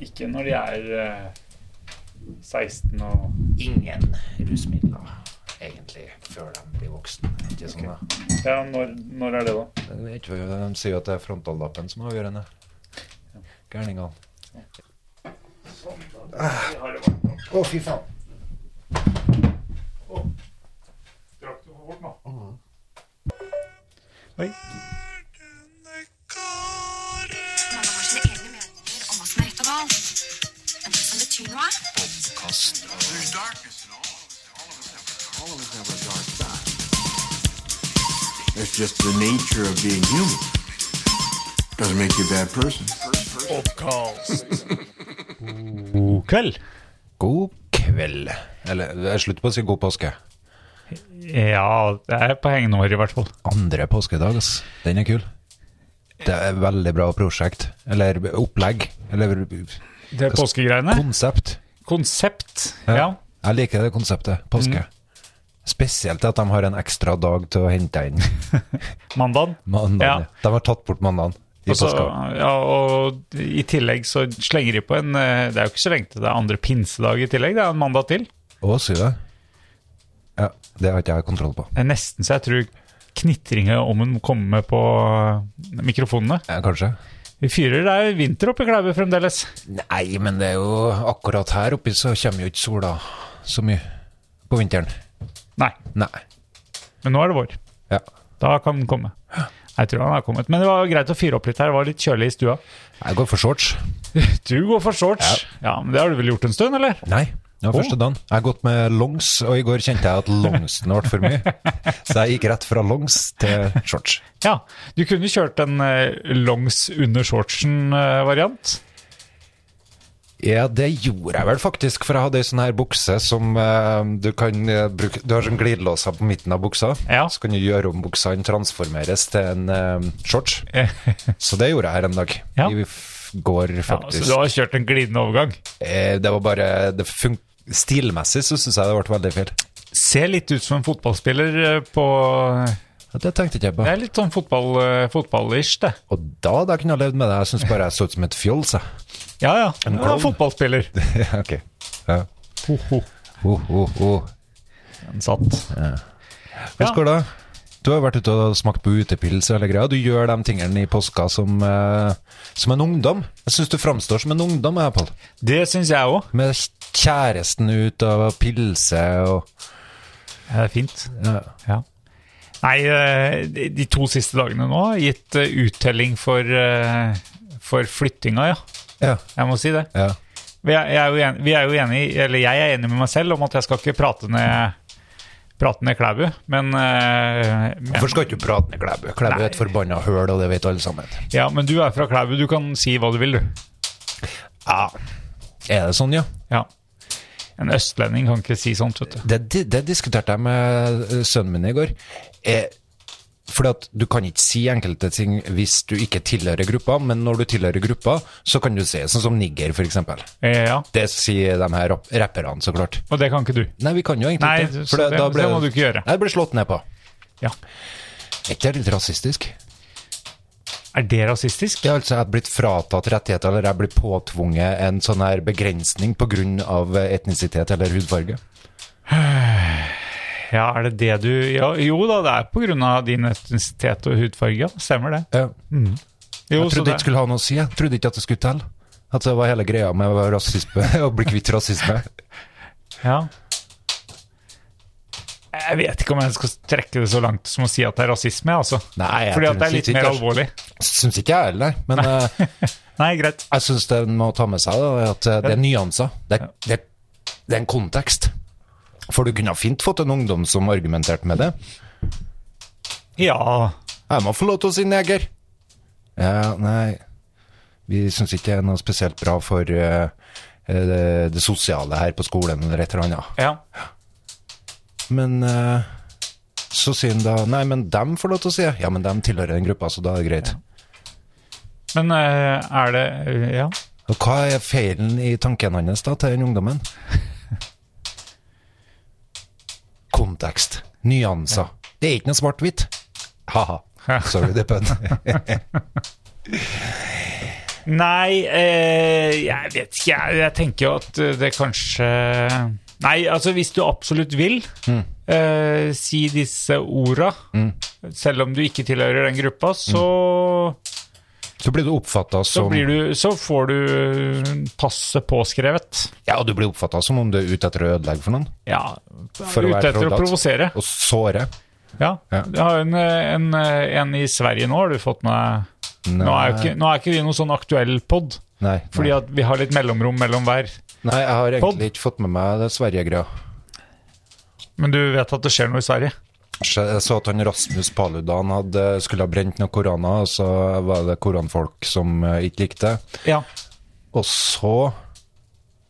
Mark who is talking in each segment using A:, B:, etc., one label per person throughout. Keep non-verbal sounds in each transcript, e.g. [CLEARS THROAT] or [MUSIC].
A: Ikke når de er eh, 16 og
B: Ingen rusmidler, egentlig, før de blir voksne. Ikke sånn, da.
A: Ja, når, når er det, da?
B: Men jeg vet ikke, De sier jo at det er frontallappen som er avgjørende. Gærningene. Å, fy faen.
C: Mange har sine egne meninger om hva som er rett og galt. Men det som betyr noe,
D: That's just the nature of being human. Doesn't make you a bad person.
E: God kveld.
B: God kveld. Eller det er slutt på å si god påske.
A: Ja, det er på hengende år, i hvert fall.
B: Andre påskedag, ass. Den er kul. Det er et veldig bra prosjekt. Eller opplegg. Eller
A: Det er påskegreiene.
B: konsept.
A: Konsept.
B: Ja.
A: Ja.
B: Jeg liker det konseptet. Påske.
A: Mhm.
B: Spesielt at de har en ekstra dag til å hente inn
A: Mandagen.
B: mandagen.
A: Ja.
B: De har tatt bort mandagen i
A: Og så-
B: påska.
A: ja, og i tillegg så slenger de på en eh, Det er jo ikke så lenge til det er andre pinsedag i tillegg. Det er en mandag til.
B: Å, sier du det? Ja, det har ikke jeg kontroll på.
A: Det er nesten så jeg tror knitringer om hun kommer med på eh, mikrofonene.
B: Ja, kanskje?
A: Vi fyrer det er vinter oppe i Klæbu fremdeles.
B: Nei, men det er jo akkurat her oppe så kommer jo ikke sola så mye på vinteren.
A: Nei,
B: Nei.
A: men nå er det vår.
B: Ja.
A: Da kan den komme. Jeg tror han har kommet. Men det var greit å fyre opp litt her. Det var litt kjølig i stua. [LAUGHS]
B: Jeg går for shorts.
A: Du går for shorts. Ja, men Det har du vel gjort en stund, eller?
B: Nei. Det var
A: Å.
B: første dagen. Jeg har gått med longs, og i går kjente jeg at longsen ble for mye. Så jeg gikk rett fra longs til shorts.
A: Ja. Du kunne kjørt en eh, longs under eh, shortsen-variant.
B: Ja, det gjorde jeg vel faktisk, for jeg hadde ei sånn her bukse som eh, du kan eh, bruke Du har sånn glidelåser på midten av buksa,
A: Ja.
B: så kan du gjøre om buksa. Den transformeres til en eh, shorts. Så det gjorde jeg her en dag.
A: Ja.
B: I f- går,
A: [LAUGHS] Ja, så
B: faktisk.
A: du har kjørt en glidende overgang.
B: Eh, det var bare det fun Stilmessig så syns jeg det ble veldig feil.
A: Ser litt ut som en fotballspiller eh, på
B: Ja, Det tenkte ikke jeg på.
A: Det er litt sånn fotball, eh, fotballish, det.
B: Og da hadde jeg kunnet levd med det. Jeg syns bare jeg så ut som et fjols, jeg. [LAUGHS]
A: Ja, ja. ja
B: klovn.
A: fotballspiller.
B: Ja, ok. Ja. [LAUGHS] Oh, Ho, ho, ho.
A: Den satt.
B: Hvordan går det? Du har vært ute og smakt på utepils og hele greia. Du gjør de tingene i påska som, eh, som en ungdom. Jeg syns du framstår som en ungdom, jeg, Pål.
A: Det syns jeg òg.
B: Med kjæresten ut og pilse og
A: Det er fint.
B: ja.
A: Ja. Nei, eh, de de to siste dagene nå har gitt eh, uttelling for, eh, for flyttinga, ja.
B: ja,
A: Jeg må si det.
B: ja.
A: Vi er, jeg er jo enig, vi er jo enig, eller jeg er enig med meg selv om at jeg skal ikke prate ned, prate ned Klæbu, men, eh,
B: Hvorfor
A: men
B: skal ikke du prate med Klæbu? Klæbu er et forbanna høl, og det vet alle sammen.
A: Ja, men du er fra Klæbu, du kan si hva du vil, du.
B: Ja. Er det sånn, ja?
A: Ja. En østlending kan ikke si sånt, vet du.
B: Det, det diskuterte jeg med eh, sønnen min i går. Eh, fordi at du kan ikke si enkelte ting hvis du ikke tilhører gruppa, men når du tilhører gruppa, så kan du si sånn som nigger, for eksempel.
A: Eh, Ja,
B: Det sier de her rapp- rapperne, så klart.
A: og det kan ikke du.
B: Nei, vi kan jo egentlig
A: Nei,
B: ikke.
A: så det- det må du ikke gjøre.
B: Nei, det ble slått ned på.
A: Ja.
B: Er ikke det litt rasistisk?
A: Er det rasistisk?
B: Ja, altså, jeg har blitt fratatt rettigheter, eller jeg blir påtvunget en sånn her begrensning på grunn av eh, etnisitet eller hudfarge.
A: Ja, er det det du ja, Jo da, det er på grunn av din etnisitet og hudfarge, ja. Stemmer det.
B: Ja.
A: Jo,
B: Jeg
A: så
B: trodde
A: det-
B: ikke skulle ha noe å si. Jeg trodde ikke at det skulle telle. At det var hele greia med å være rasisme, [LAUGHS] å bli kvitt rasisme.
A: Ja. Jeg vet ikke om jeg skal trekke det så langt som å si at det er rasisme, altså.
B: Nei, jeg
A: Fordi at det er
B: synes
A: litt
B: ikke-
A: mer alvorlig.
B: Syns ikke jeg heller, men eh,
A: Nei, greit.
B: jeg syns den må ta med seg da, at eh, det er nyanser. Det, er- det, er- det er en kontekst. For du kunne ha fint fått en ungdom som argumenterte med det.
A: Ja.
B: Jeg må få lov til å si neger. Ja, nei Vi syns ikke det er noe spesielt bra for eh, eh, det, det sosiale her på skolen eller et eller annet.
A: ja.
B: Men eh, så sier han da Nei, men dem får lov til å si det. Ja, men dem tilhører den gruppa, så da er det greit.
A: Men eh, er det Ja.
B: Og hva er feilen i tanken hans da til den
A: [LAUGHS]
B: ungdommen? Kontekst. Nyanser. Det er ikke noe
A: [LAUGHS]
B: svart-hvitt. Ha-ha. Sorry, det er pønn.
A: Nei, eh, jeg vet ikke. Jeg, jeg tenker jo at eh, det kanskje Nei, altså hvis du absolutt vil eh, si disse orda, selv om du ikke tilhører den gruppa, så,
B: Så blir du oppfatta
A: så,
B: som
A: blir du, så får du passet påskrevet.
B: Ja, du blir oppfattet som om du er ute etter å ødelegge for noen.
A: Ja,
B: For å
A: ute
B: være
A: etter å
B: trolldatt.
A: provosere.
B: Og såre.
A: Ja.
B: Ja.
A: Jeg har en, eh, en, eh, en i Sverige nå, har du fått med Nå er, jo ikke, nå er ikke vi noen sånn aktuell pod,
B: Nei,
A: fordi
B: nei.
A: at vi har litt mellomrom mellom hver.
B: nei, jeg har
A: Pod.
B: egentlig ikke fått med meg det Sverige-greia.
A: Men du vet at det skjer noe i Sverige?
B: Jeg så at han Rasmus Paludan hadde, skulle ha brent noe korana, og så var det koranfolk som eh, ikke likte det.
A: Ja.
B: Og så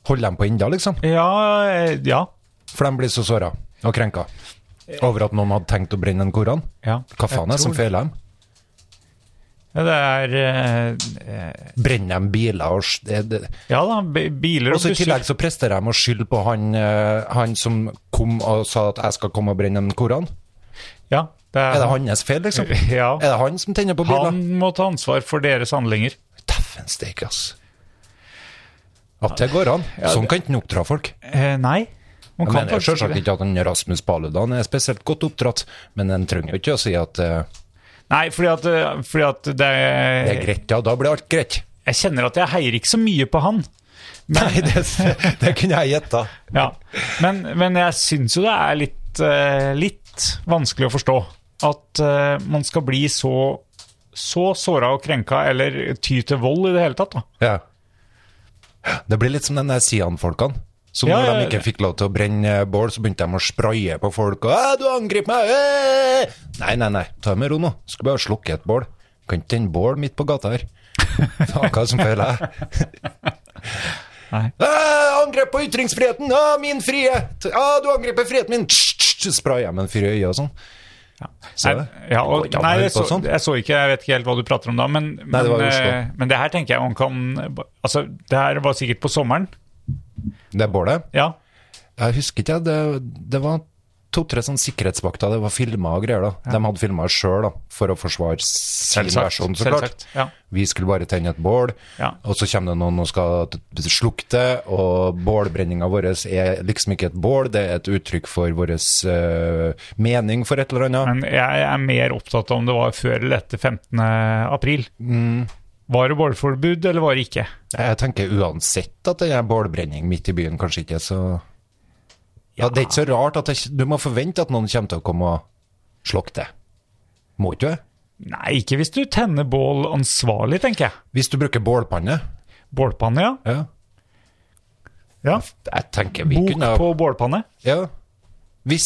B: holder de på ennå, liksom.
A: Ja, eh, ja.
B: For de blir så såra og krenka over at noen hadde tenkt å brenne en koran.
A: ja.
B: Hva faen er det som feiler dem?
A: Ja, det er eh, eh,
B: Brenner de biler og s- det, det.
A: Ja da, bi- biler
B: Og
A: og
B: så I tillegg
A: busser.
B: så prester de å skylde på han, eh, han som kom og sa at 'jeg skal komme og brenne en koran'.
A: Ja, det
B: Er
A: er,
B: det hans feil, liksom?
A: [LAUGHS] Ja.
B: Er det han som tenner på biler?
A: Han må ta ansvar for deres handlinger.
B: Dæven steike, ass. At det går an. Sånn kan ikke han oppdra folk.
A: Eh, nei. Man
B: Jeg
A: kan
B: mener
A: faktisk
B: selvsagt
A: ikke det.
B: ikke at han Rasmus Paludan er spesielt godt oppdratt, men en trenger jo ikke å si at eh,
A: Nei, fordi at, eh, fordi at det,
B: det er greit, ja, da blir alt greit.
A: Jeg kjenner at jeg heier ikke så mye på han.
B: Nei, det, [LAUGHS] det kunne jeg gjetta.
A: Ja. Men, men jeg syns jo det er litt, eh, litt vanskelig å forstå at eh, man skal bli så så såra og krenka, eller ty til vold i det hele tatt. da.
B: Ja. Det blir litt som den der Sian-folkene. Som
A: Ja,
B: når
A: ja,
B: de ikke fikk lov til å brenne eh, bål, så begynte de å spraye på folk. Og, «Æ, 'Du angriper meg!' Æ! Nei, nei, nei. Ta det med ro nå. Skal bare slukke et bål. Kan ikke tenne bål midt på gata her. Faen, hva er det som feiler jeg?
A: [LAUGHS] Nei.
B: «Æ, Angrep på ytringsfriheten! Å, min frihet! Å, du angriper friheten min! Tss, tss, tss, Sprayer jeg med en fyr i øyet og sånn. Så,
A: Nei, ja, og,
B: det går ikke an å
A: nei
B: høre
A: jeg,
B: på sånn.
A: så,
B: sånt.
A: jeg så ikke, jeg vet ikke helt hva du prater om da, men, men,
B: det var i Oslo.
A: eh, men det her tenker jeg man kan Altså, det her var sikkert på sommeren.
B: det bålet
A: Ja.
B: Jeg husker ikke, jeg. det, det var to-tre sånne sikkerhetsvakter, det var filma og greier. da. De hadde filma sjøl for å forsvare sin
A: Selvsagt,
B: versjon, så
A: selvsagt,
B: klart.
A: ja.
B: Vi skulle bare tenne et bål,
A: Ja.
B: og så kommer det noen og skal t- slukke det. Og bålbrenninga vår er liksom ikke et bål, det er et uttrykk for vår eh, mening for et eller annet.
A: Men jeg er mer opptatt av om det var før eller etter 15. april.
B: Mm.
A: Var det bålforbud, eller var det ikke?
B: Jeg tenker uansett at det er bålbrenning midt i byen, kanskje ikke så Ja, det er ikke så rart at jeg, du må forvente at noen kommer til å komme og slukke det. Må ikke du?
A: Nei, ikke hvis du tenner bål ansvarlig, tenker jeg.
B: Hvis du bruker bålpanne
A: Bålpanne, ja.
B: ja.
A: ja.
B: Jeg tenker vi
A: Bok
B: kunne ha
A: på bålpanne.
B: ja. Hvis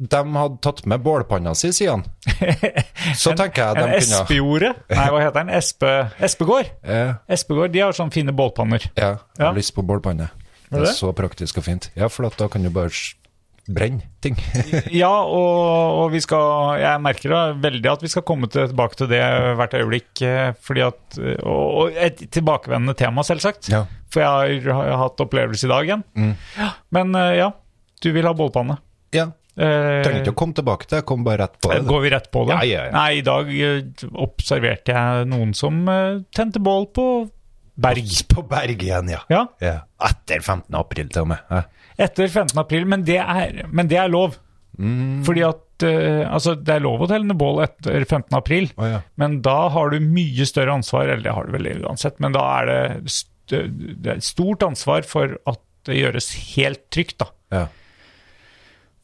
B: de hadde tatt med bålpanna si,
A: [LAUGHS]
B: sier han, så tenker jeg
A: En
B: de kunne
A: Espejorde. Eh, Nei, hva heter den? Espe, Espegård.
B: ja,
A: Espegård, de har sånne fine
B: [LAUGHS]
A: bålpanner.
B: ja, jeg
A: Ja.
B: har lyst på bålpanne. Det er
A: det?
B: så praktisk og fint. Ja, for at da kan du bare s- brenne ting. [LAUGHS]
A: Ja, og, og vi skal, jeg merker da veldig at vi skal komme tilbake til det hvert øyeblikk. eh, Fordi at, og, og et tilbakevendende tema, selvsagt.
B: Ja. Mm.
A: For jeg har, har hatt opplevelse i dag igjen. Ja, Men eh, ja, du vil ha bålpanne.
B: ja.
A: Eh,
B: Trenger ikke å komme tilbake til det, kom bare rett på det.
A: Går vi rett på det?
B: Ja, ja, ja.
A: Nei, i dag eh, observerte jeg noen som eh, tente bål på berg.
B: På Berg igjen, ja.
A: Ja,
B: ja. Etter 15. april, til og med. Ja.
A: Etter 15. april, men det er, men det er lov.
B: Mm.
A: Fordi at eh, altså, det er lov å telle ned bål etter 15. april,
B: Å, ja.
A: men da har du mye større ansvar, eller det har du vel uansett, men da er det, st det er et stort ansvar for at det gjøres helt trygt, da.
B: Ja.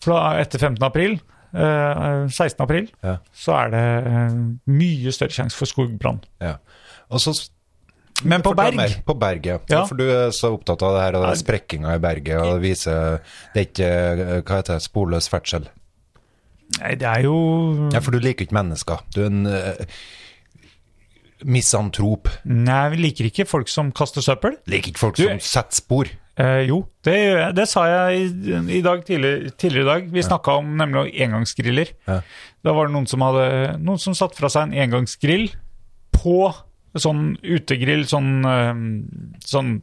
A: For da, etter 15. april, eh, 16. april,
B: Ja.
A: så er det eh, mye større sjanse for skogbrann.
B: ja. Og så
A: Men på
B: Fortell
A: Berg
B: mer. På berget.
A: Ja.
B: Ja. For du er så opptatt av det her, og det er sprekkinga i berget, og det viser Det er ikke eh, Hva heter det? Sporløs ferdsel.
A: Mm. Nei, det er jo
B: Ja, for du liker ikke mennesker. Du er en eh, misantrop.
A: Nei, vi liker ikke folk som kaster søppel.
B: Liker ikke folk
A: Du-
B: som setter spor.
A: Eh, jo, det gjør jeg. Det sa jeg i, i dag tidlig, tidligere i dag. Vi snakka om nemlig engangsgriller.
B: Ja.
A: Da var det noen som hadde Noen som satte fra seg en engangsgrill på sånn utegrill, sånn, eh, sånn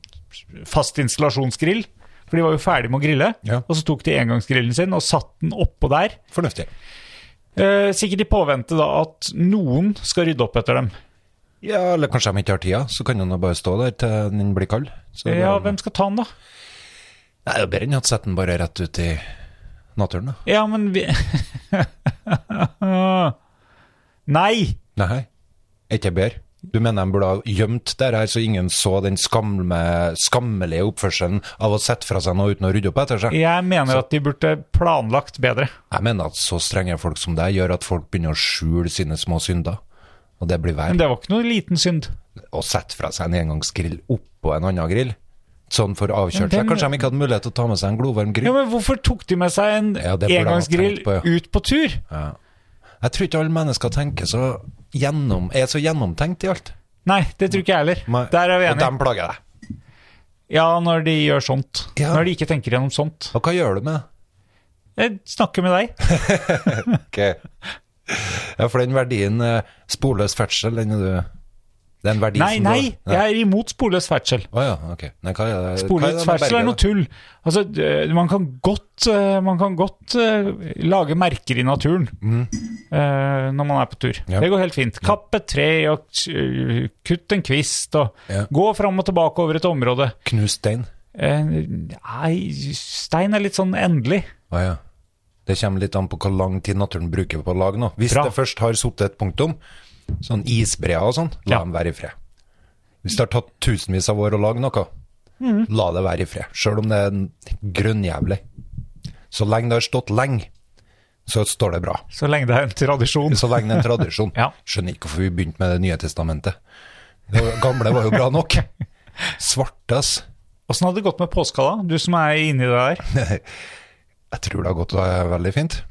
A: fast installasjonsgrill. For de var jo ferdig med å grille.
B: Ja.
A: Og så tok de engangsgrillen sin og satte den oppå der.
B: Fornuftig.
A: Eh, sikkert i påvente da at noen skal rydde opp etter dem.
B: Ja, eller kanskje de ikke har tida, så kan den jo bare stå der til den blir kald. Så
A: Ja,
B: det,
A: hvem skal ta den, da?
B: Nei, det er bedre enn å sette den bare rett ut i naturen, da.
A: Ja, men vi [LAUGHS] Nei!
B: Nei, er ikke det bedre? Du mener de burde ha gjemt der her, så ingen så den skamme, skammelige oppførselen av å sette fra seg noe uten å rydde opp etter seg?
A: Jeg mener at de burde planlagt bedre.
B: Jeg mener at så strenge folk som deg gjør at folk begynner å skjule sine små synder. Og det blir
A: Men
B: verre.
A: det var ikke noe liten synd.
B: Å sette fra seg en engangsgrill oppå en annen grill, sånn for avkjørt
A: Ja, den-
B: seg. Kanskje de ikke hadde mulighet til å ta med seg en glovarm grill?
A: Ja, Men hvorfor tok de med seg en
B: Ja, det burde han ha
A: engangsgrill
B: tenkt på, ja.
A: ut på tur?
B: Jeg tror ikke alle mennesker tenker så gjennom, er så gjennomtenkt i alt.
A: Nei, det tror ikke jeg heller.
B: Men-
A: Der er vi
B: Og
A: enige.
B: dem plager deg.
A: Ja, når de gjør sånt.
B: Ja.
A: Når de ikke tenker gjennom sånt.
B: Og hva gjør du med det?
A: Jeg snakker med deg.
B: Ok. Ja, for den verdien eh, sporløs ferdsel, den er du Det er en verdi
A: Nei,
B: som
A: nei,
B: du
A: jeg er imot sporløs ferdsel.
B: Å ja, ok. Nei, hva er det?
A: Sporløs ferdsel er noe tull. Altså, d- man kan godt, eh, man kan godt eh, lage merker i naturen eh, når man er på tur.
B: Mm. Ja.
A: Det går helt fint. Kapp et tre og eh, kutt en kvist og
B: Ja.
A: gå fram og tilbake over et område.
B: Knust stein.
A: Eh, Nei, stein er litt sånn endelig.
B: Å ja. Det kommer litt an på hvor lang tid naturen bruker på å lage noe. Hvis
A: Bra.
B: det først har sittet et punktum, sånn isbreer og sånn, la
A: Ja.
B: dem være i fred. Hvis det har tatt tusenvis av år å lage noe,
A: Mm.
B: la det være i fred. Sjøl om det er en grønnjævlig. Så lenge det har stått lenge, så står det bra.
A: Så lenge det er en tradisjon.
B: Så lenge det er en tradisjon.
A: Ja.
B: Skjønner ikke hvorfor vi begynte med Det nye testamentet. Det var- gamle var jo bra nok. Svarte, ass.
A: Åssen hadde det gått med påska, da? Du som er inni det der.
B: Jeg tror det har gått eh, veldig fint.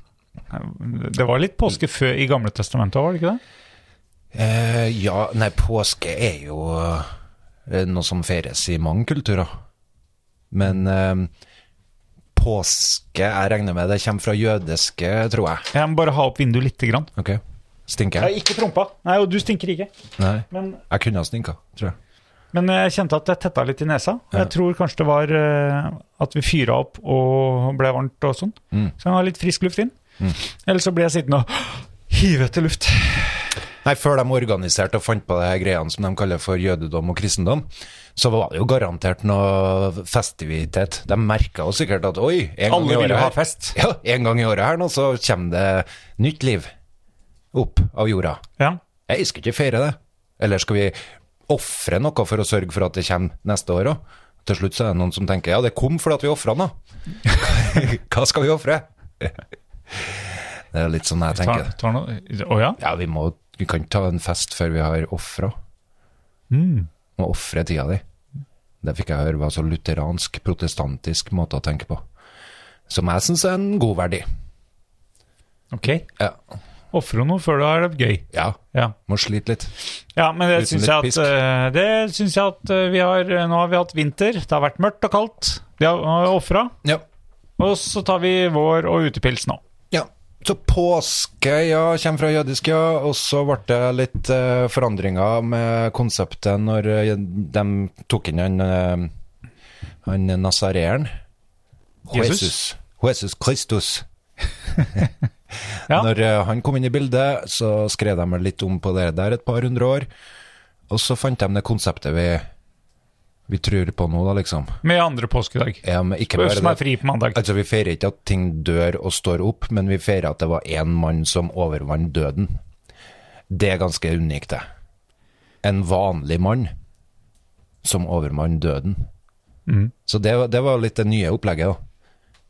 A: Det var litt påske før i Gamle testamentet, var det ikke det?
B: Eh, ja, nei, påske er jo eh, noe som feires i mange kulturer. Men eh, påske, jeg regner med det kommer fra jødiske, tror jeg.
A: Jeg må bare ha opp vinduet lite grann.
B: Ok, Stinker jeg?
A: ikke trompa. Nei, og du stinker ikke.
B: Nei.
A: Men,
B: Jeg kunne ha stinka, tror jeg.
A: men jeg kjente at jeg tetta litt i nesa. Og Jeg tror kanskje det var eh, at vi fyra opp og ble varmt og sånn.
B: Mm.
A: Så jeg må ha litt frisk luft inn. Ellers så blir jeg sittende og hive etter luft.
B: Nei, før de organiserte og fant på de her greiene som de kaller for jødedom og kristendom, så var det jo garantert noe festivitet. De merka jo sikkert at oi, en gang
A: Alle
B: i
A: vil
B: året
A: jo ha
B: her-
A: fest.
B: Ja, en gang i året her nå, så kommer det nytt liv opp av jorda.
A: Ja.
B: Jeg skal ikke feire det. Eller skal vi ofre noe for å sørge for at det kommer neste år òg? Til slutt så er det noen som tenker ja, det kom fordi at vi
A: [LAUGHS]
B: ofra den, da. Hva skal vi ofre? Det er litt sånn jeg
A: Ta,
B: tenker. det.
A: ta noe. Å ja?
B: Ja, vi, må, vi kan ikke ta en fest før vi har offra. Må ofre tida di. Det fikk jeg høre var så lutheransk, protestantisk måte å tenke på. Som jeg syns er en god verdi.
A: Ok.
B: Ja.
A: Ofre noe før du har det gøy.
B: ja.
A: Ja.
B: Må slite litt.
A: Ja, men det
B: Uten
A: syns
B: litt
A: jeg at,
B: pisk.
A: eh, det syns jeg at eh, vi har eh, Nå har vi hatt vinter, det har vært mørkt og kaldt. Det har vi ofra.
B: Ja.
A: Og så tar vi vår og utepils nå.
B: ja. Så påske, ja, kommer fra jødisk, ja. Og så ble det litt eh, forandringer med konseptet når eh, de tok inn han, uh, han nasareeren.
A: Jesus.
B: Jesus Kristus.
A: [LAUGHS] Ja.
B: Når eh, han kom inn i bildet, så skrev de litt om på det der et par hundre år. Og så fant de det konseptet vi, vi tror på nå, da, liksom.
A: Med andre påskedag.
B: Ja, men ikke bare
A: Som er
B: det.
A: fri på mandag.
B: Altså, vi feirer ikke at ting dør og står opp, men vi feirer at det var én mann som overvant døden. Det er ganske unikt, det. En vanlig mann som overvant døden.
A: Mm.
B: Så det, var- det var litt det nye opplegget, da.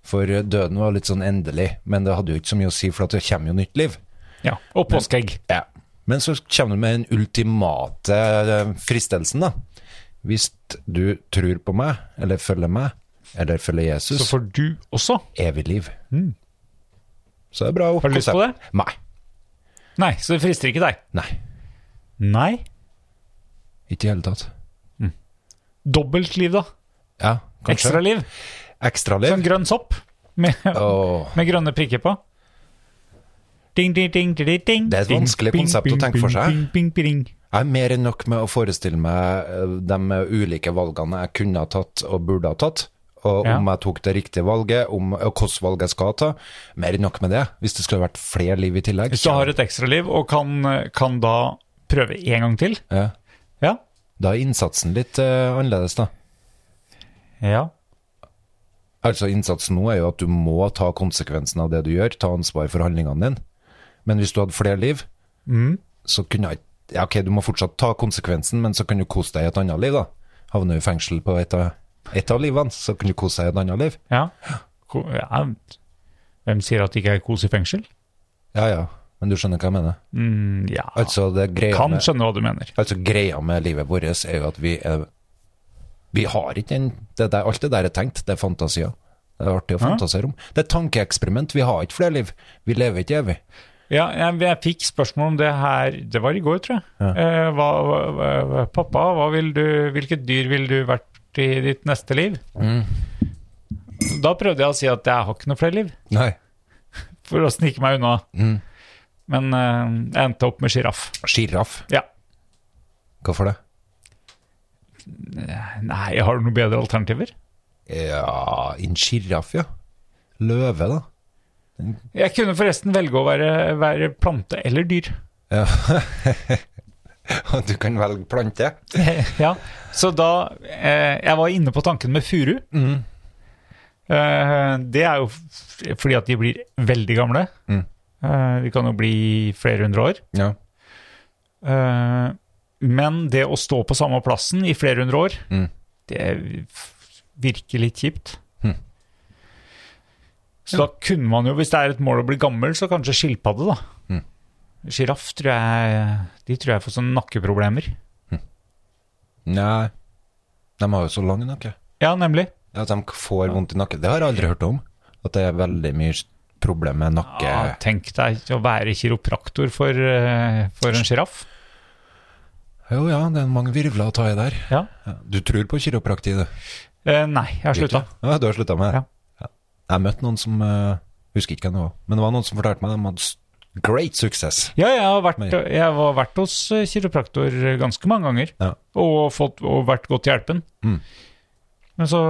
B: For døden var litt sånn endelig, men det hadde jo ikke så mye å si, for at det kommer jo nytt liv.
A: Ja. Og påskeegg.
B: Ja. Men så kommer du med den ultimate eh, fristelsen, da. Hvis du tror på meg, eller følger meg, eller følger Jesus,
A: Så får du også.
B: evig liv. Så det er bra.
A: Mm. Har du lyst på det?
B: Nei.
A: Nei, så det frister ikke deg.
B: Nei.
A: Nei.
B: Ikke i det hele tatt.
A: Dobbelt liv, da.
B: Ja, kanskje.
A: Ekstra liv.
B: Ekstra
A: Sånn grønn sopp med,
B: Åh,
A: med grønne prikker på. Ding, ding, ding, ding, ding, ding.
B: Det er et
A: Ding,
B: vanskelig
A: bing,
B: konsept å
A: bing,
B: tenke for
A: bing,
B: seg.
A: Bing, bing, bing,
B: Jeg er mer enn nok med å forestille meg eh, de ulike valgene jeg kunne ha tatt og burde ha tatt, og
A: Ja.
B: om jeg tok det riktige valget, om og hvilket valg jeg skal ta. Mer enn nok med det, hvis det skulle vært flere liv i tillegg.
A: Hvis du har et ekstraliv og kan, kan da prøve en gang til?
B: Ja.
A: Ja.
B: Da er innsatsen litt eh, annerledes, da.
A: ja.
B: Altså Innsatsen nå er jo at du må ta konsekvensen av det du gjør, ta ansvar for handlingene dine. Men hvis du hadde flere liv, så kunne jeg ja, Ok, du må fortsatt ta konsekvensen, men så kan du kose deg i et annet liv, da. Havner du i fengsel på et av, et av livene, så kan du kose deg i et annet liv.
A: ja. Ko- ja. Hvem sier at det ikke er kos i fengsel?
B: Ja ja, men du skjønner hva jeg mener.
A: Mm, ja,
B: Altså, det greia
A: kan
B: med,
A: skjønne hva du mener.
B: altså, greia med livet vårt er jo at vi er Vi har ikke den det der, Alt det der er tenkt, det er fantasier. Det er artig å fantasere om. Det er tankeeksperiment. Vi har ikke flere liv. Vi lever ikke evig.
A: Ja, jeg, jeg fikk spørsmål om det her Det var i går, tror jeg. Eh, hva, hva, hva, pappa, hva vil du, hvilket dyr ville du vært i ditt neste liv? Da prøvde jeg å si at jeg har ikke noe flere liv,
B: Nei.
A: for å snike meg unna. Men eh, jeg endte opp med sjiraff.
B: Sjiraff.
A: Ja.
B: Hvorfor det?
A: Nei, har du noen bedre alternativer?
B: Ja, en sjiraff, ja. Løve, da.
A: Jeg kunne forresten velge å være, være plante eller dyr.
B: [LAUGHS] Du kan velge plante.
A: [LAUGHS] ja, så da eh, Jeg var inne på tanken med furu.
B: Mm.
A: Eh, det er jo f- fordi at de blir veldig gamle.
B: Mm.
A: Eh, de kan jo bli flere hundre år.
B: Ja.
A: Eh, men det å stå på samme plassen i flere hundre år,
B: Mm.
A: det f- virker litt kjipt.
B: Mm.
A: Så da kunne man jo, hvis det er et mål å bli gammel, så kanskje skilpadde, da.
B: Mm.
A: Sjiraff tror jeg De tror jeg får sånne nakkeproblemer.
B: Nei, de har jo så lang nakke.
A: Ja, nemlig.
B: At de får vondt i nakken. Det har jeg aldri hørt om. At det er veldig mye problem med nakke.
A: Ja, Ah, tenk deg å være kiropraktor for, eh, for en sjiraff.
B: Jo ja, det er mange virvler å ta i der.
A: Ja.
B: Du tror på kiroprakti, du?
A: Eh, nei, jeg har slutta.
B: Ja, du har slutta med det?
A: Ja.
B: Ja. Jeg møtte noen som eh, Husker ikke hvem det var, men det var noen som fortalte meg at de hadde s- great success.
A: Ja, jeg har vært,
B: Nei.
A: jeg har vært hos eh, kiropraktor ganske mange ganger.
B: Ja.
A: Og, fått, og vært godt hjelpen.
B: Mm.
A: Men så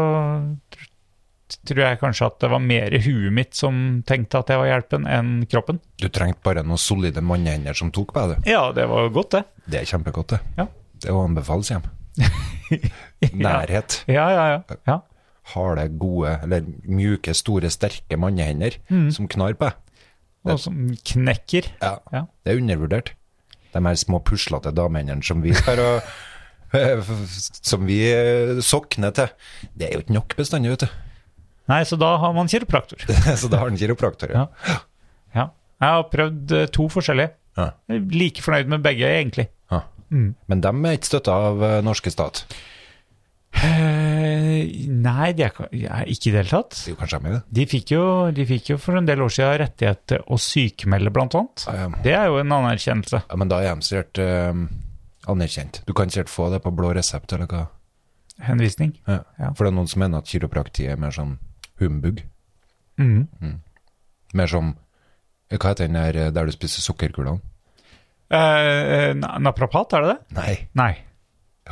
A: tr- tror jeg kanskje at det var mer i huet mitt som tenkte at jeg var hjelpen, enn kroppen.
B: Du trengte bare noen solide mannehender som tok på deg, du.
A: Ja, det var jo godt, det.
B: Det er kjempegodt, det.
A: Ja.
B: Det å anbefales hjem.
A: [LAUGHS]
B: Nærhet.
A: Ja, ja, ja. ja.
B: Harde, gode, eller mjuke, store, sterke mannehender
A: Mm.
B: som knar på deg.
A: Og som knekker.
B: Ja.
A: Ja.
B: Det er undervurdert. De her små puslete damehendene som vi tar og [LAUGHS] Som vi eh, sokner til. Det er jo ikke nok bestandig, vet du. [LAUGHS]
A: Nei, så da har man kiropraktor.
B: Så da har han kiropraktor. Ja.
A: Ja. Jeg har prøvd eh, to forskjellige.
B: Ja.
A: Jeg er Like fornøyd med begge, egentlig.
B: Ja.
A: Mm.
B: Men de er ikke støtta av eh, norske stat.
A: Eh, nei, de er, ka- ja, ikke i det hele tatt.
B: Det er jo kanskje de er det.
A: De fikk, jo, de fikk jo for en del år siden rettighet til å sykemelde, blant annet.
B: Ja, ja.
A: Det er jo en anerkjennelse.
B: Ja, men da er de sikkert eh, anerkjent. Du kan sikkert få det på blå resept eller hva.
A: Henvisning.
B: Ja.
A: Ja.
B: For det er noen som mener at kiroprakti er mer sånn humbug. Mm.
A: Mhm.
B: Mer som eh, Hva heter den der der du spiser sukkerkulene?
A: Eh, eh, na- naprapat, er det det?
B: Nei.
A: Nei.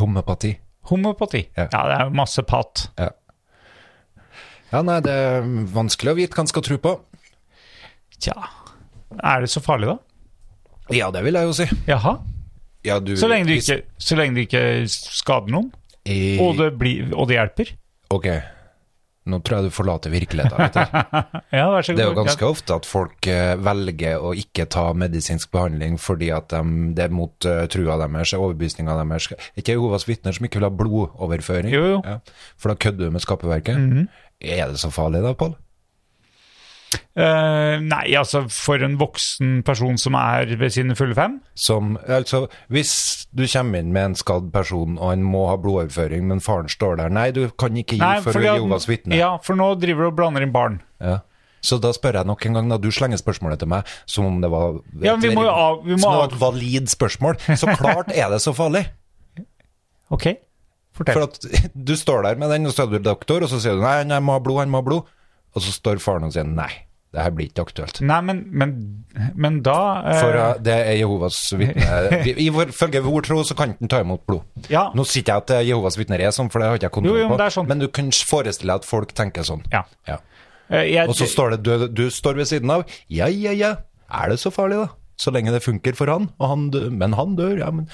B: Homopati.
A: Homopati.
B: Ja.
A: Ja, det er masse pat.
B: Ja. ja, nei, det er vanskelig å vite hva en skal tro på.
A: Tja. Er det så farlig, da?
B: Ja, det vil jeg jo si.
A: Jaha.
B: Ja, du,
A: Så lenge du
B: hvis-
A: ikke, så lenge du ikke skader noen,
B: I-
A: og det, blir, og det hjelper.
B: Ok, nå tror jeg du forlater virkeligheten litt her.
A: Ja, vær så god.
B: Det er jo ganske
A: ja.
B: ofte at folk eh, velger å ikke ta medisinsk behandling fordi at de, det er mot eh, trua deres, overbevisninga deres. Er ikke Jehovas vitner som ikke vil ha blodoverføring?
A: Jo, Mhm. jo.
B: Ja. For da kødder du med skaperverket. Er det så farlig da, Pål?
A: Eh, nei, altså, for en voksen person som er ved sine fulle fem
B: Som, altså, hvis du kommer inn med en skadd person, og han må ha blodoverføring, men faren står der Nei, du kan ikke gi
A: Nei,
B: for du
A: fordi
B: er
A: at-
B: Jehovas vitne.
A: Ja, for nå driver du og blander inn barn.
B: Ja. Så da spør jeg nok en gang, da du slenger spørsmålet til meg som om det var
A: Ja, men vi må jo av- vi må
B: som
A: av-
B: et valid spørsmål. Så klart er det så farlig.
A: Ok, fortell.
B: [LAUGHS] For at du står der med den, og så er du doktor, og så sier du nei, han må ha blod, han må ha blod. Og så står faren og sier nei, det her blir ikke aktuelt.
A: Nei, men, men, men da eh,
B: For eh, det er Jehovas vitne. Vi- i vår- Ifølge vår tro så kan han ta imot blod.
A: Ja.
B: Nå sier ikke jeg at det er Jehovas vitner er sånn, for det har ikke jeg kontroll
A: Jo, jo, men
B: på.
A: det er sånn.
B: Men du kan forestille deg at folk tenker sånn.
A: Ja. Eh, jeg,
B: Og så står det du, du står ved siden av. Ja, ja, ja. Er det så farlig, da? så lenge det funker for han. Og han dø- men han dør, ja, men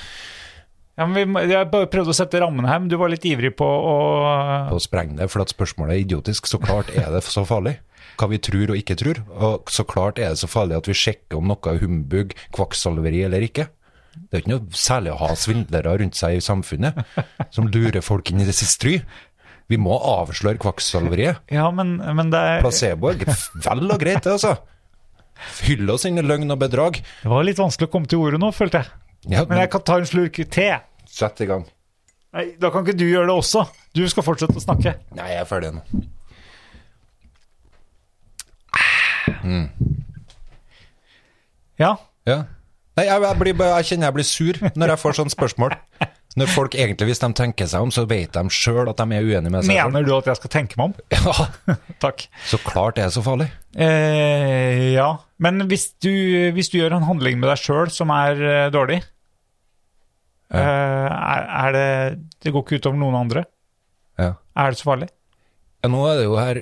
A: Ja, men vi, må- jeg bare prøvde å sette rammen her, men du var litt ivrig på å
B: på å sprenge det, for at spørsmålet er idiotisk. Så klart er det så farlig. Hva vi tror og ikke tror. Og så klart er det så farlig at vi sjekker om noe er humbug, kvakksalveri eller ikke. Det er jo ikke noe særlig å ha svindlere rundt seg i samfunnet som lurer folk inn i det siste stry. Vi må avsløre kvakksalveriet.
A: Ja, men, men det, er,
B: Placebo er vel og greit, det, altså. Hyll oss inn i løgn og bedrag.
A: det var litt vanskelig å komme til ordet nå, følte jeg.
B: Ja,
A: Men jeg kan ta en slurk te.
B: Sett i gang.
A: Nei, da kan ikke du gjøre det også. Du skal fortsette å snakke.
B: Nei, jeg er ferdig nå.
A: Ja.
B: Ja. Nei, jeg, jeg, blir, bare- jeg kjenner jeg blir sur når jeg får sånne spørsmål. Når folk egentlig, hvis de tenker seg om, så vet de sjøl at de er uenige med seg selv.
A: Mener du at jeg skal tenke meg om?
B: Ja,
A: Takk.
B: så klart det er så farlig.
A: Eh, ja. Men hvis du, hvis du gjør en handling med deg sjøl som er eh, dårlig, eh, er, er det Det går ikke utover noen andre?
B: Ja.
A: Er det så farlig?
B: Ja, nå er det jo her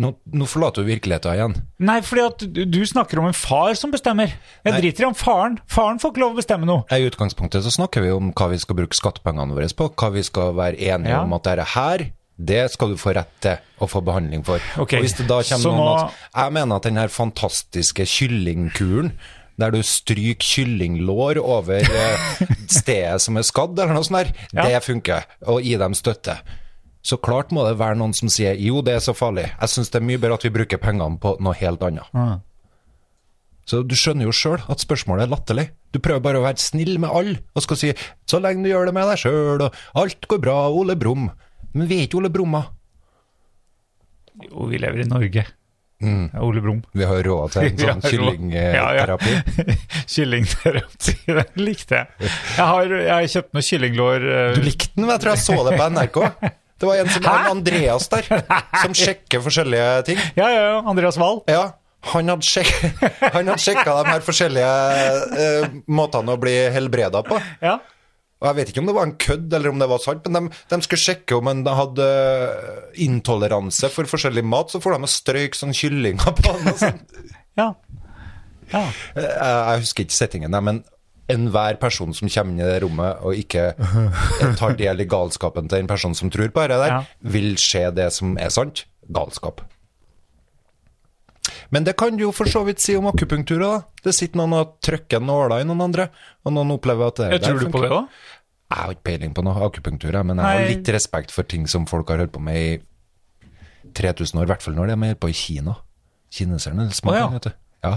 B: Nå, nå forlater du virkeligheten igjen.
A: Nei, fordi at du- du snakker om en far som bestemmer. Jeg
B: Nei.
A: driter i om faren. Faren får ikke lov å bestemme noe.
B: I utgangspunktet så snakker vi om hva vi skal bruke skattepengene våre på, hva vi skal være enige
A: Ja.
B: om at dette her, det skal du få rett til å få behandling for.
A: Ok,
B: Og hvis det da kommer
A: så
B: noen
A: nå-
B: at, Jeg mener at den her fantastiske kyllingkuren, der du stryker kyllinglår
A: [LAUGHS]
B: over eh, stedet som er skadd, eller noe sånt der,
A: Ja.
B: det funker, og gi dem støtte. Så klart må det være noen som sier jo, det er så farlig. Jeg syns det er mye bedre at vi bruker pengene på noe helt annet. Så du skjønner jo sjøl at spørsmålet er latterlig. Du prøver bare å være snill med alle og skal si 'så lenge du gjør det med deg sjøl', og 'alt går bra, Ole Brumm'. Men vi er ikke Ole Brumma.
A: Jo, vi lever i Norge. Ole Brumm.
B: Vi har råd til Mm. en
A: [LAUGHS] Vi
B: sånn
A: har råd. Ja, ja. [LAUGHS]
B: kyllingterapi.
A: Kyllingterapi, den likte jeg. Jeg har, jeg har kjøpt noen kyllinglår. eh,
B: Du likte den, men jeg tror jeg så det på NRK. Det var en som en Andreas der, som sjekker forskjellige ting.
A: Ja, ja, ja, Andreas Wahl.
B: Ja, han hadde, sjek [LAUGHS] han hadde sjekka de her forskjellige eh, måtene å bli helbreda på.
A: Ja.
B: Og Jeg vet ikke om det var en kødd eller om det var sant, men de, de skulle sjekke om en hadde eh, intoleranse for forskjellig mat, så får de å strøyke sånn kyllinger på den.
A: [LAUGHS]
B: og sånn.
A: ja. ja.
B: Jeg, jeg husker ikke settingen, nei, men enhver person som kommer inn i det rommet og ikke tar del i galskapen til en person som tror på det der,
A: Ja.
B: vil se det som er sant. Galskap. Men det kan du jo for så vidt si om akupunktur òg. Det sitter noen og trykker nåler i noen andre, og noen opplever at det
A: Jeg
B: der
A: tror du på
B: funker.
A: det òg?
B: Jeg har ikke peiling på noe akupunktur, jeg, men jeg har
A: Nei.
B: litt respekt for ting som folk har holdt på med i 3000 år, i hvert fall når de er på i Kina. Kineserne
A: Å,
B: smaker,
A: ja.
B: vet du. Ja.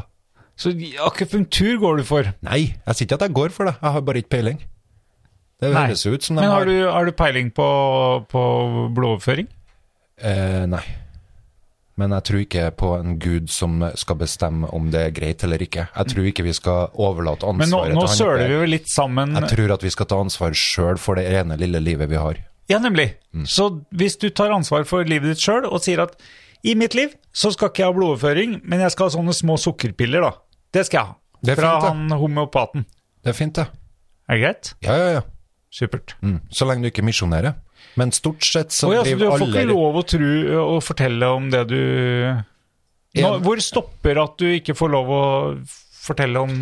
A: Så akupunktur går du for.
B: Nei, jeg sier ikke at jeg går for det, jeg har bare ikke peiling. Det
A: Nei.
B: høres jo ut som de
A: Men har
B: har,
A: du, har du peiling på, på blodoverføring?
B: eh, Nei. Men jeg tror ikke på en gud som skal bestemme om det er greit eller ikke. Jeg tror ikke vi skal overlate
A: Men nå,
B: ansvaret
A: nå
B: til han.
A: søler vi
B: oppe.
A: jo litt sammen.
B: Jeg tror at vi skal ta ansvar sjøl for det ene lille livet vi har.
A: Ja, nemlig. Så hvis du tar ansvar for livet ditt sjøl og sier at i mitt liv så skal ikke jeg ha blodoverføring, men jeg skal ha sånne små sukkerpiller, da. Det skal jeg ha.
B: Det er
A: Fra
B: fint, det.
A: han homeopaten.
B: Det er fint, det.
A: Er det greit?
B: Ja, ja, ja.
A: Supert.
B: Mm. Så lenge du ikke misjonerer. Men stort sett så
A: Å ja, så du
B: driver
A: får ikke
B: alle
A: lov å tro og fortelle om det du Nå,
B: En-
A: Hvor stopper at du ikke får lov å fortelle om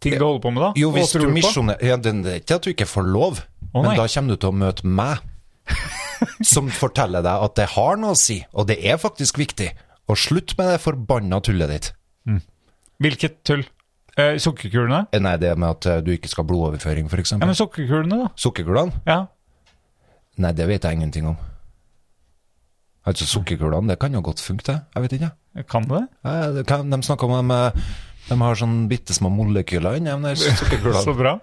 A: ting du holder på med, da?
B: Jo,
A: og
B: hvis du
A: tror på?
B: misjonerer ja, Det det er ikke at du ikke får lov,
A: Å,
B: men
A: nei.
B: da kommer du til å møte
A: [LAUGHS]
B: meg. Som forteller deg at det har noe å si, og det er faktisk viktig. Og slutt med det forbanna tullet ditt.
A: Hvilket tull? Eh, sukkerkulene?
B: Eh, Nei, det med at eh, du ikke skal ha blodoverføring, f.eks.
A: Ja,
B: eksempel
A: men sukkerkulene, da.
B: Sukkerkulene?
A: Ja.
B: Nei, det vet jeg ingenting om. Altså, sukkerkulene, det kan jo godt funke, det. Jeg vet ikke.
A: Kan det?
B: Eh, det kan- De snakker om de, eh, de har sånn bitte små molekyler
A: [LAUGHS]
B: inni de der sukkerkulene.
A: Så bra.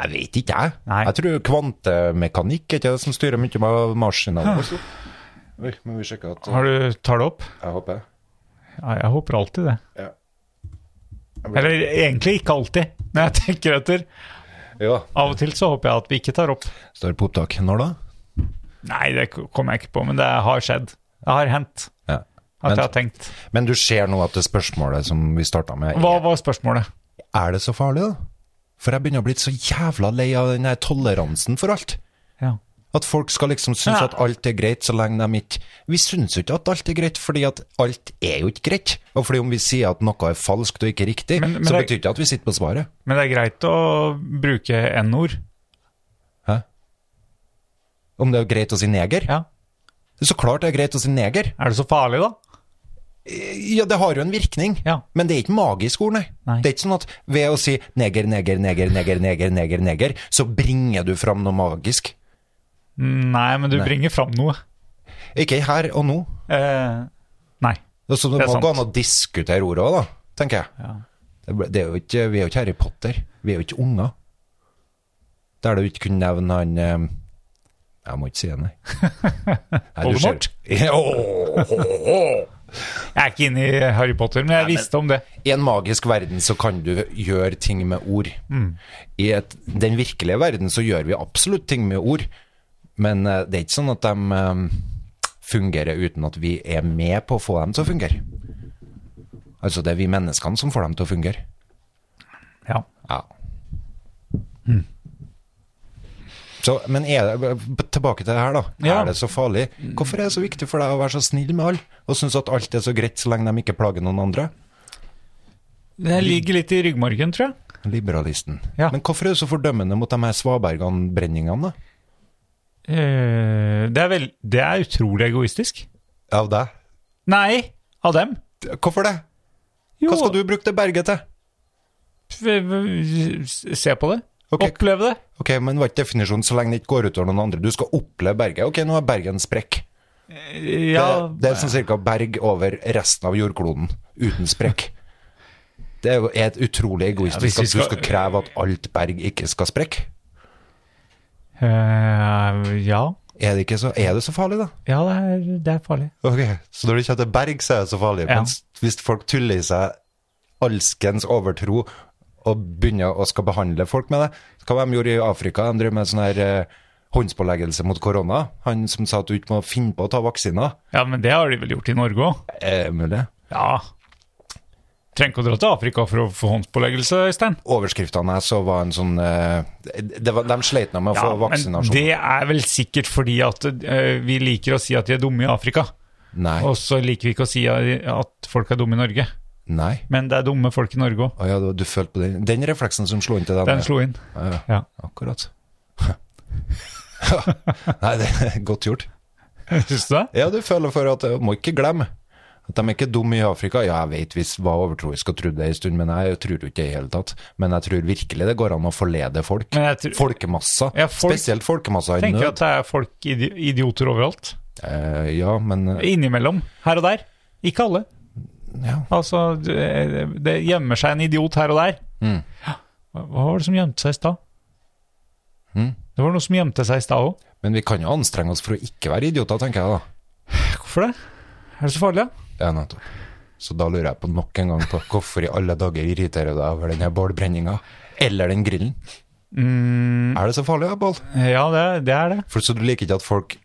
B: Jeg vet ikke, jeg.
A: Nei.
B: Jeg tror kvantemekanikk er ikke det som styrer mye av maskinene våre. Oi, må vi sjekke at
A: Har du, tar det opp?
B: Jeg håper
A: Ja, jeg håper alltid det.
B: Ja.
A: Eller egentlig ikke alltid, men jeg tenker etter.
B: Ja.
A: Av og til så håper jeg at vi ikke tar opp.
B: Står det på opptak når da?
A: Nei, det kommer jeg ikke på, men det har skjedd. Det har hendt
B: Ja.
A: at
B: Men,
A: jeg har tenkt.
B: men du ser nå at det spørsmålet som vi starta med,
A: Hva
B: er,
A: var spørsmålet?
B: er det så farlig, da? For jeg begynner å bli så jævla lei av den her toleransen for alt.
A: Ja.
B: At folk skal liksom synes
A: Ja.
B: at alt er greit så lenge de ikke Vi synes jo ikke at alt er greit, fordi at alt er jo ikke greit. Og fordi om vi sier at noe er falskt og ikke riktig,
A: Men- men
B: så
A: det-
B: betyr ikke det at vi sitter på svaret.
A: Men det er greit å bruke n-ord.
B: Hæ? Om det er greit å si neger?
A: Ja.
B: Så klart det er greit å si neger.
A: Er det så farlig, da?
B: Ja, det har jo en virkning,
A: Ja.
B: men det er ikke magisk ord, nei.
A: Nei.
B: Det er ikke sånn at ved å si neger, neger, neger, neger, neger, neger, neger, så bringer du fram noe magisk.
A: Nei, men du
B: Nei.
A: bringer fram noe.
B: Ikke her og nå.
A: Eh, nei.
B: Så det
A: Det er
B: må
A: sant.
B: gå an å diskutere ordet òg, da, tenker jeg. Det ble- Det er jo ikke, vi er jo ikke Harry Potter. Vi er jo ikke unger. Der du ikke kunne nevne han eh, Jeg må ikke si
A: [LAUGHS]
B: det, nei. Nei, du ser-
A: Voldemort?
B: Ja, åh, [LAUGHS] åh, åh.
A: Jeg er ikke inne i Harry Potter, men jeg visste om det.
B: I en magisk verden så kan du gjøre ting med ord. I et, den virkelige verden så gjør vi absolutt ting med ord, men eh, det er ikke sånn at de eh, fungerer uten at vi er med på å få dem til å fungere. Altså det er vi menneskene som får dem til å fungere.
A: Ja.
B: Ja. Så, men er det, b- tilbake til det her, da.
A: Ja.
B: Er det så farlig? Hvorfor er det så viktig for deg å være så snill med alle, og synes at alt er så greit så lenge de ikke plager noen andre?
A: Det ligger litt i ryggmargen, tror jeg.
B: Liberalisten.
A: Ja.
B: Men hvorfor er du så fordømmende mot de her svabergan-brenningene, da?
A: Eh, det, er vel, det er utrolig egoistisk.
B: Av deg?
A: Nei, av dem.
B: Hvorfor det? Hva skal du bruke det berget til?
A: Se på det.
B: Ok.
A: Oppleve det.
B: Ok, men var ikke definisjonen så lenge det ikke går utover noen andre? Du skal oppleve berget. Ok, nå er bergen sprekk.
A: Eh, Ja,
B: Det, det er sånn cirka berg over resten av jordkloden, uten sprekk. Det er jo et utrolig
A: Ja, hvis vi
B: egoistisk at du
A: skal-
B: skal kreve at alt berg ikke skal sprekke.
A: eh, ja.
B: Er det, ikke så, er det så farlig, da?
A: ja det, er, det er farlig.
B: Ok, Så når det kommer til berg, så er det så farlig.
A: Ja.
B: Mens hvis folk tuller i seg alskens overtro og begynner å skal behandle folk med det så Hva var det de gjorde i Afrika? De drev med sånn her eh, håndspåleggelse mot korona. Han som sa at du ikke må finne på å ta vaksiner.
A: Ja, men det har de vel gjort i Norge òg?
B: Er det mulig?
A: Ja. Trenger ikke å dra til Afrika for å få håndspåleggelse, Øystein.
B: Overskriftene jeg så var en sånn eh, det var, De sleit nå med å
A: Ja,
B: få
A: men
B: vaksinasjon.
A: det er vel sikkert fordi at eh, vi liker å si at de er dumme i Afrika.
B: Nei.
A: Og så liker vi ikke å si at folk er dumme i Norge.
B: nei.
A: Men det er dumme folk i Norge òg.
B: Å ja, du, du følte på den, den refleksen som slo inn til deg?
A: Den slo inn.
B: Ja, ja.
A: Ja. [LAUGHS]
B: akkurat. [LAUGHS] nei, det er godt gjort.
A: Syns du det?
B: Ja, du føler for at eh, Må ikke glemme at de er ikke dumme i Afrika. Ja, jeg vet vi var overtroiske og trodde det en stund, men jeg tror jo ikke det i hele tatt. Men jeg tror virkelig det går an å forlede folk.
A: Men jeg tror-
B: Folkemasser.
A: Ja, folk-
B: Spesielt folkemasser i
A: Tenker
B: nød.
A: at det er folk idi idioter overalt.
B: Eh, ja, men eh,
A: Innimellom. Her og der. Ikke alle.
B: ja.
A: Altså, det det gjemmer seg en idiot her og der.
B: Mm.
A: Ja. Hva var det som gjemte seg i stad?
B: Mm.
A: Det var noe som gjemte seg i stad òg.
B: Men vi kan jo anstrenge oss for å ikke være idioter, tenker jeg da.
A: Hvorfor det? Er det så farlig, da?
B: Ja, nettopp. Så da lurer jeg på nok en gang på hvorfor i alle dager irriterer du deg over denne bålbrenninga? Eller den grillen?
A: Mm.
B: Er det så farlig, da, Bål?
A: Ja, det, er- det er det.
B: For så du liker ikke at folk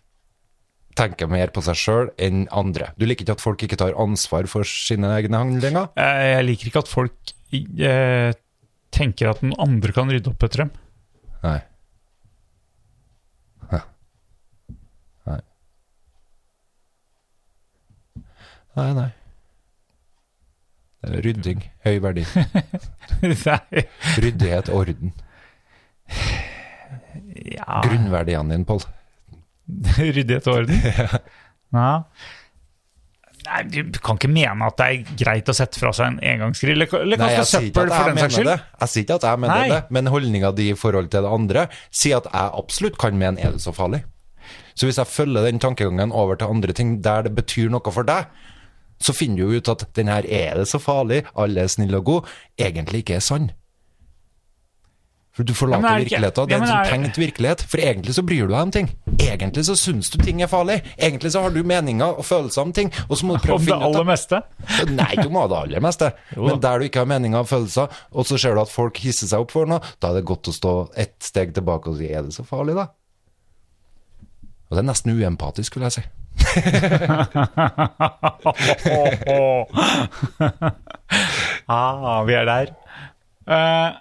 B: tenker mer på seg sjøl enn andre. Du liker ikke at folk ikke tar ansvar for sine egne handlinger.
A: Eh, Jeg liker ikke at folk eh, tenker at noen andre kan rydde opp etter dem. [LAUGHS]
B: Nei. Hæ. Nei. Nei, nei. Det er Rydding. Høy verdi.
A: Nei,
B: Ryddighet, orden.
A: ja.
B: Grunnverdiene dine, Pål.
A: Ryddighet og
B: [LAUGHS]
A: orden. Ja. Nei, du kan ikke mene at det er greit å sette fra seg en engangsgrill. Eller eller
B: Nei,
A: kaste
B: jeg sier ikke
A: søppel, for
B: at jeg
A: den saks
B: mener
A: skyld.
B: det. Jeg sier ikke at jeg mener
A: Nei.
B: det, men holdninga di i forhold til det andre sier at jeg absolutt kan mene er det så farlig. Så hvis jeg følger den tankegangen over til andre ting der det betyr noe for deg, så finner du jo ut at den her er det så farlig, alle er snille og gode, egentlig ikke er sann. For du
A: Ja, men er
B: forlater
A: det ikke-
B: virkeligheten. Det
A: Ja,
B: er en
A: men
B: sånn
A: er-
B: tenkt virkelighet. For egentlig så bryr du deg om ting. Egentlig så syns du ting er farlig. Egentlig så har du meninger og følelser om ting, og så må du prøve å
A: Om det
B: finne ut av
A: aller meste. [LAUGHS]
B: Nei, du må ha det aller [LAUGHS] meste.
A: Jo da.
B: Men der du ikke har meninger og følelser, og så ser du at folk hisser seg opp for noe, da er det godt å stå ett steg tilbake og si er det så farlig, da? Og det er nesten uempatisk, vil jeg si.
A: ah, vi er der. Eh,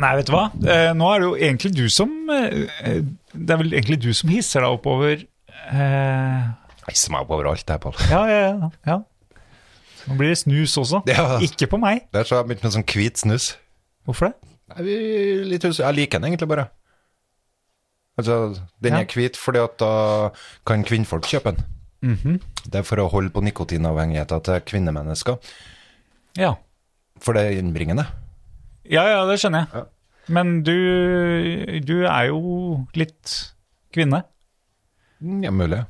A: Nei, vet du hva? Eh, nå er det jo egentlig du som eh, eh, Det er vel egentlig du som hisser deg oppover eh,
B: Hisser meg opp over alt, jeg, Pål.
A: Ja, ja, ja, ja. Nå blir det snus også.
B: Ja.
A: Ikke på meg.
B: Der så har jeg begynt med sånn hvit snus.
A: Hvorfor det?
B: Nei, vi er litt hus- Jeg liker den egentlig bare. Altså, den
A: Ja.
B: er hvit fordi at da kan kvinnfolk kjøpe den. Det er for å holde på nikotinavhengigheten til kvinnemennesker.
A: Ja,
B: For det er innbringende.
A: ja, ja det skjønner jeg. Men du, du er jo litt kvinne.
B: Mm, Ja, mulig.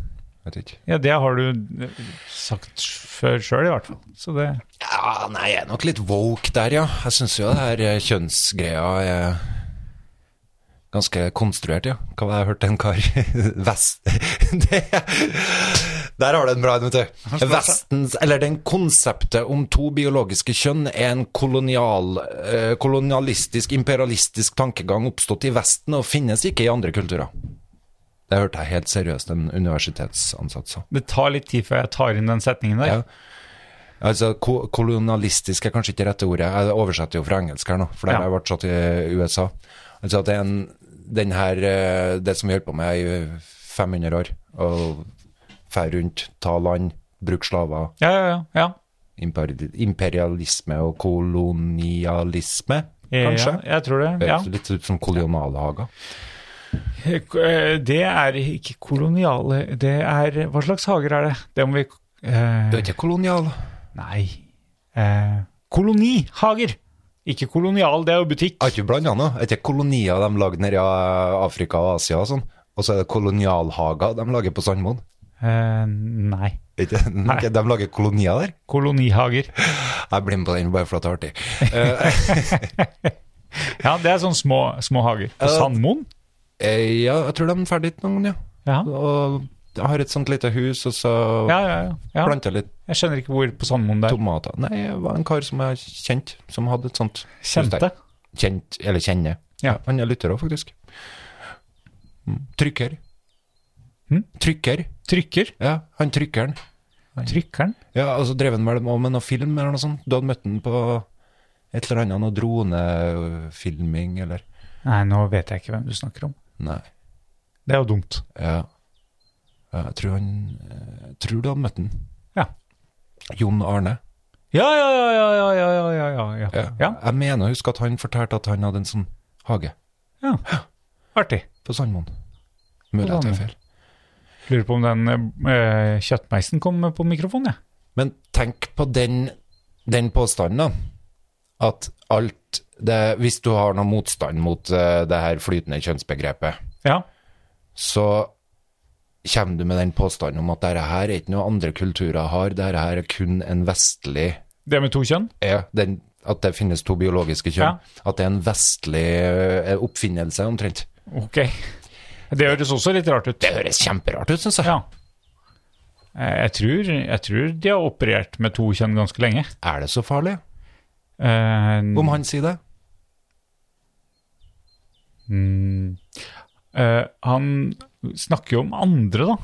B: Vet ikke.
A: Ja, det har du sagt før sjøl, i hvert fall. Så det
B: Ja, nei, jeg er nok litt woke der, ja. Jeg syns jo det her eh, kjønnsgreia er ganske konstruert, ja. Hva var det jeg hørte en kar [LAUGHS] Vest... det, der har du en bra en, vet du. Vestens, eller den konseptet om to biologiske kjønn er en kolonial, eh, kolonialistisk, imperialistisk tankegang oppstått i Vesten og finnes ikke i andre kulturer. Det hørte jeg helt seriøst en universitetsansatt sa.
A: Det tar litt tid før jeg tar inn den setningen der.
B: Ja. Altså, ko kolonialistisk er kanskje ikke rette ordet. Jeg oversetter jo fra engelsk her nå, for der
A: Ja.
B: har jeg vært satt i USA. Altså, det er en, den her, eh, det som vi holder på med i 500 år, å fære rundt, ta land, bruke slaver,
A: Ja, ja, ja. ja.
B: imperi imperialisme og kolonialisme,
A: Eh,
B: kanskje?
A: Ja, jeg tror det.
B: Det
A: ja.
B: høres Litt ut som kolonialhager.
A: Eh, Det er ikke koloniale Det er Hva slags hager er det? Det må vi eh,
B: Det er ikke kolonial.
A: Nei. Eh, kolonihager! Ikke kolonial, det er jo butikk.
B: Er ikke blant annet. Er ikke kolonier de lager nede i Afrika og Asia og sånn? Og så er det kolonialhager de lager på Sandmoen.
A: Eh, nei.
B: Ikke? [LAUGHS] Ok, De lager kolonier der?
A: Kolonihager.
B: Jeg blir med på den bare for at det er artig. Eh,
A: Ja, det er sånne små, små hager. På
B: Eh,
A: Sandmoen?
B: eh, ja, jeg tror de er ferdig noen ganger, ja.
A: Ja.
B: Og jeg har et sånt lite hus, og så
A: Ja, ja, ja, ja.
B: planta jeg litt
A: Jeg skjønner ikke hvor på Sandmoen det er.
B: tomater. Nei, det var en kar som jeg kjente, som hadde et sånt hus der.
A: Kjente.
B: Kjent, eller kjenner.
A: Ja.
B: Han er lytter òg, faktisk. Mm, Trykker.
A: Hm?
B: Trykker.
A: Trykker.
B: Ja, han trykkeren.
A: Trykkeren.
B: Ja, og så drev han vel også med noe film eller noe sånt. Du hadde møtt han på et eller annet, noe dronefilming eller
A: Nei, nå vet jeg ikke hvem du snakker om.
B: Nei.
A: Det er jo dumt.
B: Ja. Ja, Jeg tror, han, jeg tror du hadde møtt han.
A: Ja.
B: Jon Arne.
A: Ja, ja, ja, ja, ja, ja, ja, ja, ja. ja.
B: Jeg mener å huske at han fortalte at han hadde en sånn hage
A: ja. Artig.
B: på Sandmoen. Mulig at jeg
A: Sandmoen.
B: er feil.
A: Lurer på om den eh, kjøttmeisen kom på mikrofonen, jeg.
B: Men tenk på den, den påstanden, da. At alt det Hvis du har noe motstand mot eh, det her flytende kjønnsbegrepet,
A: Ja.
B: så kommer du med den påstanden om at dette her er ikke noe andre kulturer har, dette her er kun en vestlig
A: Det med to kjønn?
B: er den, at det finnes to biologiske kjønn. At det er en vestlig ø, oppfinnelse, omtrent.
A: Ok. Det høres også litt rart ut.
B: Det høres kjemperart ut, syns jeg.
A: Ja. Eh, Jeg tror, jeg tror de har operert med to kjønn ganske lenge.
B: Er det så farlig?
A: Eh,
B: Om han sier det?
A: mm, eh, han snakker jo om andre, da.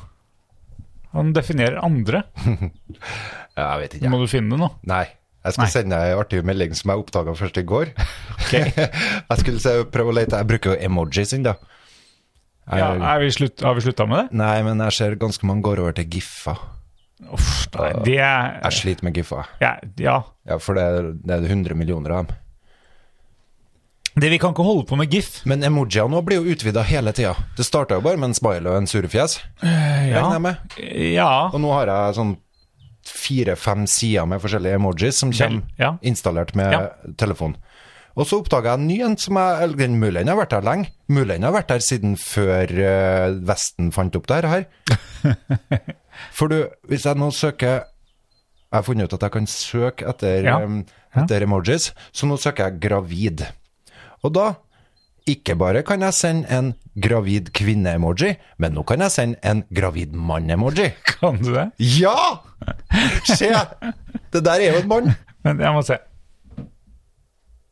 A: Han definerer andre.
B: Ja, Jeg vet
A: Må du finne det nå?
B: Nei. Jeg skal
A: Mm. Nei.
B: sende deg en artig melding som jeg oppdaga først
A: [LAUGHS]
B: i går. [LAUGHS] jeg skulle se, prøve å lete. Jeg bruker jo emojis ennå.
A: Ja,
B: Jeg-
A: er vi slutt, har vi slutta med det?
B: Nei, men jeg ser ganske mange går over til giffer.
A: Uff, nei, det er
B: Jeg sliter med giffer.
A: ja, ja.
B: Ja, for det er, det er 100 millioner av dem.
A: Det vi kan ikke holde på med GIF.
B: Men emojier nå blir jo utvida hele tida. Det starta jo bare med en smile og en surefjes. Regner jeg med.
A: Ja.
B: Og nå har jeg sånn fire-fem sider med forskjellige emojis som kommer
A: ja.
B: installert med
A: Ja.
B: telefon. Og så oppdaga jeg en ny en som jeg eller den Mulig den har vært der lenge. Mulig den har vært der siden før eh, Vesten fant opp det her.
A: [LAUGHS]
B: For du, hvis jeg nå søker Jeg har funnet ut at jeg kan søke etter,
A: Ja.
B: em, etter emojis, så nå søker jeg 'gravid'. Og da ikke bare kan jeg sende en gravid kvinne-emoji, men nå kan jeg sende en gravid mann-emoji.
A: Kan du det?
B: Ja! Se! Det der er jo en mann.
A: Men jeg må se. [LAUGHS]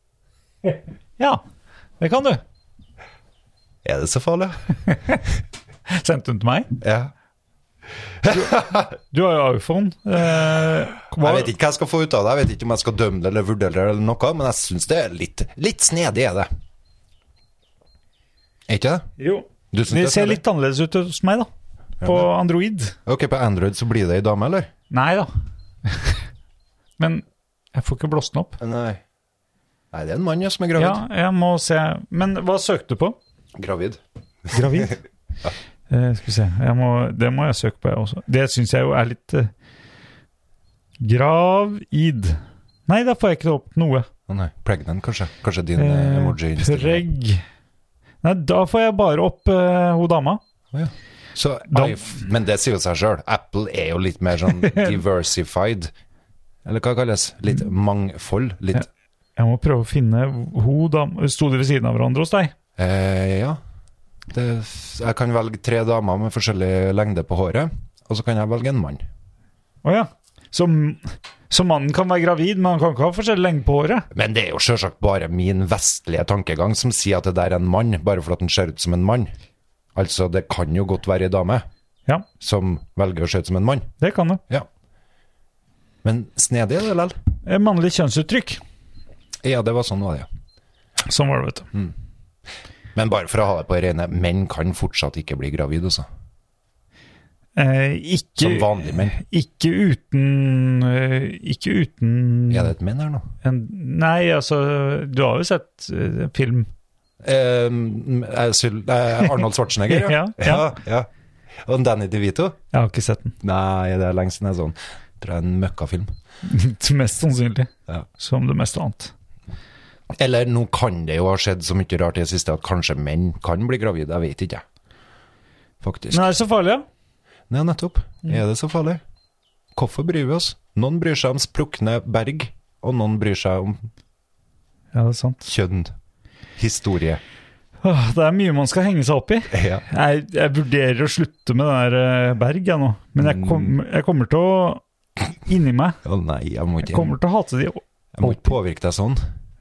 A: Ja, det kan du.
B: Er det så farlig?
A: Sendte hun til meg?
B: Ja.
A: Du har jo iPhone. Eh, hva-
B: Jeg vet ikke hva jeg skal få ut av det, jeg vet ikke om jeg skal dømme det eller vurdere det eller noe, men jeg syns det er litt, litt snedig, er det. Er ikke det?
A: Jo.
B: Du syns
A: Det
B: er
A: ser
B: særlig?
A: litt annerledes ut hos meg, da. På Android.
B: Ok, på Android så blir det ei dame, eller?
A: Nei da. [LAUGHS] Men jeg får ikke blåst den opp.
B: Nei. Nei, det er en mann ja, som er
A: Ja,
B: gravid.
A: jeg må se. Men hva søkte du på?
B: Gravid.
A: Gravid? [LAUGHS] Eh, skal vi se. Jeg må, det må jeg søke på, jeg også. Det syns jeg jo er litt eh, Gravid. Nei, da får jeg ikke opp noe.
B: Å nei, pregnant kanskje. Kanskje din eh,
A: Eh,
B: emoji.
A: Preg. Nei, da får jeg bare opp eh, hun dama.
B: Å, ja. Så,
A: Da-
B: iPh- men det sier jo seg sjøl. Apple er jo litt mer
A: [LAUGHS]
B: sånn diversified. Eller hva kalles Litt mangfold. Litt
A: Jeg må prøve å finne hun dama Sto de ved siden av hverandre hos deg?
B: Ja. Eh, ja. Det, jeg kan velge tre damer med forskjellig lengde på håret, og så kan jeg velge en mann.
A: Å ja. Så, så mannen kan være gravid, men han kan ikke ha forskjellig lengde på håret?
B: Men det er jo sjølsagt bare min vestlige tankegang som sier at det der er en mann, bare fordi den ser ut som en mann. Altså, det kan jo godt være ei dame
A: Ja,
B: som velger å se ut som en mann.
A: det kan det.
B: Ja. Men snedig er det likevel.
A: Eh, Mannlig kjønnsuttrykk.
B: Ja, det var sånn var det. ja.
A: Sånn var det, vet du.
B: Men bare for å ha det på det rene, menn kan fortsatt ikke bli gravid, altså.
A: Eh, ikke,
B: Som vanlige menn.
A: Ikke uten eh, Ikke uten
B: Er det et menn her nå?
A: en, Nei, altså Du har jo sett eh, film.
B: Eh, eh, Syl- eh, Arnold
A: [LAUGHS]
B: Schwarzenegger,
A: Ja, ja.
B: ja, ja. Og Danny DeVito?
A: Jeg har ikke sett den. [LAUGHS]
B: Nei, det er lenge siden jeg så den. Tror jeg er en møkkafilm.
A: mest sannsynlig.
B: Ja.
A: Som det meste annet.
B: Eller nå kan det jo ha skjedd så mye rart i det siste at kanskje menn kan bli gravide, jeg vet ikke. jeg. Faktisk.
A: Men er det så farlig, da?
B: Nei, nettopp.
A: Mm.
B: Er det så farlig? Hvorfor bryr vi oss? Noen bryr seg om sprukne berg, og noen bryr seg om
A: Ja, det er sant.
B: kjønn. Historie.
A: Åh, Det er mye man skal henge seg opp i.
B: Ja.
A: Jeg, jeg vurderer å slutte med den der eh, Berg, jeg nå. Men jeg, kom,
B: Mm.
A: jeg kommer til å Inni meg.
B: Å nei, jeg må
A: Jeg
B: ikke,
A: kommer til å hate de Jo,
B: jeg må ikke påvirke deg sånn.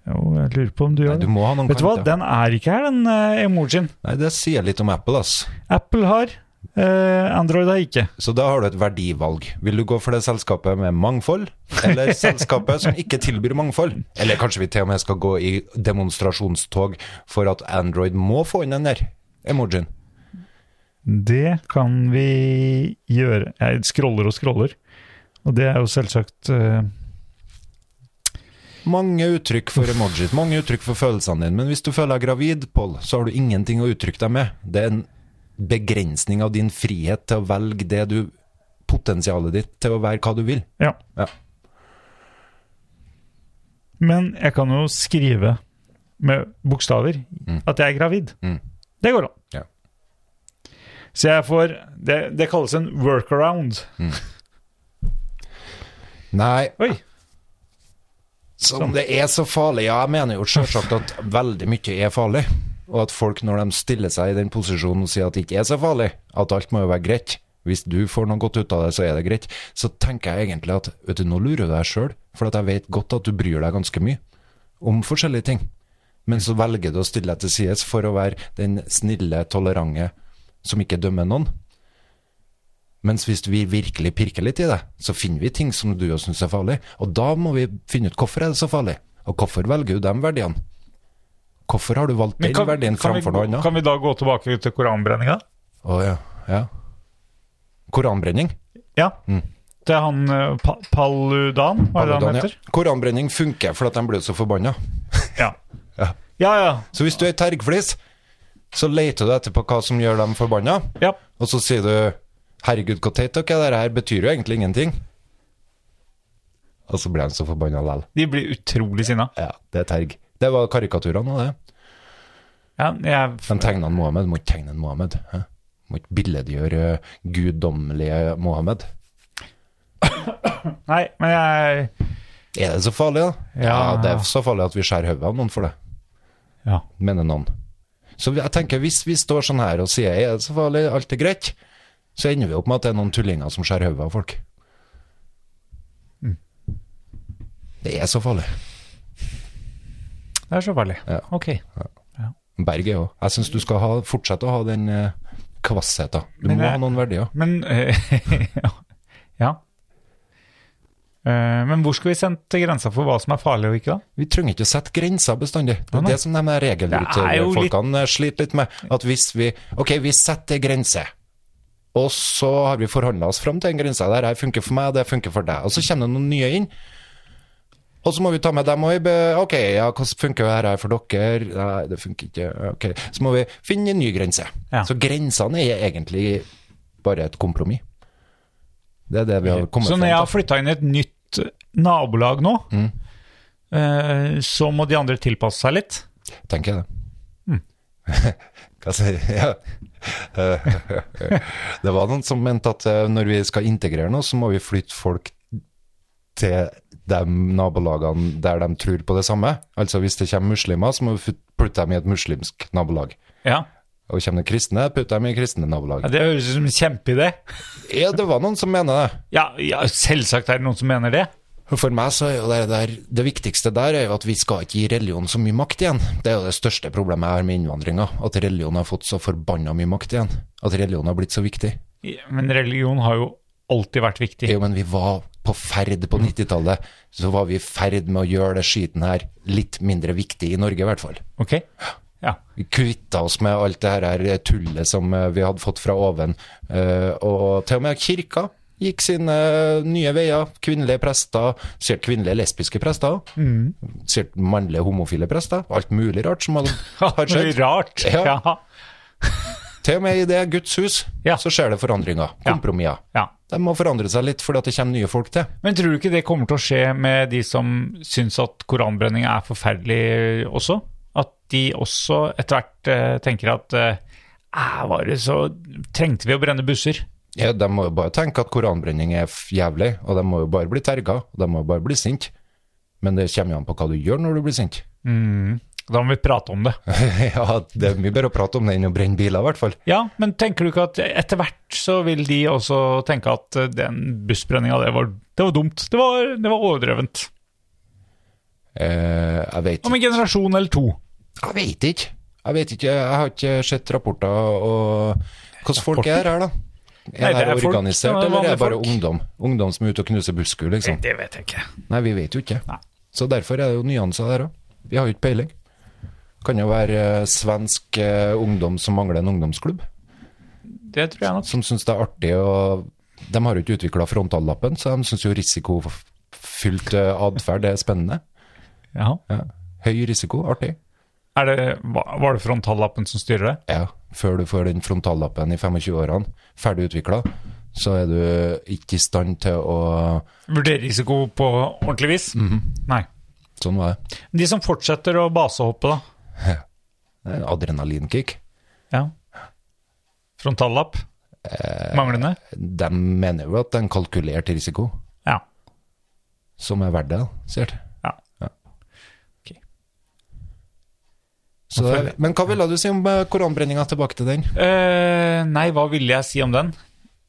A: jeg lurer på om du
B: Nei,
A: gjør
B: du
A: det.
B: må ha noen
A: Vet du hva,
B: kanter.
A: den er ikke her, den eh, emojien.
B: Nei, det sier litt om Apple, ass.
A: Apple har, eh, Android har ikke.
B: Så da har du et verdivalg. Vil du gå for det selskapet med mangfold, eller selskapet som ikke tilbyr mangfold? Eller kanskje vi til og med skal gå i demonstrasjonstog for at Android må få inn den der emojien?
A: Det kan vi gjøre. Jeg scroller og scroller, og det er jo selvsagt eh,
B: Mange uttrykk for emojis, mange uttrykk for følelsene dine, men hvis du føler deg gravid, Pål, så har du ingenting å uttrykke deg med. Det er en begrensning av din frihet til å velge det du Potensialet ditt til å være hva du vil.
A: Ja.
B: Ja.
A: Men jeg kan jo skrive med bokstaver at jeg er gravid.
B: Mm.
A: Det går an.
B: Ja.
A: Så jeg får Det, det kalles en workaround.
B: Mm. Nei,
A: Oi!
B: Som det er så farlig. Ja, jeg mener jo selvsagt at veldig mye er farlig. Og at folk, når de stiller seg i den posisjonen og sier at det ikke er så farlig, at alt må jo være greit. Hvis du får noe godt ut av det, så er det greit. Så tenker jeg egentlig at vet du, nå lurer du deg sjøl, for at jeg vet godt at du bryr deg ganske mye om forskjellige ting. Men så velger du å stille deg til sides for å være den snille, tolerante som ikke dømmer noen. Mens hvis vi virkelig pirker litt i det, så finner vi ting som du og syns er farlig. Og da må vi finne ut hvorfor er det så farlig, og hvorfor velger du de verdiene? Hvorfor har du valgt den verdien framfor noe annet?
A: kan vi da gå tilbake til koranbrenninga?
B: Å ja. ja. Koranbrenning.
A: Ja. Til han eh, pa Paludan, hva er det han
B: Ramadan,
A: heter?
B: Mm. ja. Koranbrenning funker fordi de blir så forbanna.
A: Ja.
B: Ja.
A: Ja, ja.
B: Så hvis du er tergflis, så leter du etterpå hva som gjør dem forbanna,
A: ja.
B: og så sier du 'herregud, hvor teit dere er, dette her betyr jo egentlig ingenting'. Og så blir de så forbanna lell.
A: De blir utrolig sinna.
B: Ja, det er terg. Det var karikaturene av det.
A: Ja, jeg
B: De tegna en Mohammed. Må ikke tegne en Mohammed. hæ? Må ikke billedgjøre eh, guddommelige Mohammed.
A: Nei, men jeg
B: Er det så farlig, da? Ja,
A: Ja.
B: det er så farlig at vi skjærer hodet av noen for det,
A: Ja.
B: mener noen. Så jeg tenker, hvis vi står sånn her og sier er det så farlig, alt er greit, så ender vi opp med at det er noen tullinger som skjærer hodet av folk.
A: Mm.
B: Det er så farlig.
A: Det er så farlig.
B: Ja.
A: Ok.
B: Berg er jo Jeg syns du skal ha, fortsette å ha den eh, kvassheten. Du
A: Men [LAUGHS]
B: må
A: jeg-
B: ha noen verdier.
A: Men eh, Ja. Eh, Men hvor skulle vi sendt grensa for hva som er farlig og ikke, da?
B: Vi trenger ikke å sette grenser bestandig. Det
A: Nei,
B: er
A: nei.
B: det som de her regelutøverfolkene sliter litt med. At hvis vi Ok, vi setter en grense, og så har vi forhandla oss fram til en grense. Det her funker for meg, det funker for deg. Og så kommer det noen nye inn. Og så må vi ta med dem òg. Ok, ja, hvordan funker det her for dere? Nei, det funker ikke. Ok. Så må vi finne en ny grense.
A: Ja.
B: Så grensene er egentlig bare et kompromiss. Det er det vi har kommet
A: Så
B: fram
A: når jeg har
B: til. Mm.
A: flytta inn i et nytt nabolag nå, eh, så må de andre tilpasse seg litt.
B: tenker jeg det. [LAUGHS] Hva sier jeg? [LAUGHS] det var noen som mente at eh, når vi skal integrere noe, så må vi flytte folk til de nabolagene der de tror på det samme. Altså hvis det kommer muslimer, så må vi flyt- putte dem i et muslimsk nabolag.
A: Ja,
B: Og kommer det kristne, putte dem i kristne nabolag.
A: Det høres ut som en kjempeidé.
B: Ja, det var noen som mener det.
A: Ja, ja, selvsagt er det noen som mener det.
B: For meg så er jo det der Det viktigste der er jo at vi skal ikke gi religion så mye makt igjen. Det er jo det største problemet jeg har med innvandringa. At religion har fått så forbanna mye makt igjen. At religion har blitt så viktig.
A: Men religion har jo alltid vært viktig.
B: Jo, men vi var på ferd på 90-tallet. Så var vi i ferd med å gjøre det skiten her litt mindre viktig i Norge, i hvert fall.
A: Ok? Ja.
B: Vi kvitta oss med alt det her her tullet som eh, vi hadde fått fra oven. Eh, Og til og med kirka gikk sine eh, nye veier. Kvinnelige prester, sikkert kvinnelige lesbiske prester,
A: Mm.
B: sikkert mannlige homofile prester. Alt mulig rart som
A: [LAUGHS]
B: hadde har
A: Det
B: skjedd.
A: er rart.
B: Ja.
A: Ja.
B: Til og med i det Guds hus
A: Ja.
B: så skjer det forandringer, kompromisser.
A: ja.
B: De må forandre seg litt fordi at det kommer nye folk til.
A: Men tror du ikke det kommer til å skje med de som syns at koranbrenning er forferdelig også? At de også etter hvert eh, tenker at eh, "Æ, var det så trengte vi å brenne busser?
B: Ja, de må jo bare tenke at koranbrenning er f- jævlig, og de må jo bare bli terga, og de må jo bare bli sinte. Men det kommer jo an på hva du gjør når du blir sint.
A: Da må vi prate om det.
B: [LAUGHS] ja, det er mye bedre å prate om det enn å brenne biler, i hvert fall.
A: Ja, men tenker du ikke at etter hvert så vil de også tenke at eh, den bussbrenninga, det var, det var dumt. Det var, det var overdrevent.
B: Eh, jeg vet
A: Om en generasjon eller to.
B: Jeg vet ikke. Jeg vet ikke, jeg har ikke sett rapporter og hvordan folk er her, da.
A: Nei,
B: Er det
A: det er
B: her
A: folk.
B: organisert,
A: Det er
B: eller er det
A: vanlige
B: bare
A: folk.
B: ungdom? Ungdom som er ute og knuser busskur, liksom.
A: Det vet jeg ikke.
B: Nei, vi vet jo ikke.
A: Nei.
B: Så derfor er det jo nyanser der òg. Vi har jo ikke peiling. Kan jo være eh, svensk eh, ungdom som mangler en ungdomsklubb,
A: Det tror jeg nok.
B: som syns det er artig å De har jo ikke utvikla frontallappen, så de syns jo risikofylt eh, atferd er spennende.
A: Ja.
B: Ja. Høy risiko, artig.
A: Er det, hva- var det frontallappen som styrer det?
B: Ja, før du får den frontallappen i 25-årene, ferdig utvikla, så er du ikke i stand til å
A: Vurderer risiko på ordentlig vis? Nei.
B: Sånn var det.
A: De som fortsetter å basehoppe, da?
B: Det er en eh, Adrenalinkick.
A: Ja. Frontallapp? Manglende?
B: De mener jo at det er en kalkulert risiko
A: Ja.
B: som er verdt det, sikkert.
A: ja.
B: Så,
A: Hvorfor?
B: men hva ville du si om eh, koranbrenninga? Tilbake til den.
A: Eh, nei, hva ville jeg si om den?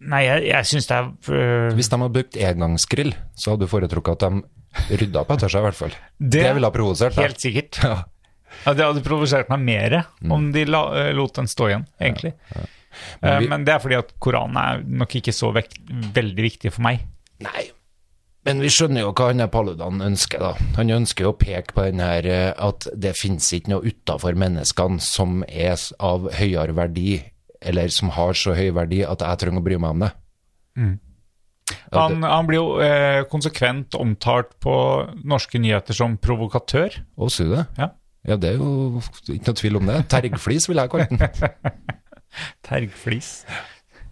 A: Nei, jeg, jeg syns det er eh,
B: Hvis de hadde brukt engangsgrill, så hadde du foretrukket at de rydda opp etter seg, i hvert fall. Det,
A: Det-
B: ville ha provosert deg.
A: Helt sikkert.
B: Ja. Mm.
A: Ja, det hadde provosert meg mer om de la, eh, lot den stå igjen, egentlig. Men,
B: Men vi-
A: Men det er fordi at Koranen er nok ikke så vekt, veldig viktig for meg.
B: Nei, men vi skjønner jo hva han der Paludan ønsker, da. Han ønsker jo å peke på den her eh, at det finnes ikke noe utafor menneskene som er s- av høyere verdi, eller som har så høy verdi at jeg trenger å bry meg om det. Ja,
A: Mm.
B: det-
A: Han, han blir jo eh, konsekvent omtalt på norske nyheter som provokatør.
B: Å, sier du det?
A: Ja.
B: Ja, det er jo ikke noe tvil om det. Tergflis vil jeg kalle den.
A: Tergflis. [LAUGHS]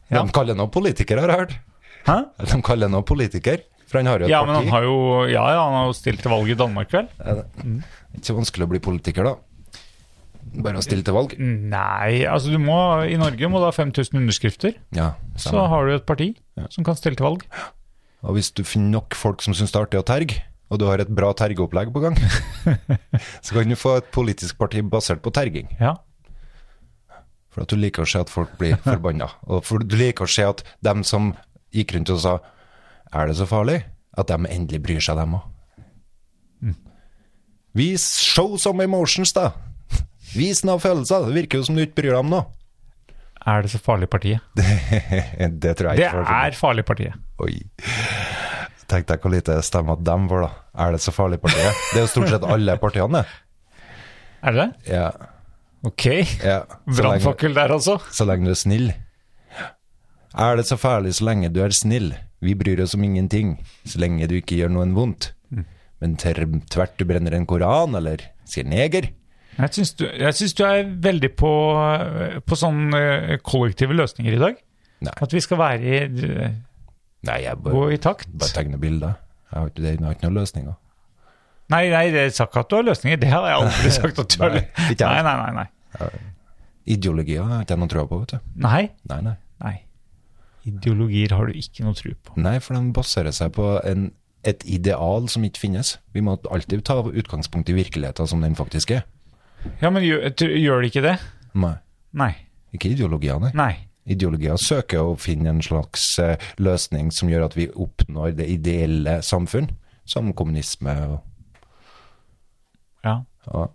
A: Ja.
B: De kaller nå politiker, har jeg hørt.
A: Hæ?
B: De kaller nå politiker, for han har jo et
A: Ja, men
B: parti.
A: han har jo ja, ja, han har jo stilt til valg i Danmark, vel?
B: Ikke så vanskelig å bli politiker, da. Bare å stille til valg.
A: Nei, altså du må I Norge må du ha 5000 underskrifter.
B: Ja,
A: Så
B: stemmer.
A: har du et parti som kan stille til valg.
B: Og hvis du finner nok folk som syns det er artig å terge, og du har et bra tergeopplegg på gang, [LAUGHS] så kan du få et politisk parti basert på terging.
A: Ja.
B: For at du liker å se at folk [LAUGHS] blir forbanna. Og for du liker å se at dem som gikk rundt og sa 'er det så farlig', at dem endelig bryr seg, dem òg. Mm. Vis show some emotions, da! Vis noen følelser. Det virker jo som du ikke bryr deg om noe.
A: Er det så farlig partiet?
B: [LAUGHS] Det tror jeg
A: Det
B: ikke. folk-
A: er farlig partiet.
B: Oi. Tenk deg hvor lite stemmer at dem får, da. Er det så farlig partiet? Det er jo stort sett alle partiene, det.
A: Er det det?
B: Ja,
A: Ok.
B: ja. Så lenge,
A: Brannfakkel der, altså.
B: så lenge du er snill. Er det så farlig så lenge du er snill? Vi bryr oss om ingenting, så lenge du ikke gjør noen vondt.
A: Mm.
B: Men ter, tvert du brenner en koran, eller sier neger
A: Jeg syns du, jeg syns du er veldig på, på sånne eh, kollektive løsninger i dag.
B: Nei.
A: At vi skal være i,
B: Nei, jeg
A: gå
B: bare,
A: i takt.
B: bare tegner bilder. Jeg har ikke, det, jeg har ikke noen løsninger.
A: Nei, nei, jeg sa ikke at du har løsninger. Det har jeg [LAUGHS] aldri sagt at du har.
B: Nei,
A: lø-
B: ikke jeg.
A: Nei, nei, nei.
B: Ideologier har jeg ikke noen tro på, vet du.
A: Nei,
B: Nei, nei.
A: nei. Ideologier har du ikke noe tro på.
B: Nei, for den baserer seg på en, et ideal som ikke finnes. Vi må alltid ta utgangspunkt i virkeligheten som den faktisk er.
A: Ja, men gjør, tr- gjør de ikke det?
B: Nei,
A: Nei.
B: ikke ideologier, nei.
A: Nei.
B: Ideologier søker å finne en slags eh, løsning som gjør at vi oppnår det ideelle samfunn, som kommunisme. Og,
A: Ja.
B: Ja.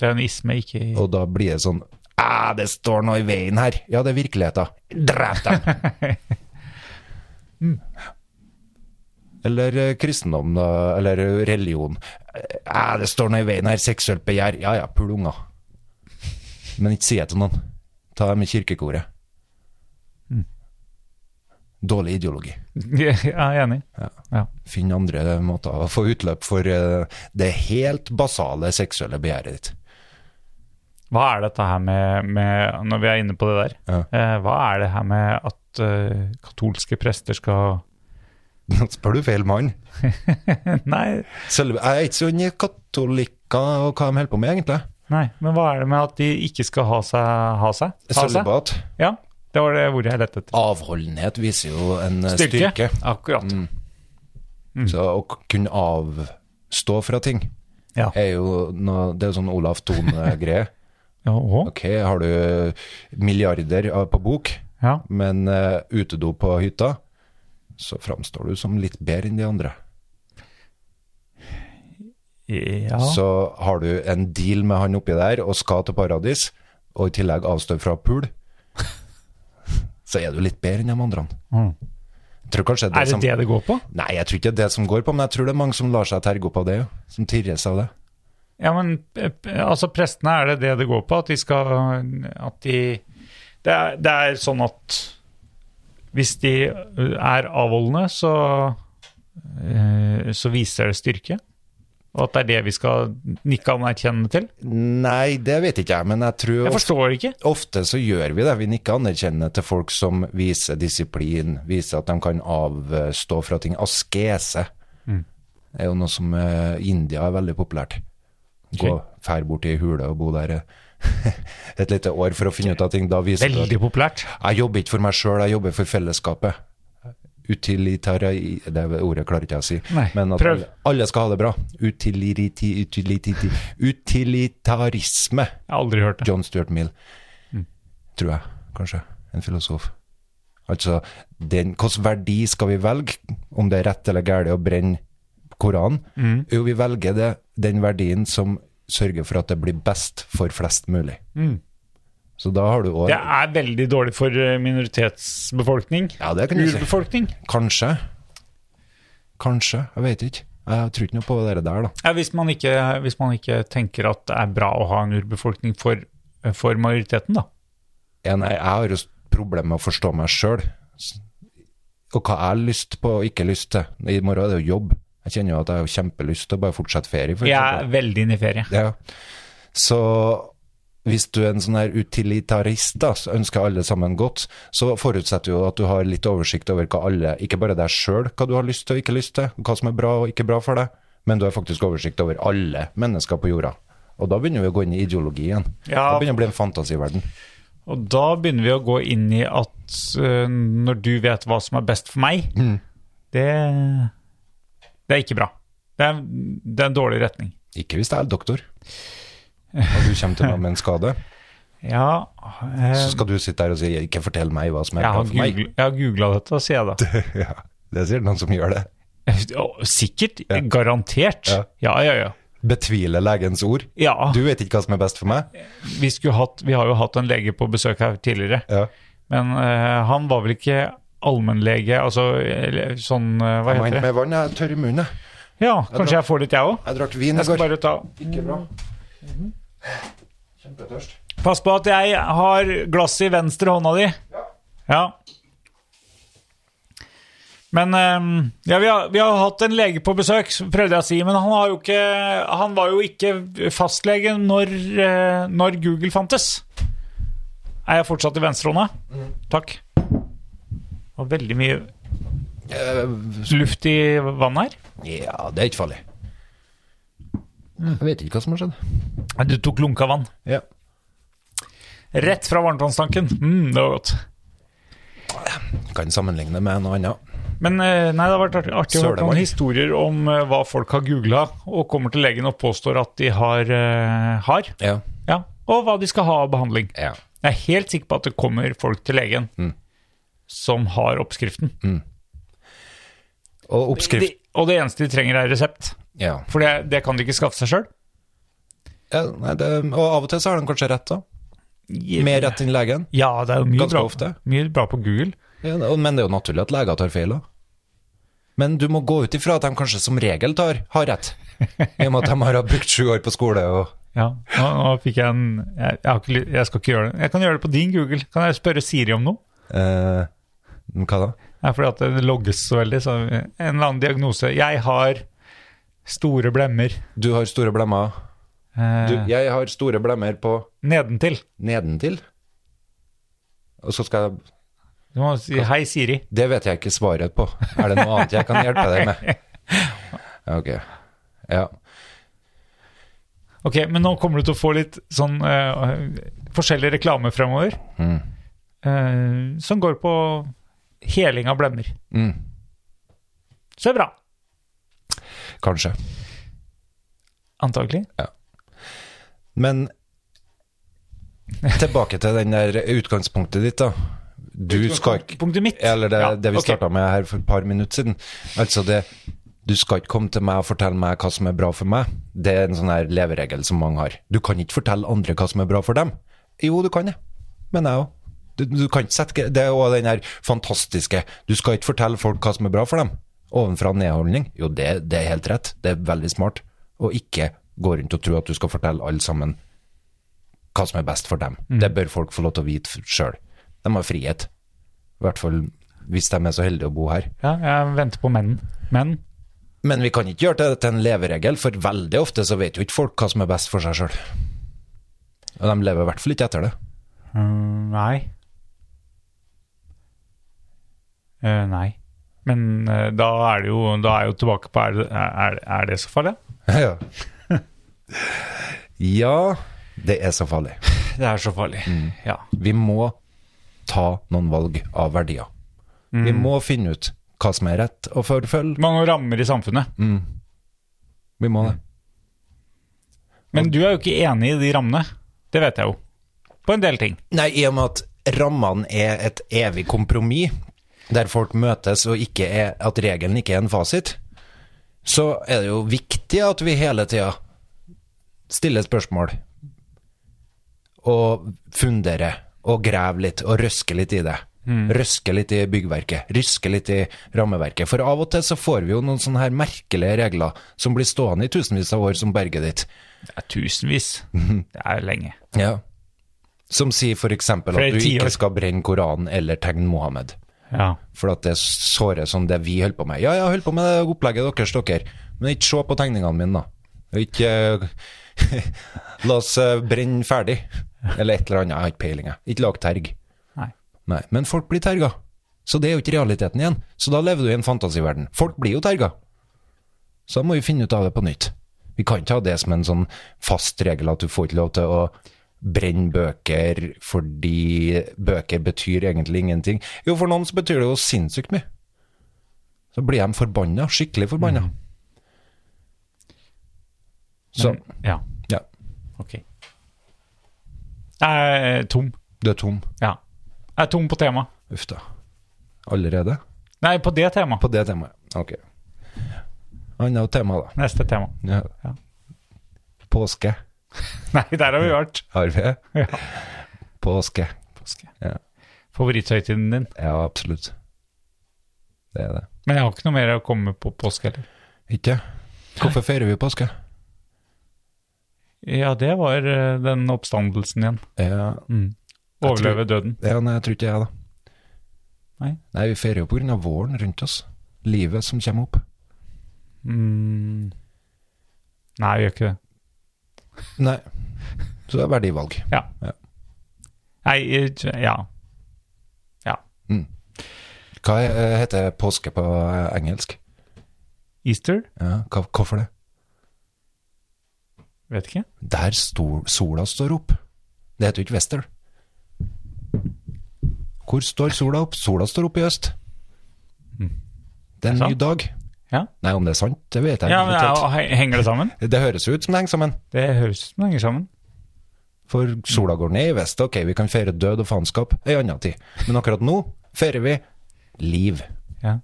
A: Det er en isme, ikke
B: og da blir det sånn Ah, det står noe i veien her! Ja, det er virkeligheten. Drep dem! Eller eh, kristendom, da. Eller religion. Eh, det står noe i veien her. Seksuelt begjær. Ja ja, pul unger. Men ikke si det til noen. Ta dem i kirkekoret. Dårlig ideologi.
A: [LAUGHS] Ja, Jeg er enig. Ja.
B: Finn andre måter å få utløp for eh, det helt basale seksuelle begjæret ditt. [LAUGHS]
A: Hva er dette her med, med Når vi er inne på det der,
B: Ja.
A: eh, hva er det her med at eh, katolske prester skal [LAUGHS]
B: Nå spør du feil mann.
A: Nei,
B: Selv, jeg er ikke så inn i katolikker og hva de holder på med, egentlig.
A: nei, men hva er det med at de ikke skal ha seg? Ha seg?
B: Altså?
A: Ha seg?
B: Sølibat.
A: Ja, det var det ordet jeg lette etter.
B: Avholdenhet viser jo en eh,
A: Styrke.
B: styrke.
A: Akkurat.
B: Så å k- kunne avstå fra ting
A: Ja.
B: er jo noe, Det er jo sånn Olaf Thon-greie. [LAUGHS]
A: Ja, og,
B: Ok, har du milliarder av- på bok,
A: ja.
B: men eh, utedo på hytta, så framstår du som litt bedre enn de andre.
A: ja.
B: Så har du en deal med han oppi der og skal til paradis, og i tillegg avstår fra pul, [LAUGHS] så er du litt bedre enn de andre.
A: Mm.
B: Jeg tror kanskje det
A: Er det
B: som,
A: det det går på?
B: Nei, jeg tror ikke det er det som går på, men jeg tror det er mange som lar seg terge opp av det, jo. som tirrer seg av det.
A: Ja, men eh, p- altså prestene er det det det går på, at de skal At de Det er, det er sånn at hvis de er avholdende, så eh, Så viser det styrke. Og at det er det vi skal nikke anerkjennende til.
B: Nei, det vet ikke jeg, men jeg tror
A: Jeg forstår ikke.
B: Ofte så gjør vi det. Vi nikker anerkjennende til folk som viser disiplin, viser at de kan avstå fra ting. Askese
A: Mm.
B: er jo noe som eh, India er veldig populært. Gå
A: Ok.
B: fær bort i ei hule og bo der eh, [LAUGHS] et lite år for å finne ut av ting. Da viser du at
A: Veldig populært.
B: jeg jobber ikke for meg sjøl, jeg jobber for fellesskapet. Utilitari... Det ordet klarer ikke jeg å si.
A: Nei,
B: Men at
A: prøv.
B: alle, alle skal ha det bra. Utiliriti, utilititi, utilitarisme.
A: Jeg har aldri hørt det.
B: John Stuart Mill,
A: Mm.
B: tror jeg, kanskje. En filosof. Altså, den, hvilken verdi skal vi velge, om det er rett eller galt å brenne Koranen?
A: Mm.
B: Jo, vi velger det, den verdien som sørger for at det blir best for flest mulig. Så da har du òg
A: Mm. Det er veldig dårlig for eh, minoritetsbefolkning.
B: Ja, det kan du si.
A: Urbefolkning.
B: Kanskje. Kanskje, jeg vet ikke. Jeg tror ikke noe på det der, da.
A: Ja, hvis, man ikke, hvis man ikke tenker at det er bra å ha en urbefolkning for, for majoriteten, da.
B: Ja, nei, jeg har jo s- problemer med å forstå meg sjøl. Og hva jeg har lyst på og ikke lyst til. I morgen er det jo jobb. Jeg kjenner jo at jeg har kjempelyst til å bare fortsette ferie. For
A: Jeg
B: eksempel.
A: er veldig inne i ferie.
B: ja. Så hvis du er en sånn her utilitarist, da, så ønsker alle sammen godt, så forutsetter jo at du har litt oversikt over hva alle, ikke bare deg sjøl, hva du har lyst til og ikke lyst til, hva som er bra og ikke bra for deg, men du har faktisk oversikt over alle mennesker på jorda. Og da begynner vi å gå inn i ideologi igjen.
A: Ja.
B: Da begynner det å bli en fantasiverden.
A: Og da begynner vi å gå inn i at øh, når du vet hva som er best for meg,
B: Mm.
A: det, det er ikke bra. Det er, det er en dårlig retning.
B: Ikke hvis det er doktor. Og du kommer til meg med en skade,
A: Ja, eh,
B: så skal du sitte der og si 'ikke fortell meg hva som er
A: jeg
B: bra
A: har
B: for meg'.
A: googl- jeg har googla dette, sier jeg [LAUGHS] da.
B: [LAUGHS] Ja, det sier noen som gjør det.
A: Å, Sikkert. Garantert.
B: Ja.
A: Ja, ja, ja.
B: Betviler legens ord.
A: Ja,
B: Du vet ikke hva som er best for meg.
A: vi, skulle hatt, vi har jo hatt en lege på besøk her tidligere,
B: Ja.
A: men eh, han var vel ikke allmennlege, altså eller sånn eh, Hva heter
B: Jeg må hente
A: det?
B: meg vann, jeg er tørr i munnen. jeg.
A: Ja, kanskje jeg får litt, jeg òg.
B: Jeg drakk vin i
A: Jeg skal
B: går.
A: bare Mhm. ta
B: Ikke bra. Kjempetørst.
A: Pass på at jeg har glasset i venstre hånda di. Ja. Men ehm, ja, vi, har, vi har hatt en lege på besøk, prøvde jeg å si. Men han, har jo ikke, han var jo ikke fastlege når, eh, når Google fantes. Er jeg fortsatt i venstrehånda? Takk. Det var veldig mye luft i vannet her.
B: Ja, det er ikke farlig.
A: Mm.
B: Jeg vet ikke hva som har skjedd.
A: Nei, Du tok lunka vann.
B: Ja.
A: Rett fra varmtvannstanken. Mm, det var godt.
B: Kan sammenligne med noe annet.
A: Men eh, nei, det har vært artig, artig å høre
B: Sølevann.
A: noen historier om eh, hva folk har googla og kommer til legen og påstår at de har, eh, har
B: Ja.
A: ja, og hva de skal ha av behandling.
B: ja.
A: Jeg er helt sikker på at det kommer folk til legen
B: Mm.
A: som har oppskriften.
B: Og
A: De,
B: Mm. oppskrift
A: og det eneste de trenger, er resept.
B: ja.
A: For det, det kan de ikke skaffe seg sjøl.
B: ja nei, det, og av og til så har de kanskje rett, da. Mer rett enn legen.
A: Ja, det er jo mye
B: Ganske
A: bra,
B: ofte.
A: mye bra på Google.
B: Ja, da- men det er jo naturlig at leger tar feil, da. Men du må gå ut ifra at de kanskje som regel tar, har rett. I og med at de har brukt sju år på skole og
A: Ja, nå, nå fikk jeg en jeg, jeg, har ikke, ly- jeg skal ikke gjøre det. Jeg kan gjøre det på din Google. Kan jeg spørre Siri om noe?
B: eh, Hva da?
A: Ja, fordi at det logges så veldig. Så en eller annen diagnose. Jeg har store blemmer
B: Du har store blemmer.
A: eh,
B: Du, jeg har store blemmer på
A: nedentil.
B: nedentil. Og så skal jeg
A: Du må si hei, Siri.
B: Det vet jeg ikke svaret på. Er det noe annet jeg kan hjelpe deg [LAUGHS] med? Ok. Ja.
A: Ok, men nå kommer du til å få litt sånn eh, forskjellig reklame fremover.
B: Mm.
A: eh, som går på heling av blemmer.
B: Mm.
A: Så det er bra.
B: Kanskje.
A: Antakelig.
B: Men tilbake til den der utgangspunktet ditt, da. Du skal ikke
A: Punktet mitt.
B: Eller det,
A: Ja,
B: det vi
A: ok.
B: starta med her for et par minutter siden. Altså det Du skal ikke komme til meg og fortelle meg hva som er bra for meg. Det er en sånn her leveregel som mange har. Du kan ikke fortelle andre hva som er bra for dem. Jo, du kan det. Men jeg òg. Du, du kan ikke sette gre- Det er òg den her fantastiske Du skal ikke fortelle folk hva som er bra for dem. Ovenfra nedholdning. Jo, det, det er helt rett. Det er veldig smart. Og ikke gå rundt og tro at du skal fortelle alle sammen hva som er best for dem. Det bør folk få lov til å vite sjøl. De har frihet. I hvert fall hvis de er så heldige å bo her.
A: Ja, jeg venter på menn. Men
B: Men vi kan ikke gjøre det til en leveregel, for veldig ofte så vet jo ikke folk hva som er best for seg sjøl. Og de lever i hvert fall ikke etter det.
A: Mm, nei. Eh, nei. Men eh, da er det jo, da er jeg jo tilbake på er, det- er, er det så farlig?
B: [LAUGHS] ja. [LAUGHS] ja, det er så farlig.
A: Det er så farlig, ja.
B: Vi må ta noen valg av verdier. Vi må finne ut hva som er rett å forfølge.
A: Mange rammer i samfunnet.
B: Vi må det.
A: Men du er jo ikke enig i de rammene. Det vet jeg jo. På en del ting.
B: Nei, i og med at rammene er et evig kompromiss, der folk møtes og ikke er, at regelen ikke er en fasit, så er det jo viktig at vi hele tida stiller spørsmål og funderer og graver litt og røsker litt i det. Røsker litt i byggverket, rysker litt i rammeverket. For av og til så får vi jo noen sånne her merkelige regler som blir stående i tusenvis av år som berget ditt.
A: Det er tusenvis. Det er lenge.
B: Ja. Som sier for eksempel
A: Flere
B: at du
A: tiår.
B: ikke skal brenne Koranen eller tegne Mohammed.
A: Ja.
B: For at det sårer som det vi holder på med. Ja, ja, hold på med det opplegget deres, dere. Men ikke se på tegningene mine, da. Og Ikke [LAUGHS] eh, La oss eh, brenne ferdig. Eller et eller annet. Jeg har ikke peiling, jeg. Ikke lag terg.
A: Nei.
B: Nei. Men folk blir terga. Så det er jo ikke realiteten igjen. Så da lever du i en fantasiverden. Folk blir jo terga. Så da må vi finne ut av det på nytt. Vi kan ikke ha det som en sånn fast regel at du får ikke lov til å brenne bøker fordi bøker betyr egentlig ingenting. Jo, for noen så betyr det jo sinnssykt mye. Så blir de forbanna, skikkelig forbanna. Så
A: Ja,
B: ja,
A: ok. Jeg er eh, tom.
B: du er tom.
A: Ja. Jeg er tom på tema.
B: Uff da. Allerede?
A: Nei, på det temaet.
B: På det temaet. Ok. Annet tema, da.
A: Neste tema.
B: Ja.
A: Ja.
B: Påske.
A: Nei, der har vi vært.
B: Har vi det?
A: Ja.
B: Påske.
A: Påske.
B: Ja.
A: Favoritthøytiden din.
B: Ja, absolutt. Det er det.
A: Men jeg har ikke noe mer å komme på påske heller.
B: Ikke? Hvorfor feirer vi påske?
A: Ja, det var eh, den oppstandelsen igjen.
B: Ja,
A: Mm.
B: Jeg
A: Overleve døden.
B: ja nei, jeg tror ikke jeg, da.
A: Nei.
B: Nei, vi feirer jo på grunn av våren rundt oss. Livet som kommer opp.
A: Mm. Nei, vi gjør ikke det.
B: Nei. Så det er verdivalg.
A: Ja.
B: Ja.
A: Nei, eh, ja. Ja.
B: Hva eh, heter påske på eh, engelsk?
A: Easter?
B: Ja, hva, hvorfor det?
A: Vet ikke.
B: Der stor, sola står opp. Det heter jo ikke Wester. Hvor står sola opp? Sola står opp i øst. Det er en
A: Er Mm. det
B: ny
A: sant?
B: dag.
A: Ja,
B: Nei, om det er sant, det vet jeg
A: ja
B: ikke
A: men
B: helt.
A: ja, he- Henger det sammen?
B: Det høres jo ut som det henger sammen.
A: [LAUGHS] Det høres ut som det henger sammen.
B: For sola går ned i vest, ok, vi kan feire død og faenskap ei anna tid. Men akkurat nå feirer vi liv.
A: Ja.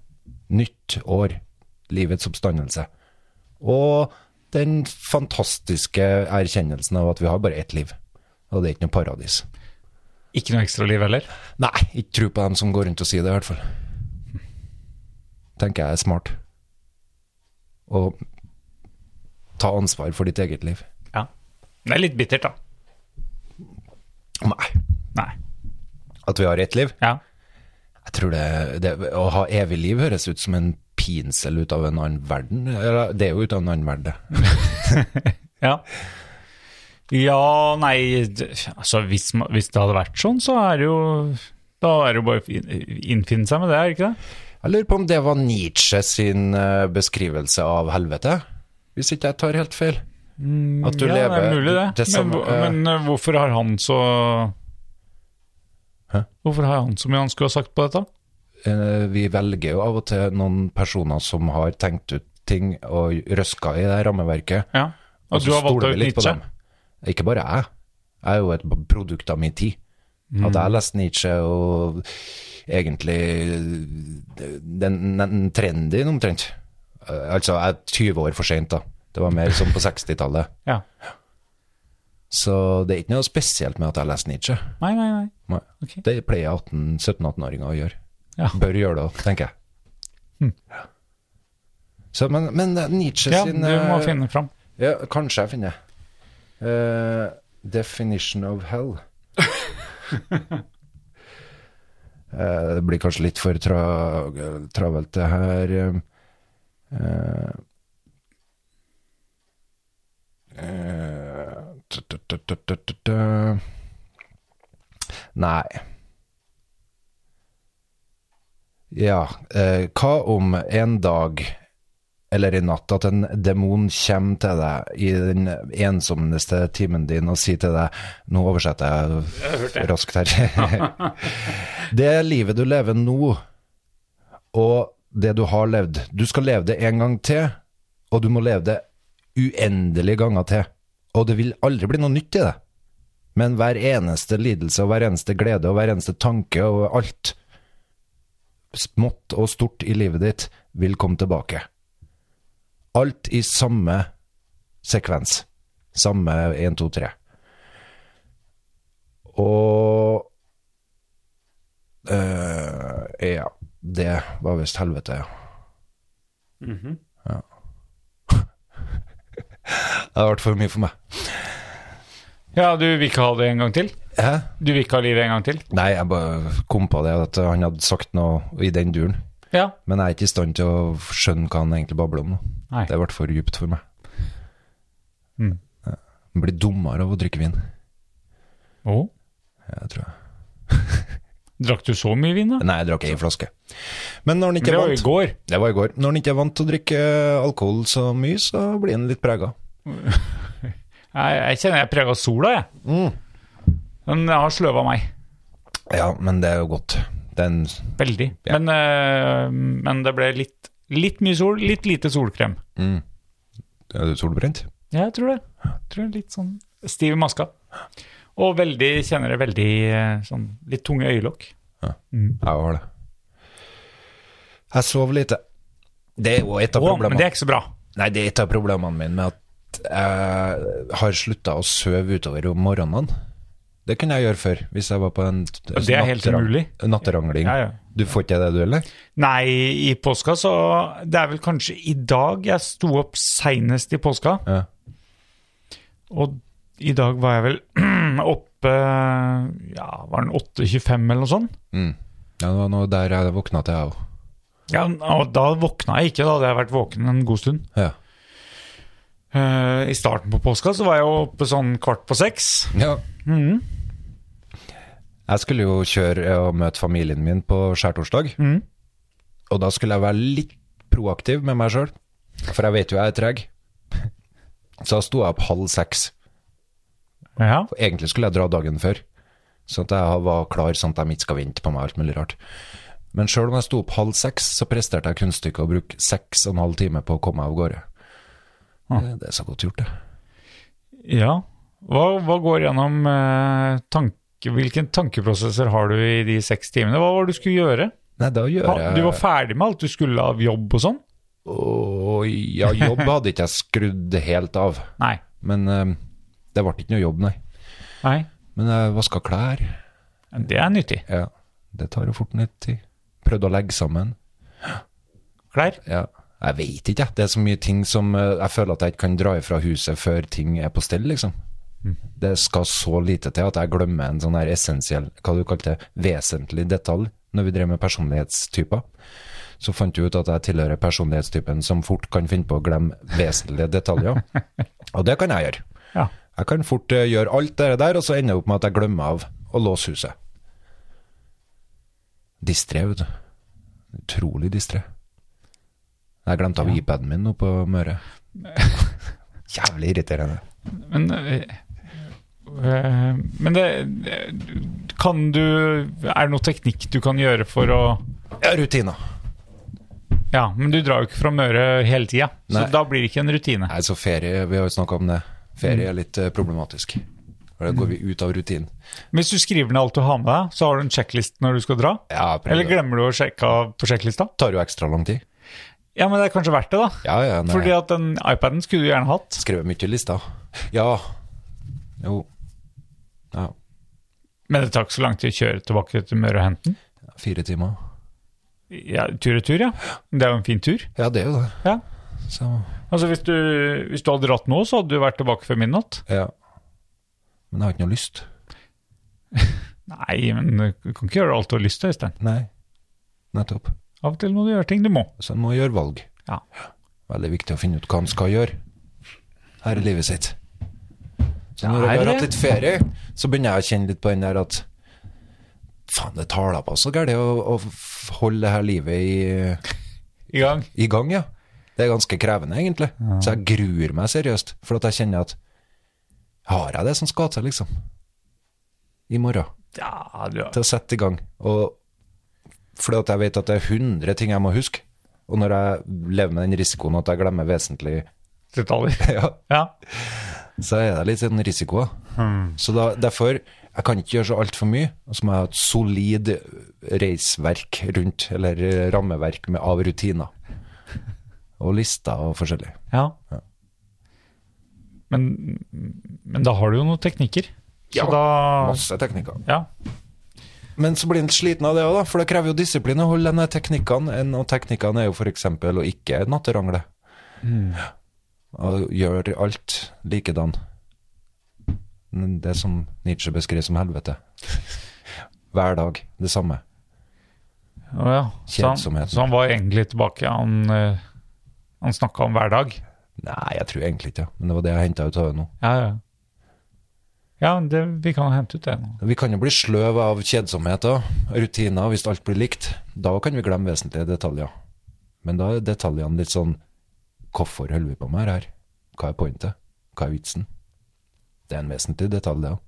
B: Nytt år. Livets oppstandelse. Og den fantastiske erkjennelsen av at vi har bare ett liv. Og det er ikke noe paradis.
A: Ikke noe ekstraliv heller.
B: Nei, ikke tro på dem som går rundt og sier det, i hvert fall. Tenker jeg er smart. Og ta ansvar for ditt eget liv.
A: Ja. Det er litt bittert, da.
B: Nei.
A: Nei.
B: At vi har ett liv?
A: Ja.
B: Jeg tror det, det Å ha evig liv høres ut som en pinsel ut av en annen verden. Eller, Det er jo ut av en annen verden, det.
A: Ja, ja nei det- Altså, hvis, ma- hvis det hadde vært sånn, så er det jo Da er det jo bare å fin- innfinne seg med det, er det ikke det?
B: Jeg lurer på om det var Nietzsche sin eh, beskrivelse av helvete? Hvis ikke jeg tar helt feil. At du
A: Mm, ja,
B: lever
A: det er mulig, det.
B: det samme,
A: men, hvor-
B: eh,
A: men eh, hvorfor har han så
B: Hæ?
A: Hvorfor har han så mye han skulle ha sagt på dette?
B: Eh, vi velger jo av og til noen personer som har tenkt ut ting og røska i det rammeverket.
A: Ja. Og du
B: så
A: har valgt
B: stoler
A: å
B: vi litt på
A: utnytte
B: dem. Ikke bare jeg. Jeg er jo et b- produkt av min tid.
A: Mm.
B: At jeg har lest Nietzsche og egentlig eh, den, den trenden omtrent. Eh, Altså, jeg er 20 år for seint, da. Det var mer som på 60-tallet.
A: Ja.
B: Så det er ikke noe spesielt med at jeg har lest Nietzsche.
A: Nei, nei, nei.
B: Nei.
A: Ok.
B: Det pleier 18 17-18-åringer å gjøre.
A: Ja. Hm.
B: Bør gjøre det òg, tenker jeg. Så, men, men Nietzsche
A: Ja, du
B: sin
A: må
B: eh,
A: finne fram.
B: ja, kanskje jeg finner det. Eh, definition of hell. Eh, det blir kanskje litt for tra travelt, det her. eh, eh, eh, tut, tut, tut, tut, tut, tut, eh. Nei. Ja, eh, hva om en dag eller i natt at en demon kommer til deg i den ensomste timen din og sier til deg Nå oversetter jeg raskt her. [LAUGHS] det livet du lever nå, og det du har levd Du skal leve det en gang til, og du må leve det uendelige ganger til. Og det vil aldri bli noe nytt i det. Men hver eneste lidelse og hver eneste glede og hver eneste tanke og alt, smått og stort i livet ditt, vil komme tilbake. Alt i samme sekvens. Samme 1, 2, 3. Og eh, Ja. Det var visst helvete, ja. ja. [LAUGHS] det har vært for mye for meg.
A: Ja, du vil ikke ha det en gang til?
B: Hæ?
A: Du vil ikke ha livet en gang til?
B: Nei, jeg bare kom på det at han hadde sagt noe i den duren.
A: Ja.
B: Men jeg er ikke i stand til å skjønne hva han egentlig babler om nå.
A: Nei.
B: Det ble for djupt for meg.
A: Mm.
B: Ja. Jeg blir dummere av å drikke vin.
A: Å,
B: Jeg tror jeg.
A: drakk du så mye vin, da?
B: Nei, jeg drakk ei flaske. Men når han ikke
A: Det
B: er
A: var jo i
B: vant
A: går.
B: Det var i går. Når han ikke er vant til å drikke eh, alkohol så mye, så blir han litt prega.
A: Jeg, jeg kjenner jeg er prega av sola, jeg.
B: Mm.
A: Den har sløva meg.
B: Ja, men det er jo godt. Den
A: Veldig.
B: Ja.
A: Men, eh, men det ble litt, litt mye sol, litt lite solkrem.
B: mm. Er du solbrent?
A: Ja, jeg tror det. Jeg tror det er litt sånn stiv i maska. Og veldig, kjenner det veldig eh, sånn litt tunge øyelokk.
B: Jeg har det. Jeg sover lite. Det er jo et av
A: Å, men
B: problemene.
A: det er ikke så bra.
B: Nei, det er et av problemene mine med at jeg har slutta å sove utover om morgenene. Det kunne jeg gjøre før, hvis jeg var på en
A: det er helt
B: natterang-
A: umulig.
B: natterangling.
A: Ja, ja.
B: Du får ikke det, du heller?
A: Nei, i påska så Det er vel kanskje i dag jeg sto opp seinest i påska.
B: Ja.
A: Og i dag var jeg vel [CLEARS THROAT] oppe Ja, var den 8.25 eller noe sånt?
B: Ja, det var noe der jeg våkna til, jeg òg.
A: Ja, og da våkna jeg ikke, da hadde jeg vært våken en god stund.
B: Ja.
A: Eh, I starten på påska så var jeg jo oppe sånn kvart på seks.
B: ja.
A: Mhm.
B: Jeg skulle jo kjøre og møte familien min på skjærtorsdag.
A: Mhm.
B: Og da skulle jeg være litt proaktiv med meg sjøl, for jeg vet jo jeg er treg. [LAUGHS] Så da sto jeg opp halv seks.
A: Ja.
B: Egentlig skulle jeg dra dagen før, sånn at jeg var klar sånn at de ikke skal vente på meg alt mulig rart. Men sjøl om jeg sto opp halv seks, så presterte jeg kunststykket å bruke seks og en halv time på å komme meg av gårde.
A: Ah.
B: Eh, Det- Det er så godt gjort, det.
A: ja. Hva, hva går gjennom eh, tanke, Hvilke tankeprosesser har du i de seks timene? Hva var det du skulle gjøre?
B: Nei, da gjør
A: Ha,
B: jeg
A: du var ferdig med alt du skulle av jobb og sånn?
B: Åh, ja, jobb hadde ikke jeg skrudd helt av.
A: Nei.
B: Men eh, det ble ikke noe jobb, nei.
A: Nei.
B: Men jeg vaska klær.
A: Det er nyttig.
B: Ja, det tar jo fort litt tid. Prøvde å legge sammen.
A: Klær?
B: Ja. Jeg veit ikke, jeg. Det er så mye ting som eh, Jeg føler at jeg ikke kan dra ifra huset før ting er på stell, liksom. Det skal så lite til at jeg glemmer en sånn her essensiell, hva du kalte det, vesentlig detalj når vi drev med personlighetstyper. Så fant jeg ut at jeg tilhører personlighetstypen som fort kan finne på å glemme vesentlige detaljer. Og det kan jeg gjøre.
A: Ja.
B: Jeg kan fort eh, gjøre alt det der, og så ender jeg opp med at jeg glemmer av å låse huset. Distré, vet du. Utrolig distré. Jeg glemte av iPaden min nå på
A: [LAUGHS]
B: Møre. Jævlig irriterende.
A: Men eh, eh, Men det det- Kan du Er det noe teknikk du kan gjøre for å
B: Ja, rutiner.
A: Ja, men du drar jo ikke fra Møre hele tida, så
B: Nei.
A: da blir det ikke en rutine.
B: Nei, så ferie, vi har jo snakka om det. Ferie er litt eh, problematisk. For Da går vi ut av rutinen.
A: Hvis du skriver ned alt du har med deg, så har du en sjekklist når du skal dra?
B: Ja, jeg prøver.
A: Eller glemmer du å sjekke av på sjekklista?
B: Det tar jo ekstra lang tid.
A: Ja, men det er kanskje verdt det, da.
B: Ja, ja, nei.
A: Fordi at den iPaden skulle du gjerne hatt.
B: Skrevet mye i lista. Ja. Jo. Ja.
A: Men det tar ikke så lang tid å kjøre tilbake til Møre og hente den.
B: Fire timer.
A: Ja, tur og tur, ja. Det er jo en fin tur.
B: Ja, det er jo det.
A: Ja.
B: Så
A: Altså, hvis du, hvis du hadde dratt nå, så hadde du vært tilbake før midnatt.
B: Ja. Men jeg har ikke noe lyst.
A: Nei, men du kan ikke gjøre alt du har lyst til, Øystein.
B: Nei. Nettopp.
A: Av og til må du gjøre ting du må.
B: Så en må gjøre valg.
A: Ja.
B: Veldig viktig å finne ut hva en skal gjøre her i livet sitt. Så når
A: Det
B: jeg
A: er
B: har
A: det.
B: hatt litt ferie, så begynner jeg å kjenne litt på den der at faen, det tar da på så gærent å, å f- holde det her livet i,
A: I gang.
B: i gang, ja. Det er ganske krevende, egentlig. Så jeg gruer meg seriøst, for at jeg kjenner at har jeg det som skal til, liksom? I morgen
A: Ja, du har
B: til å sette i gang. Og fordi at jeg vet at det er 100 ting jeg må huske. Og når jeg lever med den risikoen at jeg glemmer vesentlig, [LAUGHS]
A: detaljer. [LAUGHS]
B: ja,
A: Ja.
B: så er det litt en risiko. da. Så da, derfor, jeg kan ikke gjøre så altfor mye. Og så må jeg ha et solid reisverk rundt, eller eh, rammeverk med, av rutiner. Og lister og forskjellig.
A: Ja. Men, men da har du jo noen teknikker. Så
B: Ja,
A: da
B: Masse teknikker.
A: Ja.
B: Men så blir en sliten av det òg, for det krever jo disiplin å holde denne teknikkene. En av teknikkene er jo f.eks. å ikke natterangle. Og gjøre alt likedan. Men Det som Nietzsche beskrev som helvete. Hver dag det samme.
A: Å ja. Så han,
B: Kjedsomheten.
A: så han var egentlig tilbake. Han, eh, han snakka om hver dag.
B: Nei, jeg tror egentlig ikke det, men det var det jeg henta ut av det nå.
A: Ja, ja. Ja, men det, vi kan hente ut det nå.
B: Vi kan jo bli sløv av kjedsomhet og rutiner hvis alt blir likt. Da kan vi glemme vesentlige detaljer. Men da er detaljene litt sånn Hvorfor holder vi på med det her? Hva er pointet? Hva er vitsen? Det er en vesentlig detalj, det òg.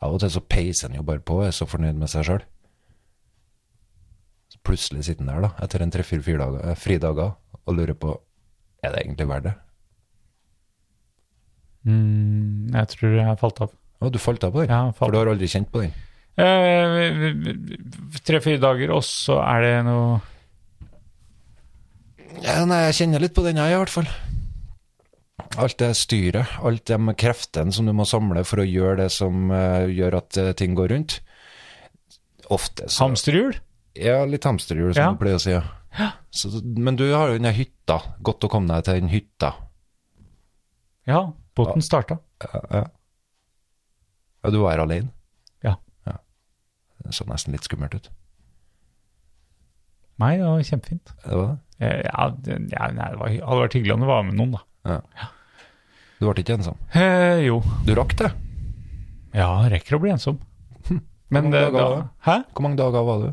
B: Av og til så peiser en jo bare på og er så fornøyd med seg sjøl. Plutselig sitter en der, da, etter en tre-fire fridager, eh, fridager, og lurer på Er det egentlig verdt det?
A: Mm, jeg tror jeg falt av.
B: Å, du falt av på den?
A: Ja, jeg
B: For
A: falt.
B: du har aldri kjent på den?
A: Eh, Tre-fire dager, og så er det noe
B: Ja, nei, jeg kjenner litt på den jeg, i hvert fall. Alt det styret, alt de kreftene som du må samle for å gjøre det som eh, gjør at eh, ting går rundt. Ofte. Så,
A: Hamsterhjul?
B: Ja, litt hamsterhjul, som
A: Ja.
B: du pleier å si. Ja. Så, men du har jo den der hytta. Godt å komme deg til den hytta.
A: Ja, båten starta.
B: Ja, du er alene.
A: Ja.
B: Det så nesten litt skummelt ut.
A: Nei, det var kjempefint.
B: Det var det.
A: Eh, Ja, det, ja, nei, det var, hy- hadde vært hyggelig om det var med noen, da.
B: Du ble ikke ensom.
A: Eh, jo.
B: Du rakk det.
A: Ja, rekker å bli ensom. Men
B: Hm. Hvor mange
A: det,
B: dager
A: da
B: var det?
A: Hæ?
B: Hvor mange dager var du?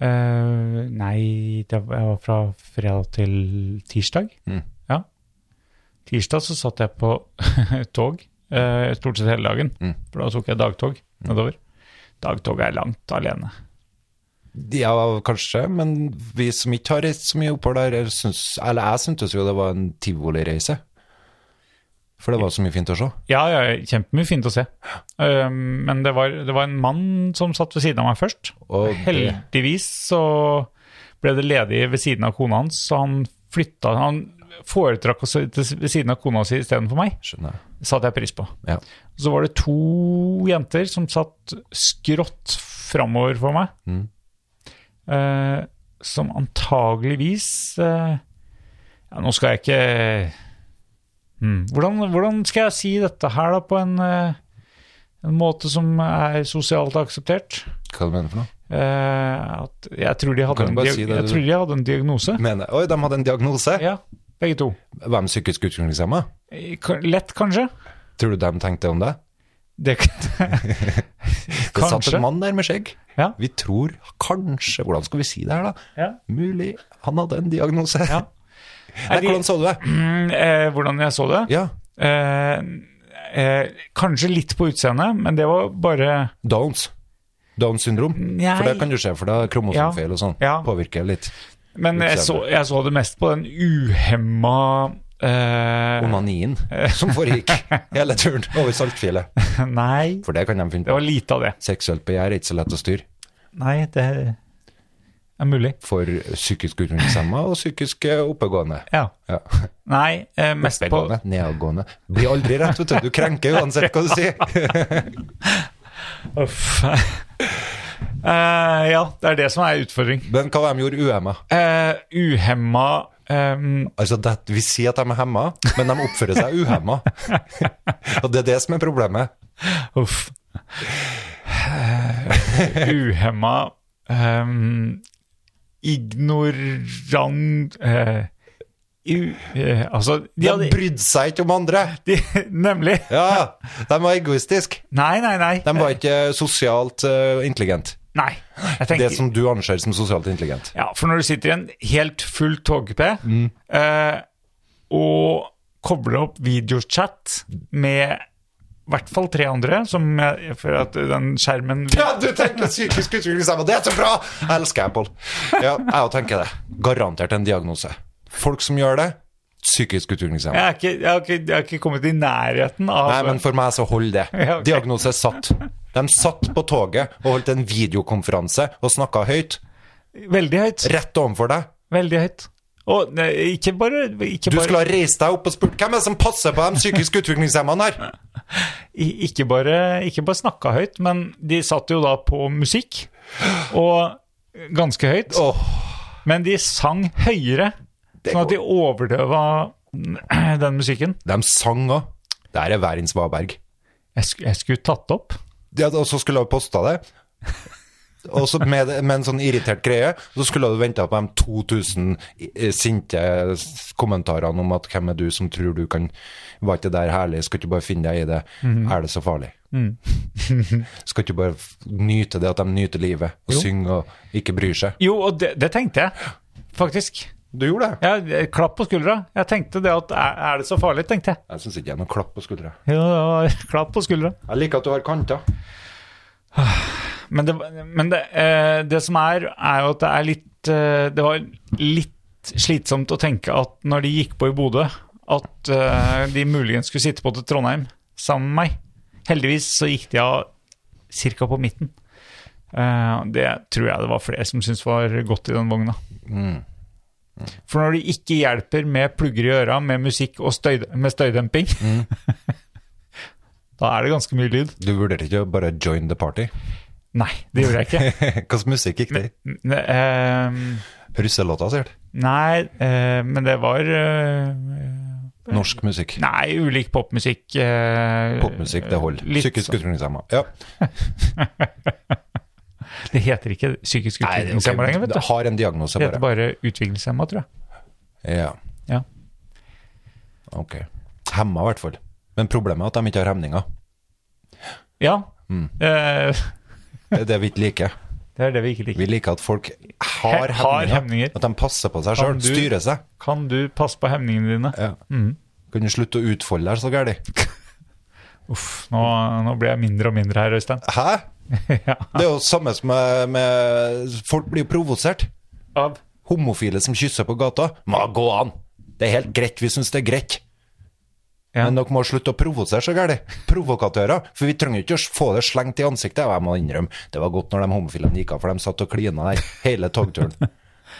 A: Eh, nei, det var, jeg var fra fredag til tirsdag.
B: Mm.
A: Ja. Tirsdag så satt jeg på [LAUGHS] tog eh, stort sett hele dagen,
B: Mm.
A: for da tok jeg dagtog nedover. Dagtog er langt alene.
B: Ja, kanskje, men vi som ikke har reist så mye oppover der, syns, eller jeg syntes jo det var en tivolireise. For det var så mye fint å se.
A: Ja, ja, kjempemye fint å se. Eh, men det var, det var en mann som satt ved siden av meg først.
B: Og det-
A: Heldigvis så ble det ledig ved siden av kona hans, så han flytta Han foretrakk å sitte ved siden av kona si istedenfor meg.
B: Skjønner jeg.
A: satte jeg pris på.
B: Ja.
A: Så var det to jenter som satt skrått framover for meg,
B: Mm.
A: eh, som antageligvis eh, ja, Nå skal jeg ikke hmm, hvordan, hvordan skal jeg si dette her da på en, eh, en måte som er sosialt akseptert?
B: Hva du mener for noe?
A: Eh, at jeg tror de hadde,
B: kan
A: en,
B: bare
A: diag
B: si det
A: jeg
B: du-
A: tror de hadde en diagnose.
B: Mener, oi, de hadde en diagnose!
A: Ja, begge to.
B: Var de psykisk utviklingshemma?
A: Eh, ka- Lett, kanskje?
B: Tror du de tenkte om det?
A: Det, [LAUGHS]
B: Det satt
A: Kanskje.
B: en mann der med skjegg.
A: Ja.
B: Vi tror kanskje Hvordan skal vi si det her, da?
A: ja.
B: Mulig han hadde en diagnose.
A: Ja.
B: Nei,
A: Er de-
B: hvordan så du det?
A: Mm, eh, hvordan jeg så det?
B: Ja,
A: Eh, eh, kanskje litt på utseendet, men det var bare
B: Downs. Downs syndrom.
A: Nei.
B: For det kan jo skje, for da er kromosomfeil og sånn.
A: Ja.
B: Påvirker litt.
A: Men jeg så,
B: Utseende.
A: jeg så det mest på den uhemma eh,
B: Onanien [LAUGHS] som foregikk hele turen over Saltfjellet.
A: [LAUGHS] Nei,
B: For det kan de finne
A: det
B: på.
A: var lite av det.
B: Seksuelt begjær er ikke så lett å styre.
A: Nei, det er mulig.
B: For psykisk utviklingshemma og psykisk eh, oppegående.
A: Ja.
B: Ja.
A: Nei, eh, mest på
B: Oppegående, nedadgående. Blir aldri rett, vet du. Du krenker
A: [LAUGHS]
B: uansett hva du sier.
A: Uff. [LAUGHS] eh, ja, det er det som er utfordring.
B: Men hva de gjorde uhemma?
A: Eh, uhemma eh,
B: Altså, det, vi sier at de er hemma, men de oppfører seg
A: [LAUGHS]
B: uhemma. og det er det som er problemet.
A: Uff. [SIGHS] Eh, Uhemma um, Ignorant eh, u, eh, Altså, de
B: De
A: hadde
B: brydde seg ikke om andre.
A: de, [LAUGHS] Nemlig.
B: Ja, De var egoistiske.
A: Nei, nei, nei.
B: De var ikke sosialt uh, intelligente.
A: nei. Jeg tenker,
B: Det som du anser som sosialt intelligent.
A: ja, for når du sitter i en helt full togkupé
B: Mm.
A: eh, og kobler opp videochat med i hvert fall tre andre, som jeg, for at den skjermen
B: Ja, du tenker psykisk utviklingshemma, det er så bra! Jeg elsker Apple. Ja, jeg òg tenker det. Garantert en diagnose. Folk som gjør det, psykisk
A: Jeg
B: utviklingshemma.
A: er ikke, jeg har ikke, jeg har ikke kommet i nærheten av
B: Nei, men for meg så holder det.
A: altså- Ja, ok.
B: Diagnose er satt. De satt på toget og holdt en videokonferanse og snakka høyt,
A: Veldig høyt.
B: rett overfor deg.
A: Veldig høyt. Og nei, ikke bare, ikke
B: Du skulle
A: bare,
B: ha reist deg opp og spurt hvem er det som passer på de psykisk utviklingshemmede her?
A: i- ikke bare, ikke bare snakka høyt, men de satt jo da på musikk, og ganske høyt.
B: Åh,
A: Men de sang høyere, sånn at de overdøva den musikken.
B: de sang òg. Der er verdens Svaberg.
A: Jeg, sk jeg skulle tatt opp.
B: Ja, og så skulle du ha posta det. Og så med, med en sånn irritert greie, så skulle du venta på de 2000 i- sinte kommentarene om at 'hvem er du som tror du kan Var ikke det der herlig? Skal ikke bare finne deg i det? Er det så farlig? [LAUGHS] Skal ikke bare f- nyte det at de nyter livet, og synger og ikke bryr seg?
A: Jo, og det, det tenkte jeg, faktisk.
B: Du gjorde det.
A: Jeg, klapp på skuldra. Jeg tenkte det at er, er det så farlig, tenkte jeg.
B: Jeg syns ikke det er noe klapp på skuldra.
A: Jo, det var klapp på skuldra.
B: Jeg liker at du har kanter.
A: Men, det, men det, eh, det som er, er jo at det er litt eh, Det var litt slitsomt å tenke at når de gikk på i Bodø, at eh, de muligens skulle sitte på til Trondheim sammen med meg. Heldigvis så gikk de av ca. på midten.
B: Mm.
A: Eh, det tror jeg det var flere som syntes var godt i den vogna. For når det ikke hjelper med plugger i øra, med musikk og støy, med støydemping, [LAUGHS] da er det ganske mye lyd.
B: Du vurderte ikke å bare join the party? [LAUGHS]
A: Nei, det gjorde jeg ikke.
B: Hva slags musikk gikk det i?
A: N- ehm,
B: Russelåta, sikkert?
A: nei, eh, men det var eh,
B: Norsk musikk.
A: Nei, ulik popmusikk. eh,
B: Popmusikk, det holder.
A: litt
B: Psykisk
A: sånn-
B: utviklingshemma. Ja.
A: [LAUGHS] Det heter ikke psykisk utviklingshemma lenger, vet du.
B: Det har en diagnose,
A: Det heter
B: bare.
A: bare utviklingshemma, tror jeg.
B: Ja.
A: Ja.
B: Ok. Hemma, i hvert fall. Men problemet er at de ikke har hemninger.
A: ja.
B: Mm.
A: Eh, [LAUGHS]
B: Det er det vi ikke liker.
A: det er det vi ikke liker.
B: Vi liker at folk har
A: He-
B: hemninger.
A: har hemninger.
B: At de passer på seg
A: Kan
B: sjøl,
A: du- Mm.
B: styrer seg.
A: Kan du passe på hemningene dine?
B: Ja. Kan du slutte å utfolde deg så gærent?
A: Uff, nå, nå blir jeg mindre og mindre her, Øystein. [LAUGHS]
B: Hæ?
A: ja.
B: Det er jo samme som med, med Folk blir jo provosert.
A: Av
B: Homofile som kysser på gata. Må gå an! Det er helt greit, vi syns det er greit.
A: Ja.
B: Men dere må slutte å provosere så gærent. Provokatører. For vi trenger jo ikke å få det slengt i ansiktet. Og jeg må innrømme, det var godt når de homofilene gikk av, for de satt og klina der hele
A: [LAUGHS]
B: togturen.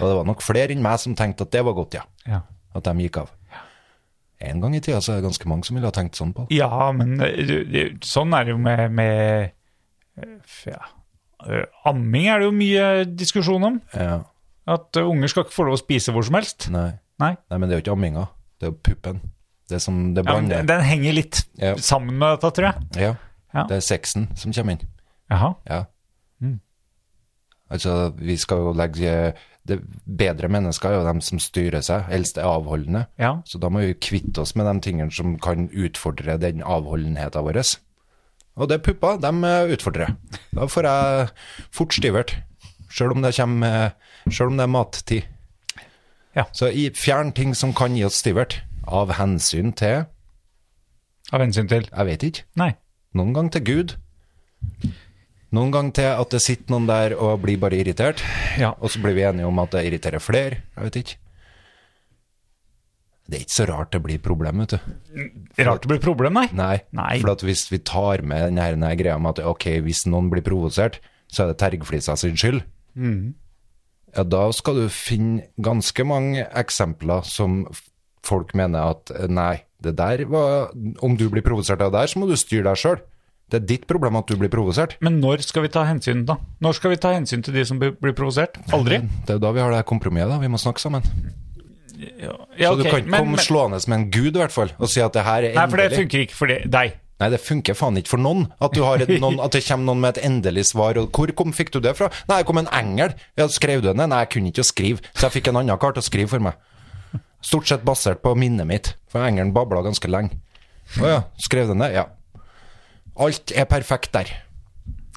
B: Og det var nok flere enn meg som tenkte at det var godt, ja.
A: ja.
B: At de gikk av. En gang i tida så er det ganske mange som ville ha tenkt sånn på det.
A: ja, men eh, du- du- sånn er det jo med, med eh, f- ja. Eh, Amming er det jo mye diskusjon om.
B: Ja.
A: At eh, unger skal ikke få lov å spise hvor som helst.
B: Nei.
A: Nei.
B: Nei, men det er jo ikke amminga. Det er jo puppen. Det er som det
A: Ja, men den,
B: blander.
A: den henger litt
B: Ja.
A: sammen med dette, tror jeg.
B: Ja,
A: Ja.
B: det er sexen som kommer inn.
A: Jaha.
B: Ja. Altså, vi skal jo legge det Bedre mennesker er jo dem som styrer seg, helst er avholdende.
A: Ja.
B: Så da må vi kvitte oss med de tingene som kan utfordre den avholdenheten vår. Og det er pupper, de eh, utfordrer. Da får jeg fort stivert. Sjøl om det kommer eh, Sjøl om det er mattid.
A: Ja.
B: Så i- fjern ting som kan gi oss stivert. Av hensyn til
A: Av hensyn til.
B: Jeg vet ikke.
A: Nei.
B: Noen gang til Gud. Noen gang til at det sitter noen der og blir bare irritert.
A: Ja.
B: Og så blir vi enige om at det irriterer flere. Jeg vet ikke. Det er ikke så rart det blir problem, vet du.
A: Rart det blir problem, nei.
B: Nei.
A: Nei.
B: For at hvis vi tar med den her- den her greia med at ok, hvis noen blir provosert, så er det tergflisa sin skyld.
A: Mm.
B: Ja, da skal du finne ganske mange eksempler som f- folk mener at eh, nei, det der var Om du blir provosert av det der, så må du styre deg sjøl. Det er ditt problem at du blir provosert.
A: Men når skal vi ta hensyn, da? Når skal vi ta hensyn til de som blir blir provosert? Aldri?
B: Det er jo da vi har det her kompromisset, da. Vi må snakke sammen.
A: Ja,
B: så du
A: ok,
B: kan ikke
A: men-
B: komme
A: men-
B: slående som en gud, i hvert fall, og si at det her er
A: Nei, for
B: endelig.
A: det funker ikke for de- deg.
B: Nei, det funker faen ikke for noen at, du har et, noen, at det kommer noen med et endelig svar. Og hvor kom, fikk du det fra? Nei, det kom en engel. Ja, skrev du den? Nei, jeg kunne ikke å skrive, så jeg fikk en annen kar til å skrive for meg. Stort sett basert på minnet mitt, for engelen babla ganske lenge. Å ja, skrev den det? Ja. Alt er perfekt der.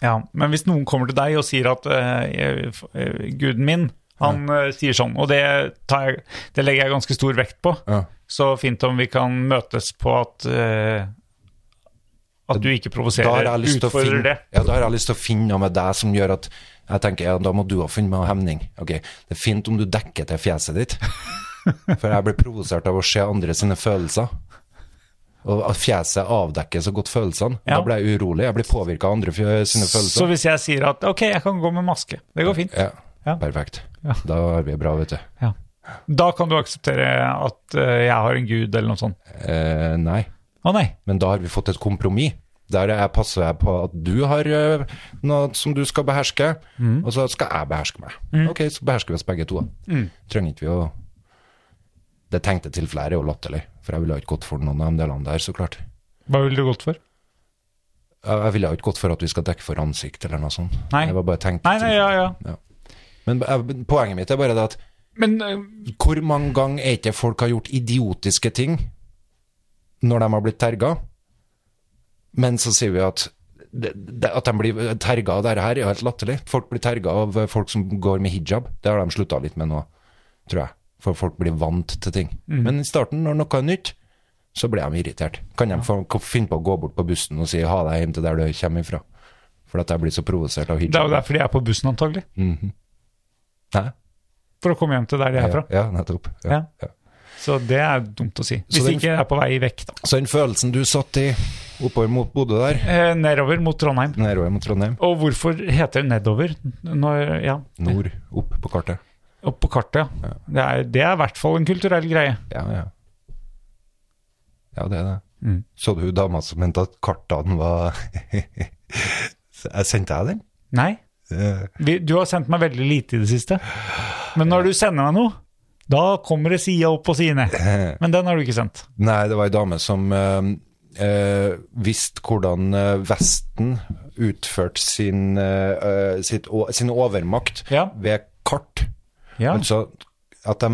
A: Ja, men hvis noen kommer til deg og sier at eh, jeg- f- eh, guden min, han eh, sier sånn, og det, tar jeg, det legger jeg ganske stor vekt på,
B: Ja.
A: så fint om vi kan møtes på at eh, at du ikke
B: Da har,
A: provoserer,
B: jeg lyst til å
A: utfordrer
B: finne,
A: det.
B: ja, da har jeg lyst til å finne noe med deg som gjør at jeg tenker, ja, da må du ha funnet meg hemning. Ok, det er fint om du dekker til fjeset
A: [LAUGHS]
B: ditt, for jeg blir provosert av å se andre sine følelser. Og at fjeset avdekker så godt følelsene.
A: Ja.
B: Da blir jeg urolig, jeg blir påvirket av andre fjø- sine
A: Så
B: følelser.
A: hvis jeg sier at ok, jeg kan gå med maske, det går fint,
B: Ja,
A: Ja.
B: perfekt.
A: Ja.
B: Da er vi bra, vet du.
A: da kan du akseptere at eh, jeg har en gud eller noe sånt.
B: Eh, nei,
A: Å nei,
B: men da har vi fått et kompromiss. Der jeg passer jeg på at du har eh, noe som du skal beherske,
A: Mm.
B: og så skal jeg beherske meg. Ok, så behersker vi oss begge to. da.
A: Mm.
B: Trenger ikke vi å Det tenkte tilfellet her er jo latterlig, for jeg ville jo ikke gått for noen av de delene der, så klart.
A: hva ville du gått for?
B: Jeg jeg ville jo ikke gått for at vi skal dekke for ansikt eller noe sånt.
A: Nei.
B: Det var bare tenkt
A: Nei, nei, ja, ja.
B: Men jeg, poenget mitt er bare det at
A: Men eh,
B: hvor mange ganger er ikke folk har gjort idiotiske ting når de har blitt terga? Men så sier vi at det, det, at de blir terga av dette her, er jo helt latterlig. Folk blir terga av folk som går med hijab. Det har de slutta litt med nå, tror jeg. For folk blir vant til ting.
A: Mm.
B: Men i starten, når noe er nytt, så blir de irritert. Kan de få, finne på å gå bort på bussen og si ha deg hjem til der du kommer ifra? For at jeg blir så provosert av hijab.
A: det er jo derfor de er på bussen antagelig,
B: Hæ?
A: for å komme hjem til der de er
B: Ja,
A: fra.
B: ja, nettopp.
A: Ja.
B: Ja, ja.
A: Så det er dumt å si. Hvis
B: den-
A: ikke jeg er på vei vekk, da.
B: Så den følelsen du satt i oppover mot Bodø der,
A: Eh, nedover mot Trondheim.
B: nedover mot Trondheim,
A: Og hvorfor heter det nedover? Når, ja.
B: nord opp på kartet.
A: Opp på kartet, ja. Det er, det er i hvert fall en kulturell greie.
B: Ja, ja. Ja, det er det. Så du dama som mente at kartene var [LAUGHS] Jeg Sendte jeg den?
A: Nei,
B: Eh,
A: vi, du har sendt meg veldig lite i det siste. Men når du sender meg noe, da kommer det sida opp og sida ned. Men den har du ikke sendt.
B: Eh, Nei, det var ei dame som eh, eh, visste hvordan eh, Vesten utførte sin, eh, eh, sitt, o- sin overmakt
A: Ja.
B: ved kart.
A: Ja.
B: Altså at de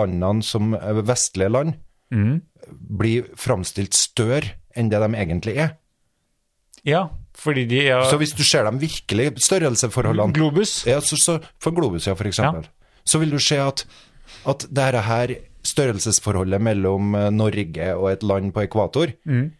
B: landene som eh, vestlige land
A: Mm.
B: blir framstilt større enn det de egentlig er.
A: ja, fordi de ja,
B: Så hvis du ser dem virkelig, størrelseforholdene
A: Globus.
B: Ja, så, så, For Globus, ja, for eksempel. Så vil du se at, at dette her størrelsesforholdet mellom eh, Norge og et land på ekvator
A: Mm.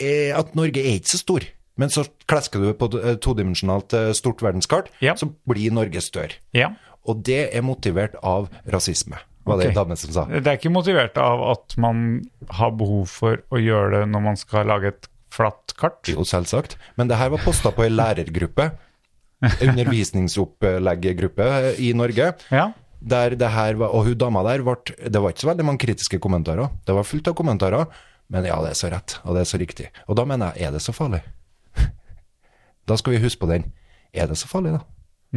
B: er At Norge er ikke så stor. Men så klesker du på et todimensjonalt eh, stort verdenskart,
A: Ja.
B: så blir Norge større.
A: Ja.
B: Og det er motivert av rasisme, var det
A: Ok.
B: en dame som sa.
A: Det er ikke motivert av at man har behov for å gjøre det når man skal lage et flatt kart.
B: Jo, selvsagt. Men det her var posta på ei lærergruppe, undervisningsopplegggruppe i Norge.
A: Ja.
B: Der det her var, og hun dama der, ble, det var ikke så veldig mange kritiske kommentarer. Det var fullt av kommentarer, men ja, det er så rett, og det er så riktig. Og da mener jeg, er det så farlig? [LAUGHS] Da skal vi huske på den. Er det så farlig, da?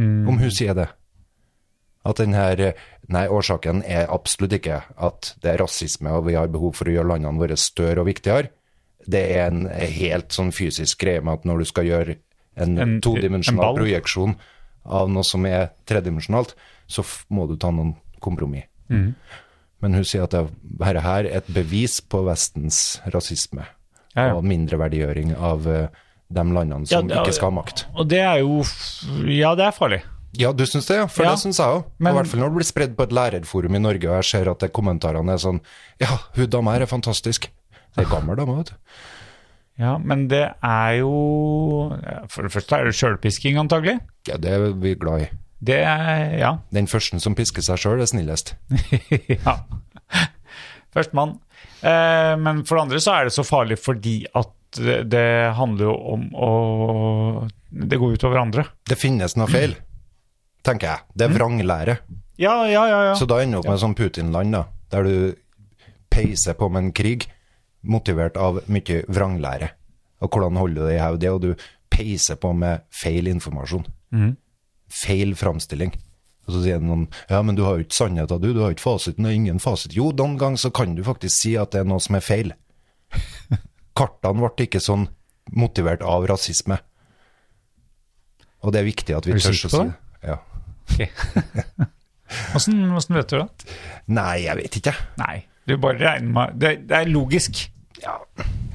A: Mm.
B: Om hun sier det. At den her Nei, årsaken er absolutt ikke at det er rasisme og vi har behov for å gjøre landene våre større og viktigere. Det er en helt sånn fysisk greie med at når du skal gjøre en,
A: En- en
B: todimensjonal
A: ball.
B: projeksjon av noe som er tredimensjonalt, så f må du ta noen kompromiss.
A: Mm.
B: Men hun sier at det dette her er et bevis på Vestens rasisme
A: Ja, ja.
B: og mindreverdigjøring av eh, de landene som
A: Ja, det-
B: ikke skal ha makt.
A: Og det er jo f- Ja, det er farlig.
B: Ja, du syns det, ja. For
A: Ja.
B: det syns jeg òg. I
A: Men-
B: hvert fall når det blir spredd på et lærerforum i Norge, og jeg ser at det kommentarene er sånn Ja, hun dama her er fantastisk. Det er gammel dame, vet du.
A: Ja, men det er jo ja, For det første er det sjølpisking, antagelig.
B: Ja, det er vi glad i.
A: Det er Ja. [LAUGHS]
B: Den første som pisker seg sjøl, er snillest.
A: ja. Førstemann. Eh, men for det andre så er det så farlig fordi at det, det handler jo om å Det går ut over andre.
B: Det finnes noe feil, tenker jeg. Det er vranglære.
A: Ja, ja, ja. ja.
B: Så da ender du opp med sånn Putin-land, da. Der du peiser på med en krig motivert av mye vranglære. Og hvordan holder du det i hodet? Og du peiser på med feil informasjon.
A: Mhm.
B: Feil framstilling. Og så sier noen ja, men du har jo ikke sannheten, du. Du har jo ikke fasiten. Det er ingen fasit. Jo, noen ganger så kan du faktisk si at det er noe som er
A: [LAUGHS]
B: feil. Kartene ble ikke sånn motivert av rasisme. Og det er viktig at vi
A: Er du
B: tør å
A: sikker
B: si
A: på
B: det. Ja.
A: [LAUGHS] Åssen åssen vet du det?
B: Nei, jeg vet ikke.
A: Nei, du bare regner med Det, det er logisk.
B: Ja,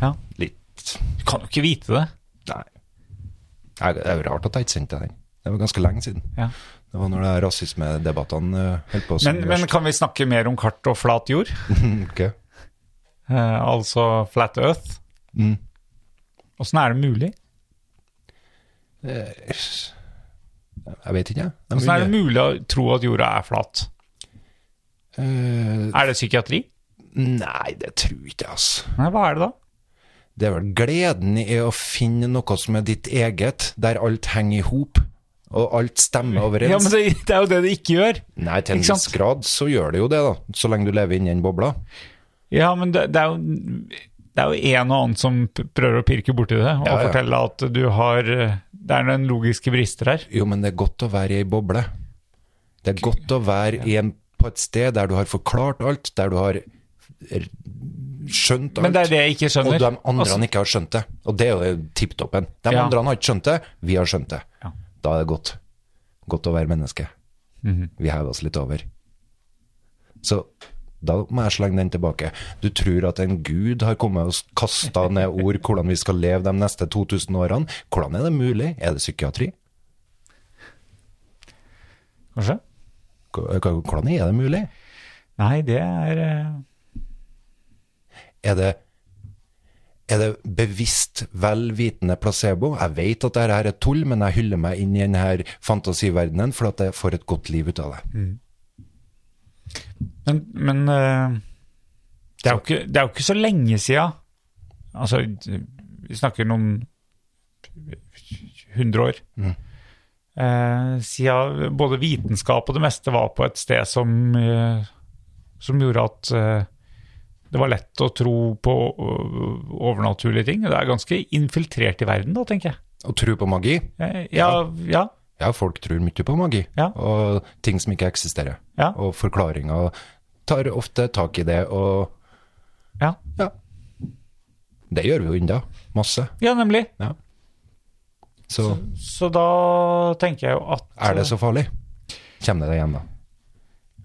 A: Ja.
B: litt
A: Du kan jo ikke vite det.
B: Nei. Nei, Det er jo rart at jeg ikke sendte den. Det var ganske lenge siden.
A: Ja.
B: Det var når det her rasismedebattene eh, holdt på
A: Men, men
B: verst.
A: kan vi snakke mer om kart og flat jord?
B: Ok.
A: Eh, altså flat earth?
B: Mm.
A: Åssen er det mulig?
B: Jeg vet ikke, jeg. De
A: Åssen er det
B: begynner-
A: mulig å tro at jorda er flat?
B: Eh,
A: Er det psykiatri?
B: Nei, det tror jeg ikke, altså.
A: Nei, hva er det da?
B: Det er vel gleden i å finne noe som er ditt eget, der alt henger i hop, og alt stemmer
A: Ja,
B: overens.
A: men det, det er jo det det ikke gjør.
B: Nei, til en
A: Ikke
B: viss
A: sant?
B: grad så gjør det jo det, da. Så lenge du lever inni den bobla.
A: Ja, men det, det er jo det er jo en og annen som p- prøver å pirke borti det og
B: Ja, ja.
A: fortelle at du har eh, Det er noen logiske brister her.
B: Jo, men det er godt å være i ei boble. Det er godt å være i en, på et sted der du har forklart alt, der du har r- skjønt alt.
A: Men det er det jeg ikke
B: og
A: skjønner.
B: de andre
A: Altså,
B: ikke har skjønt det. Og det er jo tipptoppen. De
A: Ja.
B: andre har ikke skjønt det, vi har skjønt det.
A: Ja.
B: Da er det godt. Godt å være menneske.
A: Mhm.
B: Vi hever oss litt over. Så da må jeg slenge den tilbake. Du tror at en gud har kommet og kasta ned ord hvordan vi skal leve de neste 2000 årene. Hvordan er det mulig? Er det psykiatri?
A: kanskje?
B: K- eh, Hvordan er det mulig?
A: Nei, det er eh,
B: Er det, er det bevisst velvitende placebo? Jeg vet at dette her er tull, men jeg hyller meg inn i denne fantasiverdenen for at jeg får et godt liv ut av det.
A: Men, men eh, det, er jo ikke, det er jo ikke så lenge sia. Altså, vi snakker noen 100 år. Eh, siden både vitenskap og det meste var på et sted som, eh, som gjorde at eh, det var lett å tro på eh, overnaturlige ting. Det er ganske infiltrert i verden, da, tenker jeg.
B: Og tro på magi.
A: Eh, ja, ja.
B: Ja, folk tror mye på magi
A: Ja.
B: og ting som ikke eksisterer.
A: Ja.
B: Og forklaringer tar ofte tak i det, og
A: Ja,
B: ja. Det gjør vi jo ennå. Masse.
A: ja nemlig.
B: Så
A: Så da tenker jeg jo at
B: er det så farlig? Kommer det deg igjen, da?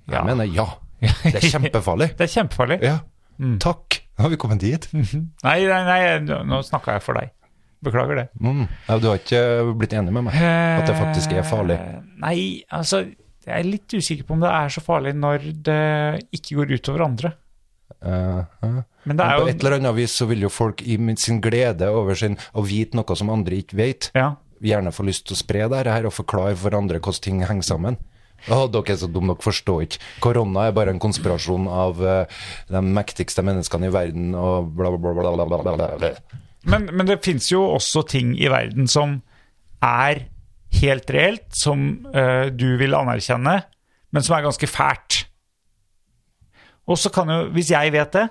A: Ja.
B: Jeg
A: [LAUGHS]
B: mener ja. Det er kjempefarlig.
A: Det er kjempefarlig.
B: Ja. Takk. Nå har vi kommet dit.
A: Nei, nei, nei, nå- nå snakka jeg for deg. Beklager det.
B: Mm. Ja, du har ikke blitt enig med meg at det faktisk er farlig?
A: Eh, Nei, altså Jeg er litt usikker på om det er så farlig når det ikke går utover andre.
B: Eh, eh.
A: Men det
B: Men
A: er
B: på
A: jo
B: et eller annet vis så vil jo folk i min- sin glede over sin, å vite noe som andre ikke vet,
A: Ja.
B: gjerne få lyst til å spre det her og forklare for andre hvordan ting henger sammen. Å, dere er så dumme, dere forstår ikke. Korona er bare en konspirasjon av eh, de mektigste menneskene i verden og bla, bla, bla, bla, bla, bla, bla, bla.
A: Men, men det fins jo også ting i verden som er helt reelt, som eh, du vil anerkjenne, men som er ganske fælt. Og så kan jo, hvis jeg vet det,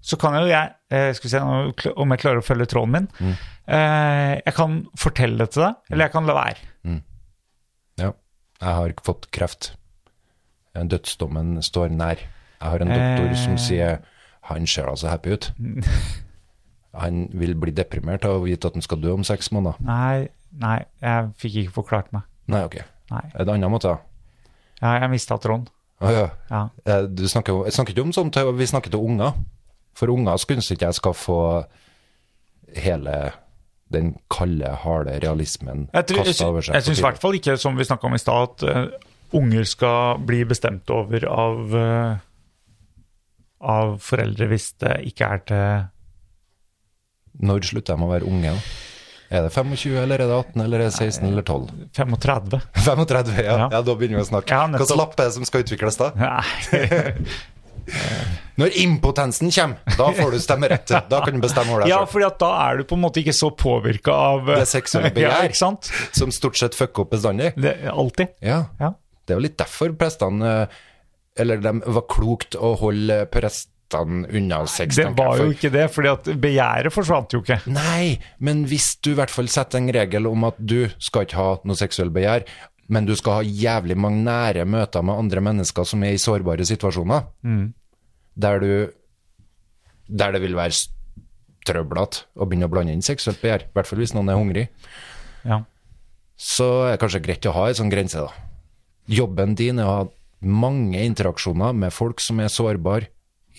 A: så kan jo jeg eh, Skal vi se nå kl- om jeg klarer å følge tråden min. Eh, jeg kan fortelle det til deg, eller jeg kan la være.
B: Ja, jeg har ikke fått kreft. Eh, Dødsdommen står nær. Jeg har en doktor
A: Eh.
B: som sier han ser da så happy
A: [LAUGHS]
B: ut. Han vil bli deprimert av å vite at han skal dø om seks måneder.
A: Nei, nei, jeg fikk ikke forklart meg.
B: Nei, ok.
A: Nei.
B: En annen måte, da.
A: Ja, jeg mista tråden.
B: Å ja.
A: Ja.
B: Eh, Du snakker, jo- jeg snakker ikke om sånt, eh, vi snakker til unger. For unger synes ikke jeg skal få hele den kalde, harde realismen
A: Jeg, tror- jeg,
B: kastet over
A: sy-
B: seg.
A: jeg
B: for
A: syns i
B: tidlig.
A: hvert fall ikke, som vi snakka om i stad, at eh, unger skal bli bestemt over av eh, av foreldre hvis det ikke er til
B: Når slutter de å være unge? da? Er det 25, eller er det 18, eller er det 16, eller 12? [LAUGHS]
A: 35.
B: 35, ja.
A: Ja.
B: ja. Da begynner vi å snakke.
A: Ja,
B: Hva
A: nettopp.
B: slags lapp er det som skal utvikles da?
A: [LAUGHS] Nei.
B: Når impotensen kommer, da får du stemmerett. Da kan du bestemme over deg
A: Ja,
B: selv.
A: fordi at da er du på en måte ikke så påvirka av eh,
B: Det seksuelle begjær.
A: [LAUGHS] Ja, ikke sant?
B: Som stort sett fucker opp bestandig.
A: Det, alltid.
B: Ja.
A: Ja.
B: Det er jo litt derfor prestene eh, Eller det var klokt å holde prestene unna sex.
A: Det
B: tenker jeg,
A: var jo
B: for-
A: ikke det, fordi at begjæret forsvant jo ikke.
B: Nei, men hvis du i hvert fall setter en regel om at du skal ikke ha noe seksuelt begjær, men du skal ha jævlig mange nære møter med andre mennesker som er i sårbare situasjoner, der du Der det vil være s- trøblete å begynne å blande inn seksuelt begjær, i hvert fall hvis noen er hungrig,
A: Ja.
B: så er det kanskje greit å ha en sånn grense, da. Jobben din er å ha mange interaksjoner med folk som er sårbare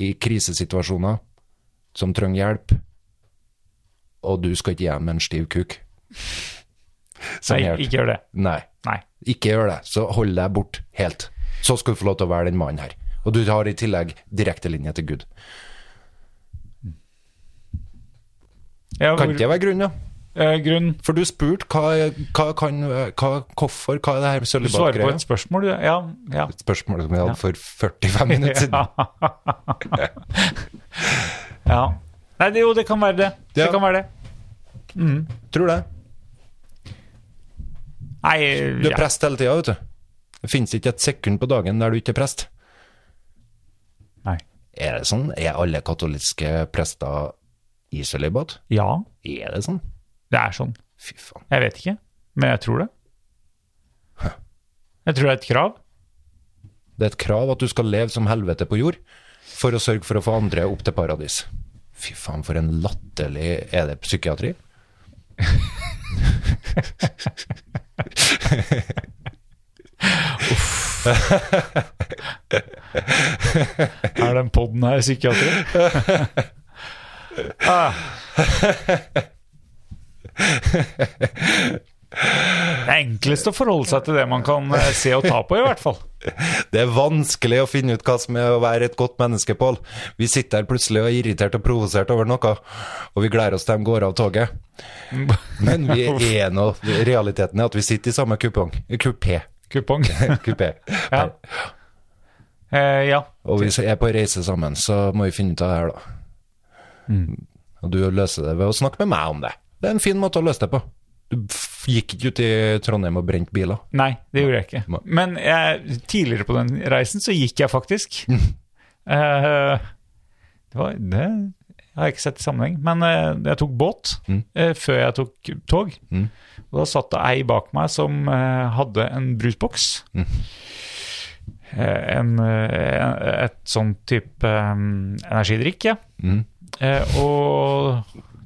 B: i krisesituasjoner, som trenger hjelp, og du skal ikke gi dem en stiv kuk. Som
A: Nei,
B: hjelp.
A: ikke gjør det.
B: Nei,
A: Nei.
B: ikke gjør det. Så hold deg bort helt. Så skal du få lov til å være den mannen her. Og du har i tillegg direktelinje til Gud.
A: Ja,
B: Kan ikke det være grunnen, da?
A: eh, grunn
B: For du spurte hva, hva kan hva, Hvorfor? Hva er det her
A: Du svarer på
B: sølibatgreia?
A: et spørsmål, du. Ja. ja.
B: Et spørsmål som vi hadde for 45 minutter
A: [LAUGHS]
B: siden.
A: ja. Nei, det, jo, det kan være det. Det
B: Ja.
A: kan være det.
B: Tror det.
A: Nei,
B: Du er
A: ja.
B: prest hele tida, vet du. Det finnes ikke et sekund på dagen der du ikke er prest.
A: Nei.
B: Er det sånn? Er alle katoliske prester i sølibat?
A: ja,
B: Er det sånn?
A: det er sånn.
B: Fy faen.
A: Jeg vet ikke, men jeg tror det. Jeg tror det er et krav.
B: Det er et krav at du skal leve som helvete på jord for å sørge for å få andre opp til paradis. Fy faen, for en latterlig Er det psykiatri?
A: Er den poden her psykiatri? [LAUGHS] ah. Det er enklest å forholde seg til det man kan eh, se og ta på, i
B: [LAUGHS]
A: hvert fall.
B: Det er vanskelig å finne ut hva som er å være et godt menneske, Pål. Vi sitter her plutselig og er irritert og provosert over noe, og vi gleder oss til de går av toget. Men vi er nå Realiteten er at vi sitter i samme kupong. Kupé.
A: Kupong.
B: Kupé.
A: Ja. Eh, ja.
B: Og vi er på reise sammen, så må vi finne ut av det her, da. Og du løser det ved å snakke med meg om det. Det er en fin måte å løse det på. Du f- gikk ikke ut i Trondheim og brente biler.
A: Nei, det gjorde jeg ikke.
B: Nei.
A: Men jeg, tidligere på den reisen så gikk jeg
B: [LAUGHS]
A: faktisk.
B: Mm.
A: Eh, det, var, det har jeg ikke sett i sammenheng. Men eh, jeg tok båt
B: Mm.
A: eh, før jeg tok tog.
B: Mm.
A: Og da satt det ei bak meg som eh, hadde en brusboks.
B: Mm.
A: Eh, en, eh, et sånn type eh, energidrikk, ja.
B: Mm.
A: Eh, og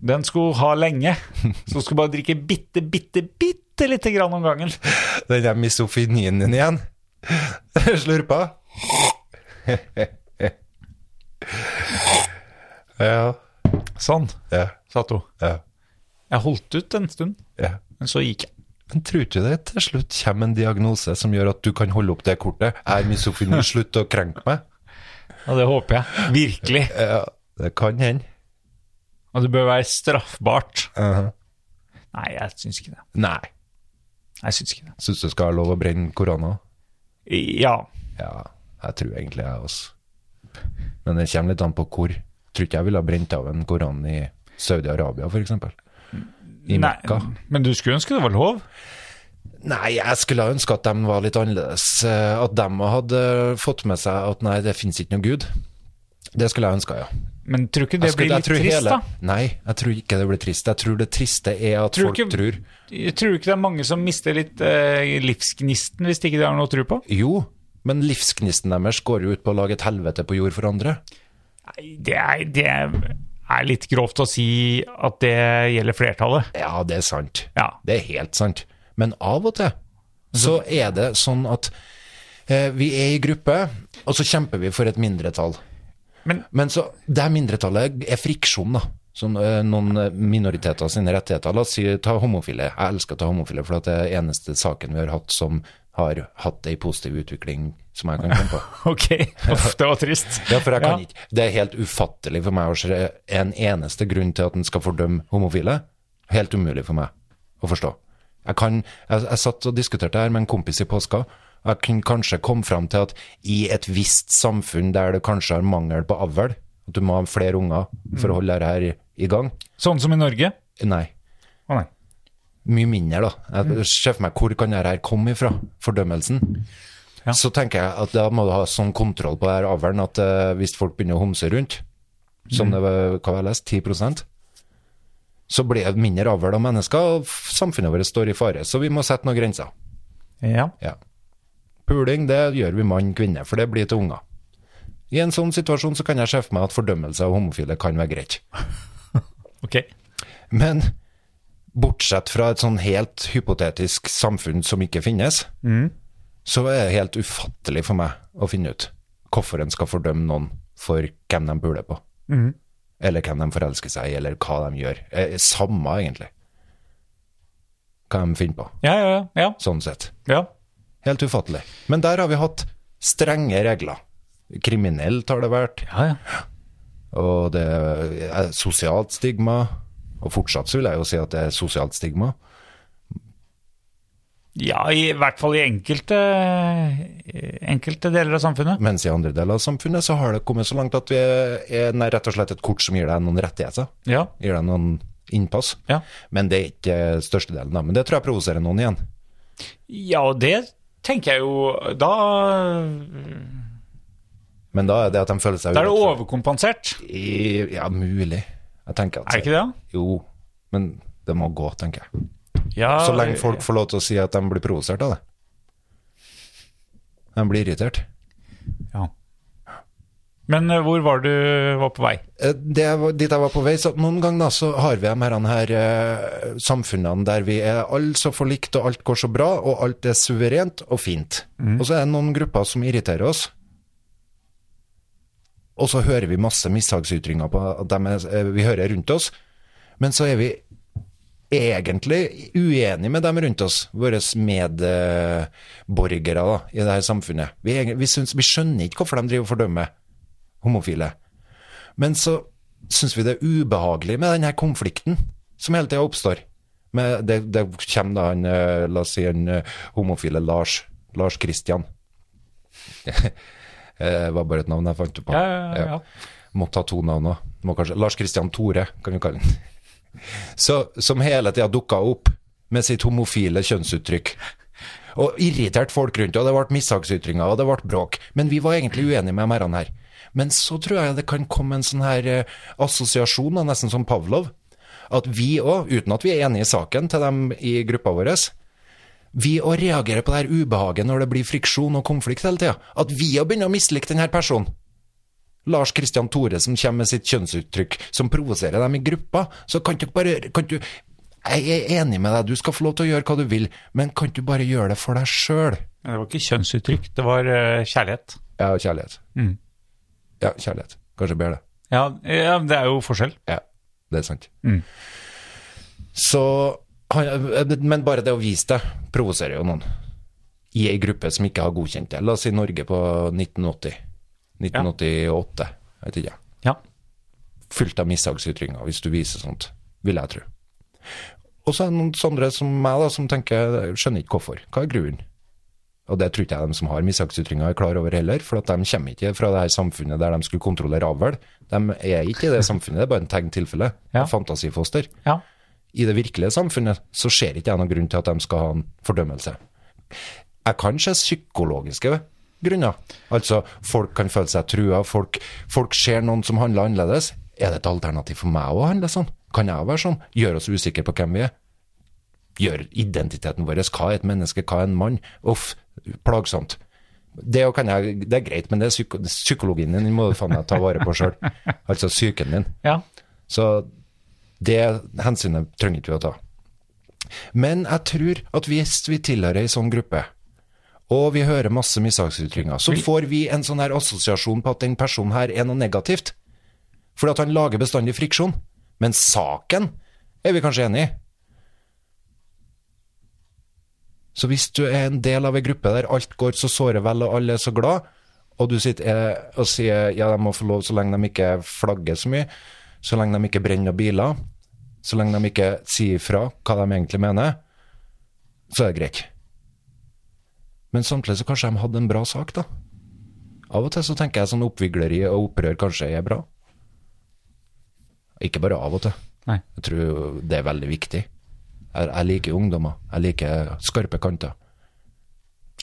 A: den skulle ha lenge.
B: [LAUGHS]
A: Så hun skulle bare drikke bitte, bitte, bitte lite grann om gangen.
B: Den der misofinien din igjen. [LAUGHS] Slurpa. [LAUGHS] ja,
A: Sånn,
B: ja,
A: satt hun.
B: ja,
A: Jeg holdt ut en stund,
B: ja.
A: men så gikk jeg.
B: Men tror ikke det til slutt kommer en diagnose som gjør at du kan holde opp det kortet? Er misofini slutt å krenke meg?
A: Og det håper jeg. Virkelig.
B: Ja, det kan hende.
A: Og det bør være straffbart.
B: Uh-huh.
A: Nei, jeg syns ikke det.
B: Nei.
A: Jeg syns ikke det.
B: Syns du skal ha lov å brenne korona?
A: Ja.
B: Ja, jeg tror egentlig jeg også. Men det kommer litt an på hvor. Tror ikke jeg ville ha brent av en koran i Saudi-Arabia, f.eks. I
A: Nei,
B: Mekka.
A: Men du skulle ønske det var lov.
B: Nei, jeg skulle ha ønska at de var litt annerledes. eh, At de hadde fått med seg at nei, det finnes ikke noe Gud. Det skulle jeg ønska, ja.
A: Men tror ikke
B: Jeg
A: det
B: skulle-
A: blir
B: jeg
A: litt
B: tror
A: trist,
B: hele-
A: da?
B: Nei, jeg tror ikke det blir trist. Jeg tror det triste er at
A: Tror
B: folk
A: ikke-
B: tror
A: Jeg tror ikke det er mange som mister litt eh, livsgnisten hvis de ikke har noe å tro på?
B: Jo, men livsgnisten deres går jo ut på å lage et helvete på jord for andre.
A: Nei, det er, det er litt grovt å si at det gjelder flertallet.
B: Ja, det er sant.
A: Ja. [LAUGHS]
B: Det er helt sant. Men av og til så er det sånn at eh, vi er i gruppe, og så kjemper vi for et mindretall.
A: Men-
B: så det mindretallet er friksjon, da. Sånn, eh, noen eh, minoriteter sine rettigheter. La oss si ta homofile. Jeg elsker å ta homofile, for at det er eneste saken vi har hatt som har hatt ei positiv utvikling som jeg kan komme på.
A: Ok, Uff, det var trist.
B: Ja, for jeg kan
A: Ja.
B: ikke. Det er helt ufattelig for meg å se en eneste grunn til at en skal fordømme homofile. Helt umulig for meg å forstå. Jeg, kan, jeg, jeg satt og diskuterte det her med en kompis i påska. og Jeg kunne kanskje komme fram til at i et visst samfunn der det kanskje har mangel på avl, at du må ha flere unger for å holde det her i- i gang
A: Sånn som i Norge?
B: Nei.
A: Å nei.
B: Mye mindre, da. Jeg ser for meg hvor kan det her komme ifra, fordømmelsen.
A: Ja.
B: Så tenker jeg at da må du ha sånn kontroll på det her avlen at eh, hvis folk begynner å homse rundt, som det var, hva har jeg lest, 10 så blir det mindre avl av mennesker, og f- samfunnet vårt står i fare. Så vi må sette noen grenser.
A: Ja.
B: Ja. Puling, det gjør vi mann-kvinne, for det blir til unger. I en sånn situasjon så kan jeg se for meg at fordømmelse av homofile kan være greit.
A: Ok.
B: Men bortsett fra et sånn helt hypotetisk samfunn som ikke finnes, så er det helt ufattelig for meg å finne ut hvorfor en skal fordømme noen for hvem de puler på. Eller hvem de forelsker seg i, eller hva de gjør. Eh, Samme, egentlig. Hva de finner på,
A: Ja, ja, ja. ja.
B: sånn sett.
A: ja.
B: Helt ufattelig. Men der har vi hatt strenge regler. Kriminelt har det vært,
A: Ja, ja.
B: og det er sosialt stigma. Og fortsatt så vil jeg jo si at det er sosialt stigma.
A: Ja, i hvert fall i enkelte, eh, enkelte deler av samfunnet.
B: Mens i andre deler av samfunnet så har det kommet så langt at vi er nei, rett og slett et kort som gir deg noen rettigheter.
A: Ja,
B: Gir deg noen innpass.
A: ja.
B: Men det er ikke størstedelen, da. Men det tror jeg provoserer noen igjen.
A: ja og det tenker jeg jo Da,
B: Men da er det at de føler seg
A: da er det
B: urettferdig.
A: overkompensert.
B: I- Ja, mulig. Jeg tenker at
A: Er det ikke det?
B: Jo. Men det må gå, tenker jeg.
A: Ah, Ja,
B: Så lenge folk får lov til å si at de blir provosert av det. De blir irritert.
A: ja. Men eh, hvor var du var på vei?
B: Eh, det var, dit jeg var på vei, så noen ganger da, så har vi de her, her eh, samfunnene der vi er alle så forlikt, og alt går så bra, og alt er suverent og fint. Og så er det noen grupper som irriterer oss. Og så hører vi masse mishagsytringer på at dem er, eh, vi hører rundt oss, men så er vi egentlig uenige med dem rundt oss, våre medborgere da, i det her samfunnet. Vi, er egen- vi, syns, vi skjønner ikke hvorfor de driver og fordømmer homofile. Men så syns vi det er ubehagelig med denne konflikten som hele tida oppstår. Men det, det kommer da en, eh, la oss si, en eh, homofile Lars. Lars [LAUGHS] Kristian. Det var bare et navn jeg fant på.
A: Ja, ja, ja.
B: Måtte ha to navn òg. Lars Kristian Tore, kan vi kalle han. Så, som hele tida dukka opp med sitt homofile kjønnsuttrykk. Og irritert folk rundt, og det ble mishagsytringer, og det ble bråk. Men vi var egentlig uenige med mr her. Men så tror jeg det kan komme en sånn her eh, assosiasjon, da, nesten som Pavlov, at vi òg, uten at vi er enige i saken til dem i gruppa vår, vi òg reagerer på det her ubehaget når det blir friksjon og konflikt hele tida. At vi òg begynner å mislike denne personen. Lars Christian Tore som kommer med sitt kjønnsuttrykk, som provoserer dem i gruppa, så kan du ikke bare kan du, Jeg er enig med deg, du skal få lov til å gjøre hva du vil, men kan du bare gjøre det for deg sjøl?
A: Men Det var ikke kjønnsuttrykk, det var eh, kjærlighet.
B: Ja, og kjærlighet.
A: Mm.
B: Ja, kjærlighet. Kanskje bedre det.
A: Ja, ja, men det er jo forskjell.
B: Ja, det er sant.
A: Mm.
B: Så han, Men bare det å vise det provoserer jo noen. I ei gruppe som ikke har godkjent det. La oss si Norge på 1980. 1988, jeg vet ikke.
A: Ja.
B: Fullt av mishagsytringer, hvis du viser sånt, vil jeg tro. Og så er det noen sånne som meg, da, som tenker skjønner ikke hvorfor. Hva er grunnen? Og det tror ikke jeg de som har mishagsytringer er klar over heller, for at de kommer ikke fra det her samfunnet der de skulle kontrollere avl. De er ikke i det samfunnet, det er bare en tegn tilfelle.
A: Ja.
B: Et Fantasifoster.
A: Ja.
B: I det virkelige samfunnet så ser ikke jeg noen grunn til at de skal ha en fordømmelse. Jeg kan se psykologiske grunner. Altså, folk kan føle seg trua, folk, folk ser noen som handler annerledes. Er det et alternativ for meg å handle sånn? Kan jeg være sånn? Gjør oss usikre på hvem vi er? gjør identiteten vår. Hva er et menneske, hva er en mann? Uff, plagsomt. Det, jo kan jeg, det er greit, men det er psyko, psykologien din den må du faen meg ta vare på sjøl. Altså psyken din.
A: Ja.
B: Så det hensynet trenger ikke vi å ta. Men jeg tror at hvis vi tilhører ei sånn gruppe, og vi hører masse mishagsytringer, så får vi en sånn her assosiasjon på at den personen her er noe negativt. Fordi at han lager bestandig friksjon. Men saken er vi kanskje enig i. Så hvis du er en del av ei gruppe der alt går så såre vel og alle er så glad, og du sitter eh, og sier ja, de må få lov så lenge de ikke flagger så mye, så lenge de ikke brenner noen biler, så lenge de ikke sier ifra hva de egentlig mener, så er det greit. Men samtidig så kanskje de hadde en bra sak, da. Av og til så tenker jeg sånn oppvigleri og opprør kanskje er bra. Ikke bare av og til.
A: Nei.
B: Jeg tror det er veldig viktig. Jeg, jeg liker ungdommer. Jeg liker skarpe kanter.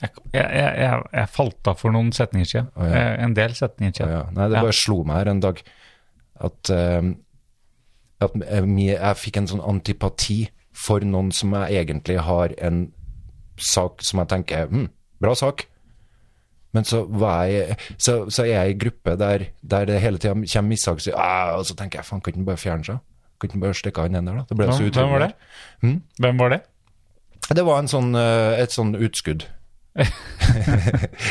A: Jeg, jeg, jeg, jeg falt av for noen setninger siden.
B: ja.
A: Eh, En del setninger siden.
B: Ja. Nei, det bare slo meg her en dag at, eh, at jeg, jeg fikk en sånn antipati for noen som jeg egentlig har en sak som jeg tenker hm, bra sak. Men så, var jeg, så, så er jeg i gruppe der, der det hele tida kommer mishag, så- «Ah», og så tenker jeg faen, kan den bare fjerne seg? Kan den bare stikke av den ene der, da? Det ble så
A: Hvem-
B: utrolig. Mm?
A: Hvem var det? Hvem var det?
B: Det var en sånn, eh, et sånn utskudd.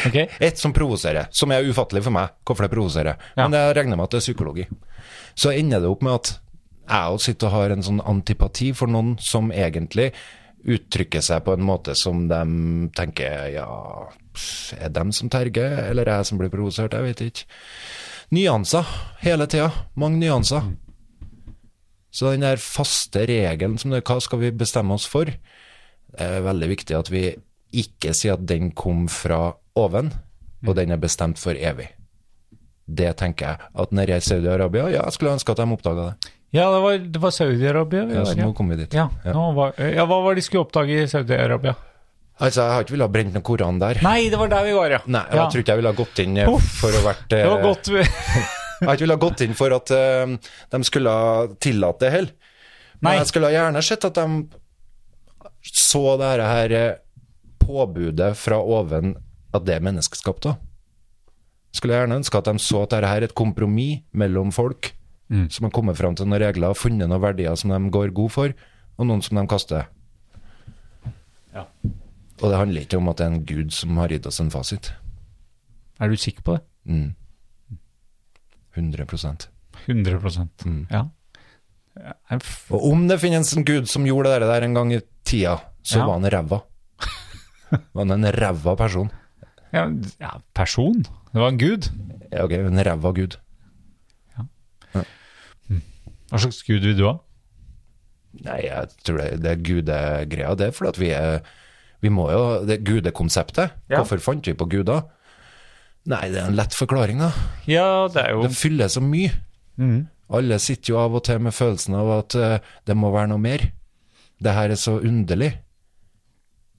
A: Ok.
B: Et som provoserer, som er ufattelig for meg, hvorfor det provoserer.
A: Ja.
B: Men jeg regner med at det er psykologi. Så ender det opp med at jeg også sitter og har en sånn antipati for noen som egentlig uttrykker seg på en måte som de tenker, ja, pff, er dem som terger, eller er jeg som blir provosert, jeg vet ikke. Nyanser, hele tida. Mange nyanser. Så den der faste regelen som det, hva skal vi bestemme oss for, det er eh, veldig viktig at vi ikke sier at den kom fra oven, og den er bestemt for evig. Det tenker jeg. At nede i Saudi-Arabia, ja, jeg skulle ønske at de oppdaga det.
A: Ja, det var, det var Saudi-Arabia. vi
B: Ja,
A: var,
B: så nå kom vi dit.
A: ja. Nå var, ja, hva var det de skulle oppdage i Saudi-Arabia?
B: Altså, jeg har ikke villet ha brent noen koran der.
A: Nei, det var der vi var, ja.
B: Nei, og
A: ja.
B: jeg tror ikke jeg ville ha gått inn eh,
A: Uff,
B: for å vært
A: Det var
B: eh,
A: godt.
B: [LAUGHS]
A: vi-
B: Jeg har ikke ville ha gått inn for at eh, de skulle ha tillatt det heller. Men
A: Nei.
B: jeg skulle ha gjerne sett at de så det her, her eh, påbudet fra oven at det er menneskeskapt òg. Skulle jeg gjerne ønske at de så at dette her er et kompromiss mellom folk som har kommet fram til noen regler og funnet noen verdier som de går god for, og noen som de kaster.
A: Ja.
B: Og det handler ikke om at det er en gud som har gitt oss en fasit.
A: Er du sikker på det?
B: Mm. 100
A: 100
B: Mm.
A: Ja. Nei, f-
B: Og om det finnes en gud som gjorde det der en gang i tida, så
A: Ja.
B: var han
A: [LAUGHS]
B: ræva. Var han en ræva person?
A: Ja, ja, person. Det var en gud.
B: Ja, ok, en ræva gud.
A: Hva slags gud vil du ha?
B: Nei, jeg tror det, det er gudegreia, det er fordi at vi er Vi må jo Det gudekonseptet.
A: Ja.
B: Hvorfor fant vi på guder? Nei, det er en lett forklaring, da.
A: Ja, det er jo
B: Det fyller så
A: Mm.
B: mye. Alle sitter jo av og til med følelsen av at eh, det må være noe mer. Det her er så underlig.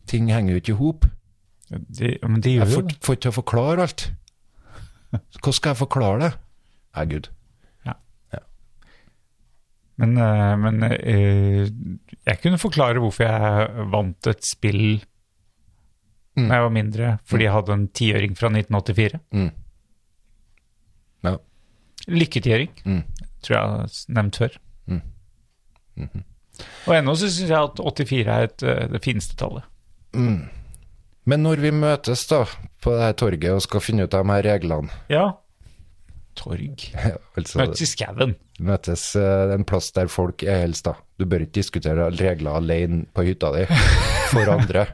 B: Ting henger jo ikke i hop.
A: De, men de gjør
B: Jeg
A: jo
B: får,
A: det.
B: får ikke til å forklare alt. [LAUGHS] Hvordan skal jeg forklare det? Nei, gud.
A: Men, eh, men eh, jeg kunne forklare hvorfor jeg vant et spill
B: Mm.
A: da jeg var mindre, fordi jeg hadde en tiøring fra 1984.
B: Mm. Ja.
A: Lykketiøring,
B: Mm.
A: tror jeg har s- nevnt før.
B: Mhm.
A: Og ennå så syns jeg at 84 er et, eh, det fineste tallet.
B: Men når vi møtes da, på det her torget og skal finne ut av de her reglene [LAUGHS]
A: Ja. Torg.
B: altså,
A: Møtes i skauen.
B: Møtes eh, en plass der folk er helst, da. Du bør ikke diskutere regler alene på
A: [LAUGHS]
B: hytta di for andre.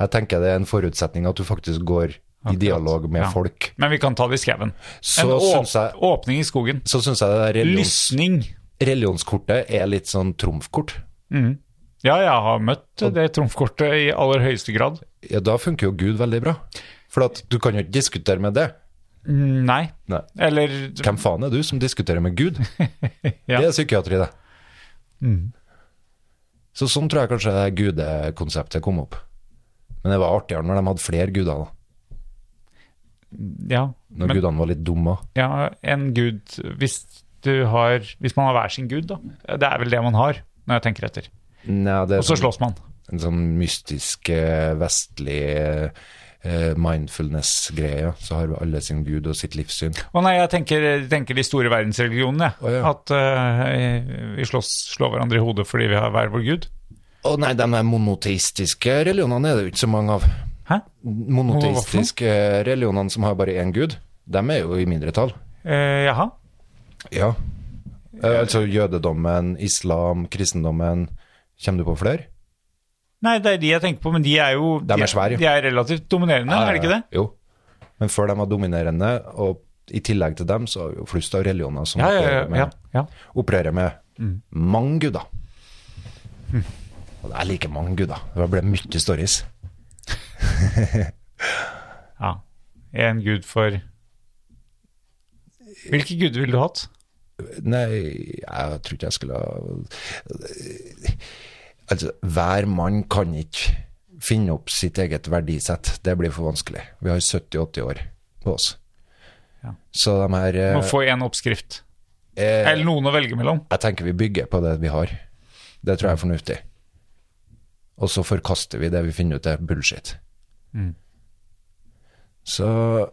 B: Jeg tenker det er en forutsetning at du faktisk går i dialog med
A: Ja.
B: folk.
A: Men vi kan ta det i skauen.
B: Så
A: En åp
B: syns jeg,
A: åpning i skogen.
B: så syns jeg det der religions,
A: Lysning.
B: religionskortet er litt sånn trumfkort.
A: Ja, jeg har møtt det trumfkortet i aller høyeste grad.
B: Ja, da funker jo Gud veldig bra. For at du kan jo ikke diskutere med det.
A: Mm, Nei.
B: Nei.
A: Eller
B: Hvem faen er du som diskuterer med Gud?
A: [LAUGHS] Ja. Mm.
B: Det er psykiatri, det. Så sånn tror jeg kanskje det gudekonseptet kom opp. Men det var artigere når de hadde flere guder, da.
A: Ja.
B: Når
A: Men
B: gudene var litt dumme.
A: ja, en gud Hvis du har Hvis man har hver sin gud, da. Det er vel det man har, når jeg tenker etter.
B: Nei, det er
A: Og så
B: sånn,
A: slåss man.
B: en sånn mystisk, eh, vestlig eh, mindfulness-greie. Så har vi alle sin gud og sitt livssyn.
A: Å nei, jeg tenker, tenker de store verdensreligionene, jeg.
B: Å, ja.
A: At eh, vi slåss, slår hverandre i hodet fordi vi har hver vår gud.
B: Å nei, de der monoteistiske religionene er det jo ikke så mange av.
A: Hæ?
B: Monoteistiske eh, religionene som har bare én gud, dem er jo i mindretall.
A: Eh, jaha?
B: Ja. Eh, altså jødedommen, islam, kristendommen. Kommer du på flere?
A: Nei, det er de jeg tenker på, men de er jo
B: De er svære, jo.
A: De er relativt dominerende, er det ikke det?
B: Jo. Men før de var dominerende, og i tillegg til dem, så har vi jo flust av religioner som
A: Ja, ja, ja.
B: opererer
A: ja,
B: med,
A: ja. Mm.
B: opererer med mange guder.
A: Hm.
B: Og jeg liker mange guder. Det ble mye stories.
A: ja. En gud for Hvilke guder ville du hatt?
B: Nei, jeg tror ikke jeg skulle ha Altså, hver mann kan ikke finne opp sitt eget verdisett. Det blir for vanskelig. Vi har 70-80 år på oss.
A: Ja.
B: Så de her eh,
A: Må få én oppskrift.
B: eh,
A: Eller noen å velge mellom.
B: Jeg tenker vi bygger på det vi har. Det tror jeg er fornuftig. Og så forkaster vi det vi finner ut er bullshit.
A: Mm.
B: Så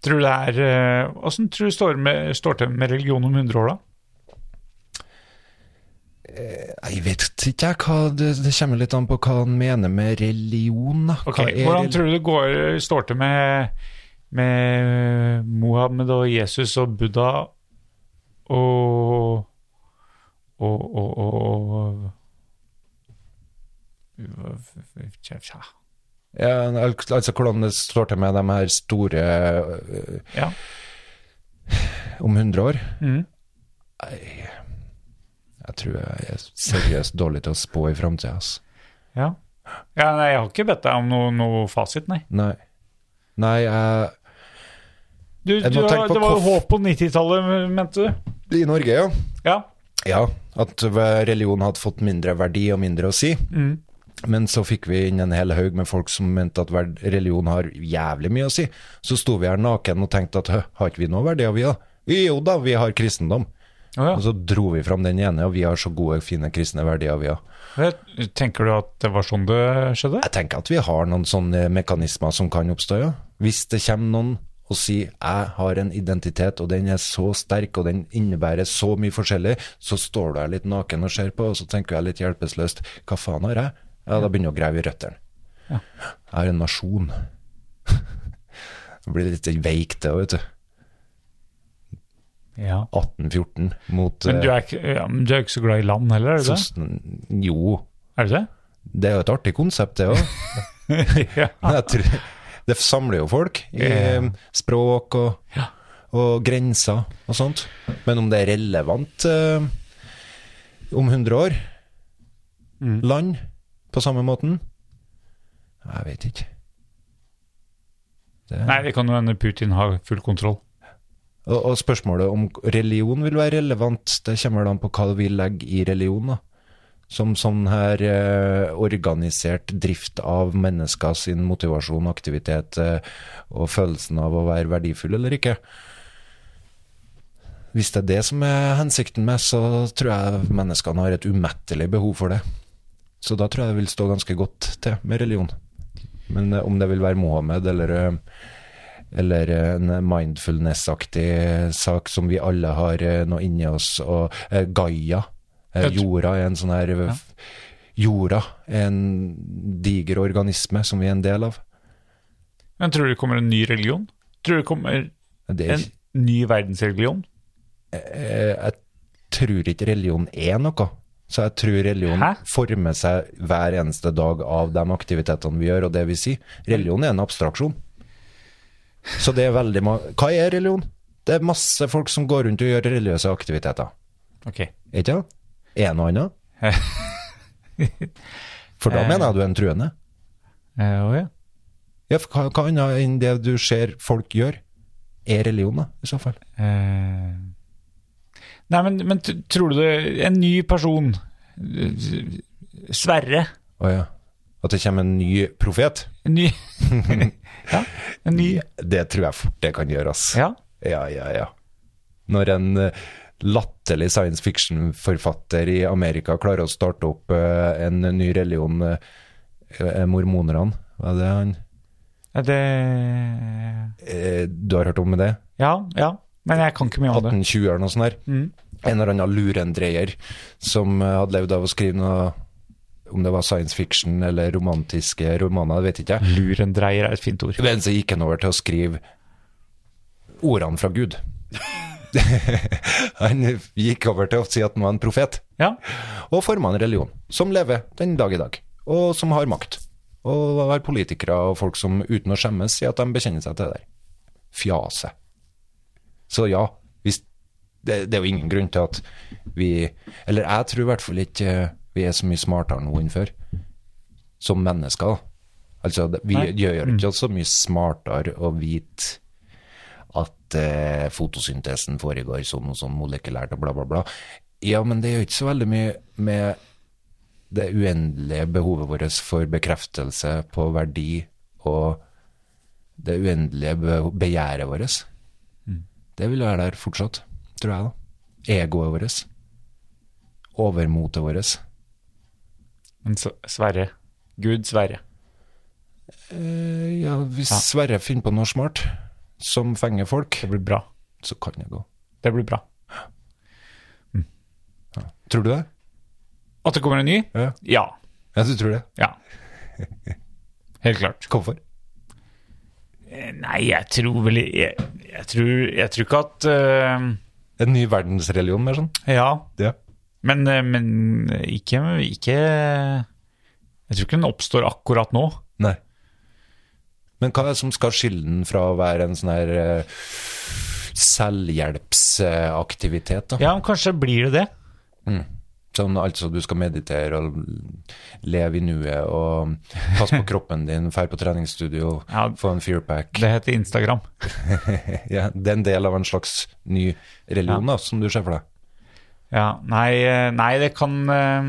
A: Tror du det er eh, Åssen tror du det står, med, står til med religion om 100 år, da?
B: jeg vet ikke jeg hva det, det kommer litt an på hva han mener med religion, da.
A: Ok,
B: Hva er
A: Eh, Hvordan
B: reli-
A: tror du det går, står til med, med Mohammed og Jesus og Buddha og Og, og, og, og Tja,
B: Ja, al- altså hvordan det står til med de her store øh,
A: Ja.
B: om 100 år.
A: Mhm.
B: Nei, jeg tror jeg er seriøst dårlig til å spå i framtida, ass.
A: ja. ja nei, jeg har ikke bedt deg om noe, noe fasit, nei.
B: Nei. Nei, jeg
A: Du,
B: Jeg
A: du,
B: må tenke
A: har-
B: på
A: det var jo
B: hvorf-
A: håp på 90-tallet, mente du?
B: I Norge, ja.
A: Ja.
B: Ja, at religion hadde fått mindre verdi og mindre å si. Men så fikk vi inn en hel haug med folk som mente at verd- religion har jævlig mye å si. Så sto vi her naken og tenkte at «Hø, har ikke vi noe verdier, vi da? Jo da, vi har kristendom.
A: Å ja.
B: Og så dro vi fram den ene, og vi har så gode, fine kristne verdier, vi har.
A: Vet- Tenker du at det var sånn det skjedde?
B: Jeg tenker at vi har noen sånne mekanismer som kan oppstå, ja. Hvis det kommer noen og sier jeg har en identitet, og den er så sterk, og den innebærer så mye forskjellig, så står du her litt naken og ser på, og så tenker jeg litt hjelpeløst hva faen har jeg? Ja, da begynner jeg å grave i røttene. Jeg har en nasjon. [LAUGHS] Det blir litt veikt, det òg, vet du.
A: Ja.
B: 1814 mot
A: Men du
B: eh,
A: er, ikke, ja, men du er ikke så glad i land heller, er du det?
B: sosten- Jo,
A: Er du det?
B: det er jo et artig konsept, det òg.
A: [LAUGHS] ja.
B: Men jeg tror, det samler jo folk i eh,
A: Ja.
B: språk og,
A: Ja.
B: og grenser og sånt. Men om det er relevant eh, om 100 år,
A: Mm.
B: land på samme måten, jeg vet ikke. Det,
A: Nei, det kan jo hende Putin har full kontroll.
B: og, og spørsmålet om religion vil være relevant, det kommer vel an på hva vi legger i religion. da. Som sånn her eh, organisert drift av mennesker sin motivasjon, aktivitet eh, og følelsen av å være verdifull eller ikke. Hvis det er det som er hensikten med, så tror jeg menneskene har et umettelig behov for det. Så da tror jeg det vil stå ganske godt til med religion. Men eh, om det vil være Mohammed eller eh, eller eh, en mindfulness-aktig sak som vi alle har eh, nå inni oss, og eh, Gaia. Eh,
A: Jeg tr-
B: jorda er en sånn her eh, f- Jorda er en diger organisme som vi er en del av.
A: Men tror du det kommer en ny religion? Tror du det kommer
B: Det er,
A: en ny verdensreligion?
B: eh, jeg tror ikke religion er noe. Så jeg tror religion
A: Hæ?
B: former seg hver eneste dag av de aktivitetene vi gjør, og det vi sier. Religion er en abstraksjon. Så det er veldig mange Hva er religion? Det er masse folk som går rundt og gjør religiøse aktiviteter.
A: Ok.
B: Er Ikke det? Er det noe annet? For da mener jeg du er en truende.
A: Eh, å ja.
B: Ja, for hva, hva annet enn det du ser folk gjør, er religion, da, i så fall?
A: Eh, Nei, men, men t- tror du det En ny person eh, Sverre.
B: Å ja. At det kommer en ny profet?
A: En ny [LAUGHS] Ja. En ny
B: Det tror jeg fort det kan gjøre, ass.
A: Ja.
B: ja, ja. ja. Når en eh, latterlig science fiction-forfatter i Amerika klarer å starte opp eh, en ny religion, eh, eh, mormonerne, hva er det han
A: Er Det
B: eh, Du har hørt om det?
A: Ja, ja. Men jeg kan ikke mye om det. Mm.
B: 1820-årene og sånn der. En eller annen lurendreier som eh, hadde levd av å skrive noe om det var science fiction eller romantiske romaner, det vet ikke jeg.
A: Lurendreier er et fint ord.
B: Men så gikk han over til å skrive ordene fra Gud. han gikk over til å si at han var en profet,
A: Ja.
B: og forma en religion som lever den dag i dag, og som har makt. Og har politikere og folk som uten å skjemmes sier at de bekjenner seg til det der. Fjase. Så ja, hvis, det, det er jo ingen grunn til at vi Eller jeg tror i hvert fall ikke eh, vi er så mye smartere nå enn før. Som mennesker. Altså, det- vi
A: Nei.
B: gjør ikke så mye smartere å vite at eh, fotosyntesen foregår sånn og sånn molekylært og bla, bla, bla. Ja, men det gjør ikke så veldig mye med det uendelige behovet vårt for bekreftelse på verdi og det uendelige be- begjæret vårt. Det vil være der fortsatt, tror jeg da. Egoet vårt. Overmotet vårt.
A: Men så, Sverre. Gud Sverre.
B: Eh, ja, hvis Sverre finner på noe smart som fenger folk,
A: Det blir bra.
B: så kan det gå.
A: Det blir bra.
B: Tror du det?
A: At det kommer en ny?
B: Ja.
A: Ja.
B: Ja, du tror det.
A: ja. Helt klart.
B: Hvorfor?
A: Eh, Nei, jeg tror vel Jeg, jeg, tror, jeg tror ikke at eh,
B: En ny verdensreligion, mer sånn?
A: Ja.
B: Ja.
A: Men, eh, men ikke, ikke Jeg tror ikke den oppstår akkurat nå.
B: Nei. Men hva er det som skal skille den fra å være en sånn her eh, selvhjelpsaktivitet, da?
A: Ja, men kanskje blir det det.
B: Sånn, altså du skal meditere og leve i nuet og passe [LAUGHS] på kroppen din, fære på treningsstudio,
A: Ja.
B: få en fearpack.
A: Det heter Instagram.
B: Ja, det er en del av en slags ny religion da, som du ser for deg.
A: Ja, nei, eh, nei det kan eh,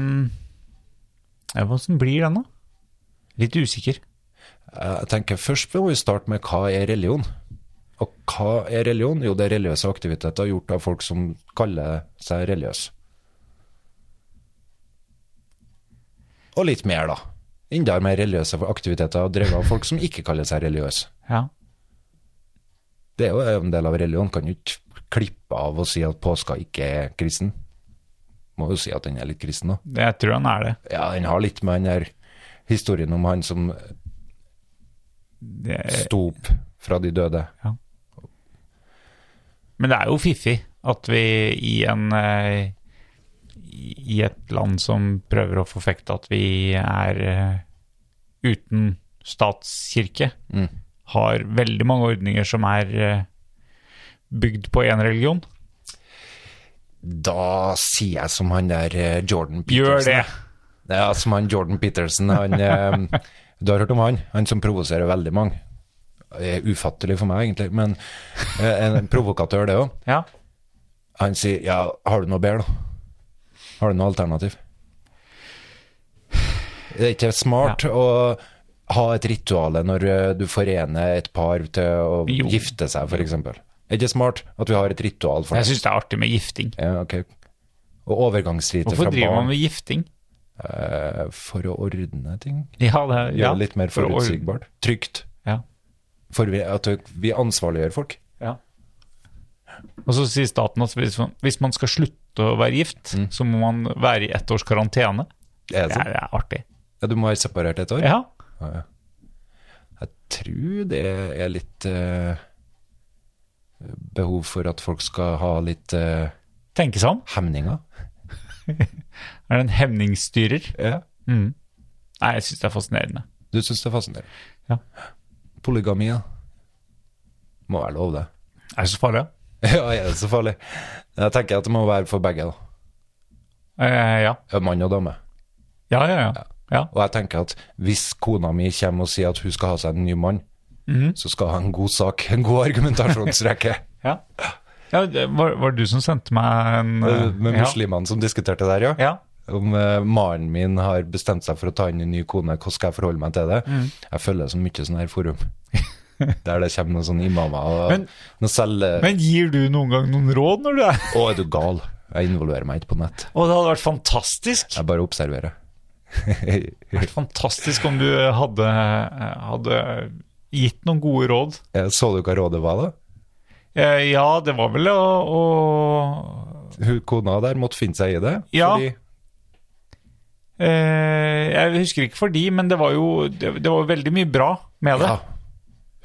A: ja, Hvordan blir den, da? Litt usikker.
B: Jeg tenker først må vi starte med hva er religion? Og hva er religion? Jo, det er religiøse aktiviteter gjort av folk som kaller seg religiøse. Og litt mer da. Enda mer religiøse aktiviteter drevet av folk som ikke kaller seg religiøse.
A: Ja.
B: Det er jo en del av religion. Kan jo ikke klippe av og si at påska ikke er kristen. Må jo si at den er litt kristen, da.
A: Jeg tror han er det.
B: Ja, den har litt med den her historien om han som
A: det
B: sto opp fra de døde.
A: Men det er jo fiffig at vi i en eh, I et land som prøver å forfekte at vi er eh, uten statskirke,
B: Mm.
A: har veldig mange ordninger som er eh, bygd på én religion.
B: Da sier jeg som han der eh, Jordan Peterson.
A: Gjør det!
B: Ja, som han Jordan Peterson. Han, eh, du har hørt om han? Han som provoserer veldig mange. Det er ufattelig for meg, egentlig, men eh, en provokatør, det òg.
A: Ja.
B: Han sier ja, har du noe bedre, da? Har du noe alternativ? Det er ikke smart å ha et ritual når eh, du forener et par til å
A: Jo.
B: gifte seg, f.eks. Er ikke smart at vi har et ritual for
A: Jeg
B: det?
A: syns det er artig med gifting.
B: Ja, ok. Og overgangsriter
A: Hvorfor
B: fra
A: driver man
B: barn
A: med gifting?
B: eh, for å ordne ting.
A: Ja, det er,
B: Gjøre
A: ja.
B: det litt mer
A: For å-
B: forutsigbart. Trygt.
A: Ja.
B: For vi, at vi ansvarliggjør folk.
A: Ja. Og så sier staten at hvis man, hvis man skal slutte å være gift, så må man være i ett års karantene.
B: Er det
A: Det
B: sånn?
A: er, det er artig.
B: Ja, du må være separert et år?
A: Ja.
B: Jeg tror det er litt eh, behov for at folk skal ha litt eh,
A: Tenke seg om.
B: hemninger.
A: Er det en hemningsstyrer?
B: Ja.
A: Nei, jeg syns det er fascinerende.
B: Du syns det er fascinerende?
A: Ja.
B: Polygami, ja. Må være lov, det. [LAUGHS]
A: Er det så farlig?
B: ja, er det så farlig? Jeg tenker at det må være for begge, da.
A: Eh, ja.
B: Mann og dame.
A: Ja, ja, ja. ja.
B: Og jeg tenker at hvis kona mi kommer og sier at hun skal ha seg en ny mann, så skal hun ha en god sak, en god argumentasjonsrekke.
A: ja. ja det var, var det du som sendte meg en eh,
B: Med muslimene som diskuterte det her, ja.
A: Ja. ja.
B: Om eh, mannen min har bestemt seg for å ta inn en ny kone, hvordan skal jeg forholde meg til det?
A: Mm.
B: Jeg følger så mye sånn her
A: [LAUGHS]
B: forum. Der det kommer noen sånne imamer og
A: Men-
B: noen selger
A: Men gir du noen gang noen råd når du er
B: Å, er du gal? Jeg involverer meg ikke på nett.
A: Og det hadde vært fantastisk.
B: Jeg bare observerer.
A: Det hadde vært fantastisk om du eh, hadde, eh, hadde gitt noen gode råd.
B: Eh, Så du hva rådet var, da?
A: Eh, ja, det var vel å, å
B: Hun kona der måtte finne seg i det.
A: Ja.
B: Fordi
A: eh, Jeg husker ikke for de, men det var jo det, det var veldig mye bra med det.
B: Ja.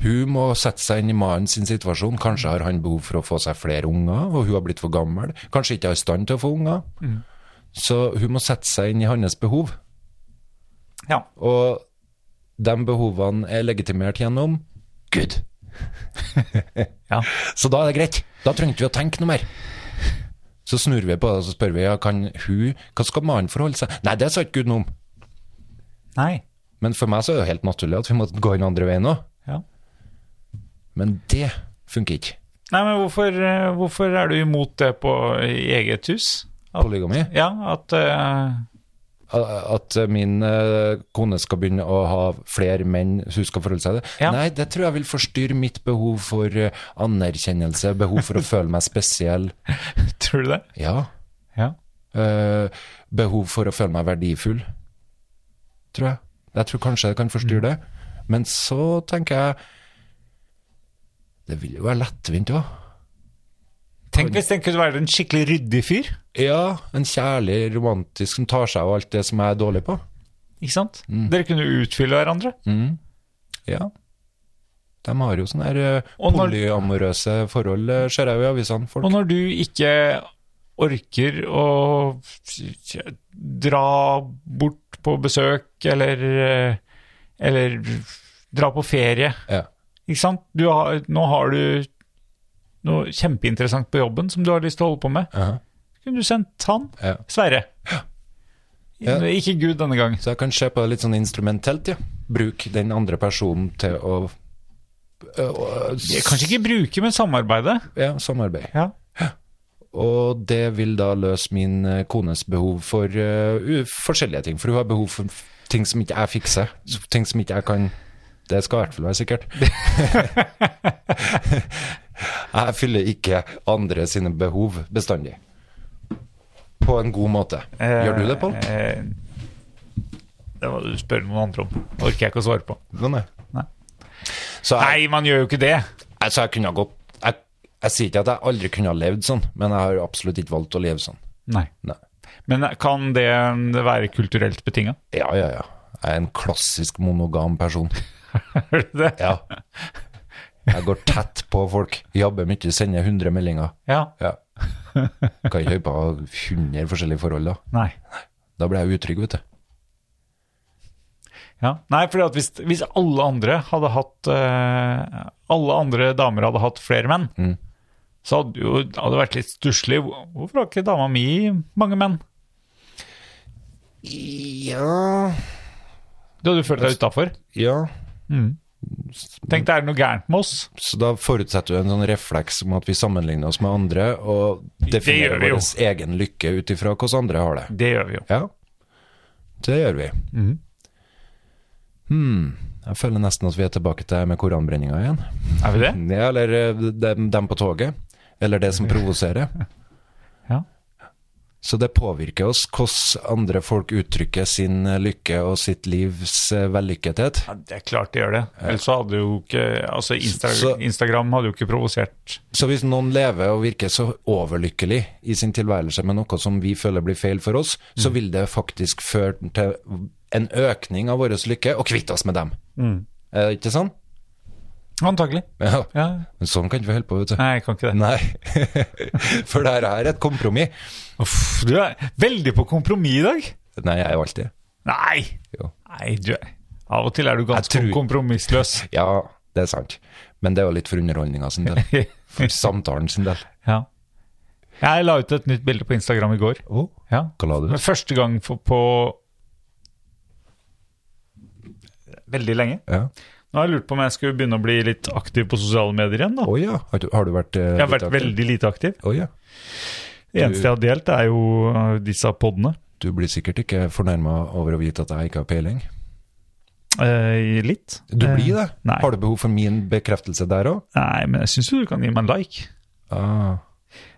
B: Hun må sette seg inn i mannen sin situasjon. Kanskje har han behov for å få seg flere unger, og hun har blitt for gammel. Kanskje ikke er i stand til å få unger.
A: Mm.
B: Så hun må sette seg inn i hans behov.
A: Ja.
B: Og de behovene er legitimert gjennom Gud.
A: [LAUGHS] Ja.
B: Så da er det greit. Da trengte vi å tenke noe mer. Så snur vi på det og så spør vi, ja, kan hun, hva skal mannen forholde seg Nei, det sa ikke Gud noe om.
A: Nei.
B: Men for meg så er det jo helt naturlig at vi må gå den andre veien òg.
A: Ja.
B: Men det funker ikke.
A: Nei, men hvorfor, eh, hvorfor er du imot det på i eget hus? At,
B: Polygami.
A: ja, at eh, [LAUGHS]
B: At min eh, kone skal begynne å ha flere menn hun skal forholde seg til.
A: Ja.
B: Nei, det tror jeg vil forstyrre mitt behov for eh, anerkjennelse, behov
A: [LAUGHS]
B: for å føle meg spesiell.
A: Tror du det?
B: Ja.
A: Ja.
B: Eh, behov for å føle meg verdifull, tror jeg. Jeg tror kanskje jeg kan
A: Mm.
B: forstyrre det. Men så tenker jeg Det vil jo være lettvint òg.
A: Tenk hvis den kunne være en skikkelig ryddig fyr.
B: Ja, en kjærlig, romantisk som tar seg av alt det som jeg er dårlig på.
A: Ikke sant? Dere kunne jo utfylle hverandre.
B: Mm. Ja. De har jo sånne her eh,
A: Og når-
B: polyamorøse forhold, eh, ser jeg jo i avisene. Folk.
A: Og når du ikke orker å dra bort på besøk eller, eller dra på ferie,
B: Ja.
A: ikke sant? Du har, nå har du noe kjempeinteressant på jobben som du har lyst til å holde på med.
B: Aha.
A: Kunne du sendt han?
B: Ja.
A: Sverre.
B: Ja.
A: Ikke Gud denne gang.
B: Så jeg kan se på det litt sånn instrumentelt, ja. Bruk den andre personen til å eh, å-
A: Kanskje ikke bruke, men samarbeide.
B: ja, samarbeid.
A: Ja.
B: Og det vil da løse min eh, kones behov for eh, u- forskjellige ting. For hun har behov for f- ting som ikke jeg fikser. s- Ting som ikke jeg kan Det skal i hvert fall være
A: [LAUGHS]
B: sikkert. jeg fyller ikke andre sine behov bestandig. På en god måte. Gjør du det, Pål?
A: Eh, Det må du spørre noen andre om. Orker jeg ikke å svare på.
B: Nei.
A: eh, Nei.
B: Så jeg,
A: Nei, man gjør jo ikke det.
B: altså jeg kunne ha gått jeg, jeg sier ikke at jeg aldri kunne ha levd sånn, men jeg har absolutt ikke valgt å leve sånn.
A: Nei.
B: Nei.
A: Men kan det være kulturelt betinga?
B: Ja, ja, ja. Jeg er en klassisk monogam person.
A: [LAUGHS] Er det det?
B: Ja. [LAUGHS] Jeg går tett på folk. Jobber mye, sender 100 meldinger.
A: Ja.
B: Ja. Kan ikke høre på 100 forskjellige forhold, da.
A: Nei.
B: Da blir jeg utrygg, vet du.
A: Ja. Nei, for hvis, hvis alle andre hadde hatt eh, Alle andre damer hadde hatt flere menn,
B: Mm.
A: så hadde jo, det hadde vært litt stusslig. Hvor- Hvorfor har ikke dama mi mange menn?
B: Ja
A: Du hadde jo følt deg utafor.
B: Ja.
A: Tenk, det er noe gærent med oss.
B: Så da forutsetter du en sånn refleks om at vi sammenligner oss med andre, og
A: gjør
B: definerer
A: vi jo.
B: vår egen lykke ut ifra hvordan andre har det.
A: Det gjør vi jo. Mhm.
B: Ja, det gjør vi. Hmm. Jeg føler nesten at vi er tilbake til det med koranbrenninga igjen.
A: Er vi det?
B: Ja, eller eh, dem, dem på toget. Eller det som provoserer.
A: [LAUGHS] Ja.
B: Så det påvirker oss hvordan andre folk uttrykker sin eh, lykke og sitt livs eh, vellykkethet.
A: Ja, det er klart de gjør det. Ellers så hadde jo ikke altså Insta
B: Så-
A: Instagram hadde jo ikke provosert
B: Så hvis noen lever og virker så overlykkelig i sin tilværelse med noe som vi føler blir feil for oss,
A: Mm.
B: så vil det faktisk føre til en økning av vår lykke og kvitte oss med dem. Er det ikke sånn?
A: Antagelig.
B: Ja.
A: Mm. Ja.
B: Men sånn kan ikke vi holde på, vet du.
A: Nei, jeg kan ikke det.
B: [LAUGHS] Nei. For det her er et kompromiss.
A: Uff, du er veldig på kompromiss i dag.
B: Nei, jeg er jo alltid
A: Nei!
B: Jo.
A: Nei, du er Av og til er du ganske
B: Jeg tror- [LAUGHS]
A: kompromissløs.
B: Ja, det er sant. Men det er jo litt for underholdninga sin del. For samtalen sin del.
A: [LAUGHS] ja. Jeg la ut et nytt bilde på Instagram i går.
B: Oh,
A: Ja.
B: hva la du?
A: Men første gang for, på Veldig lenge.
B: Ja.
A: Nå har jeg lurt på om jeg skulle begynne å bli litt aktiv på sosiale medier igjen. da.
B: Å ja. Har du, har du vært eh,
A: jeg har
B: litt
A: vært
B: aktiv?
A: veldig lite aktiv.
B: Å ja.
A: Det eneste jeg har delt, er jo uh, disse podene.
B: Du blir sikkert ikke fornærma over å vite at jeg ikke har peiling.
A: Eh, litt.
B: Du blir det?
A: nei.
B: Har du behov for min bekreftelse der òg?
A: Nei, men jeg syns jo du kan gi meg en like.
B: Ah.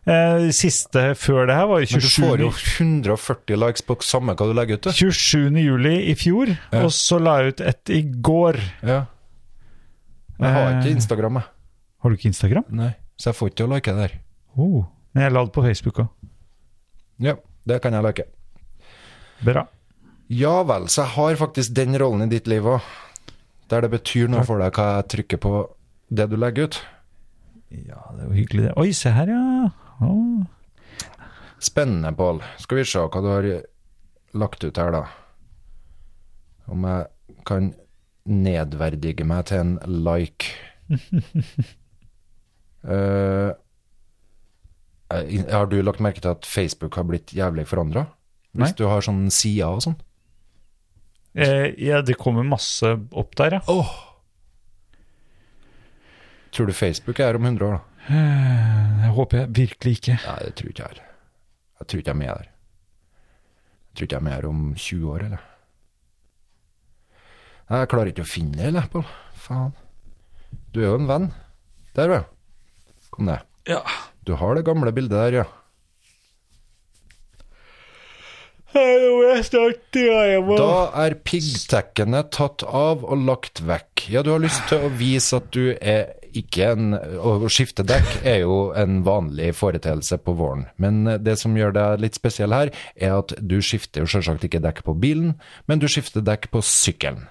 A: Eh, siste før det her var jo
B: Men du
A: 27.
B: får jo 140 likes på samme hva du legger ut, du.
A: 27. juli i fjor,
B: Ja.
A: og så la jeg ut et i går.
B: Ja. Jeg har
A: Eh.
B: ikke Instagram, jeg.
A: Har du ikke Instagram?
B: Nei. Så jeg får ikke til å like det der.
A: Oh. Men jeg la det på Facebook òg.
B: Ja, det kan jeg like.
A: Bra.
B: Ja vel, så jeg har faktisk den rollen i ditt liv òg. Der det betyr noe for deg hva jeg trykker på det du legger ut.
A: Ja, det var hyggelig, det. Oi, se her, ja. Å.
B: Spennende, Pål. Skal vi se hva du har lagt ut her, da. Om jeg kan nedverdige meg til en like. Eh, eh, har du lagt merke til at Facebook har blitt jævlig forandra?
A: Nei.
B: Hvis du har sånn sider og sånn?
A: Eh, ja, det kommer masse opp der, ja.
B: Tror du Facebook er om 100 år, da?
A: Eh, Jeg håper jeg virkelig ikke.
B: Nei, det tror ikke jeg er. Jeg tror ikke jeg er med der. Jeg tror ikke jeg er med her om 20 år, eller? Nei, jeg klarer ikke å finne det, eller, Pål. Faen. Du er jo en venn. Der, ja. Kom ned.
A: Ja.
B: Du har det gamle bildet der, ja.
A: jeg snart hjem
B: Da er piggtekkene tatt av og lagt vekk. Ja, du har lyst til å vise at du er ikke en Å skifte dekk er jo en vanlig foreteelse på våren. Men det som gjør deg litt spesiell her, er at du skifter jo selvsagt ikke dekk på bilen, men du skifter dekk på sykkelen.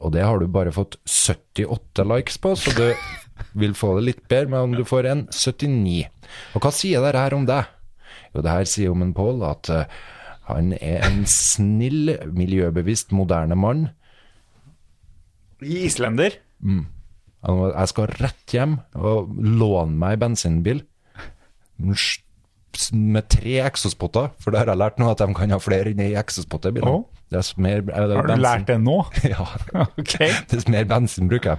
B: Og det har du bare fått 78 likes på, så du vil få det litt bedre med om du får en 79. Og hva sier dette her om deg? Jo, det her sier om en Pål at eh, han er en snill, miljøbevisst, moderne mann.
A: Islender?
B: Han var- Jeg skal rett hjem og låne meg en bensinbil Sj- s- med tre eksospotter, for det har jeg lært nå at de kan ha flere enn ei eksospotte i bilen.
A: Å.
B: Dess mer, eh,
A: Har du lært det nå?
B: [LAUGHS]
A: [LAUGHS]
B: Ja.
A: Ok.
B: Dess mer bensin bruker jeg.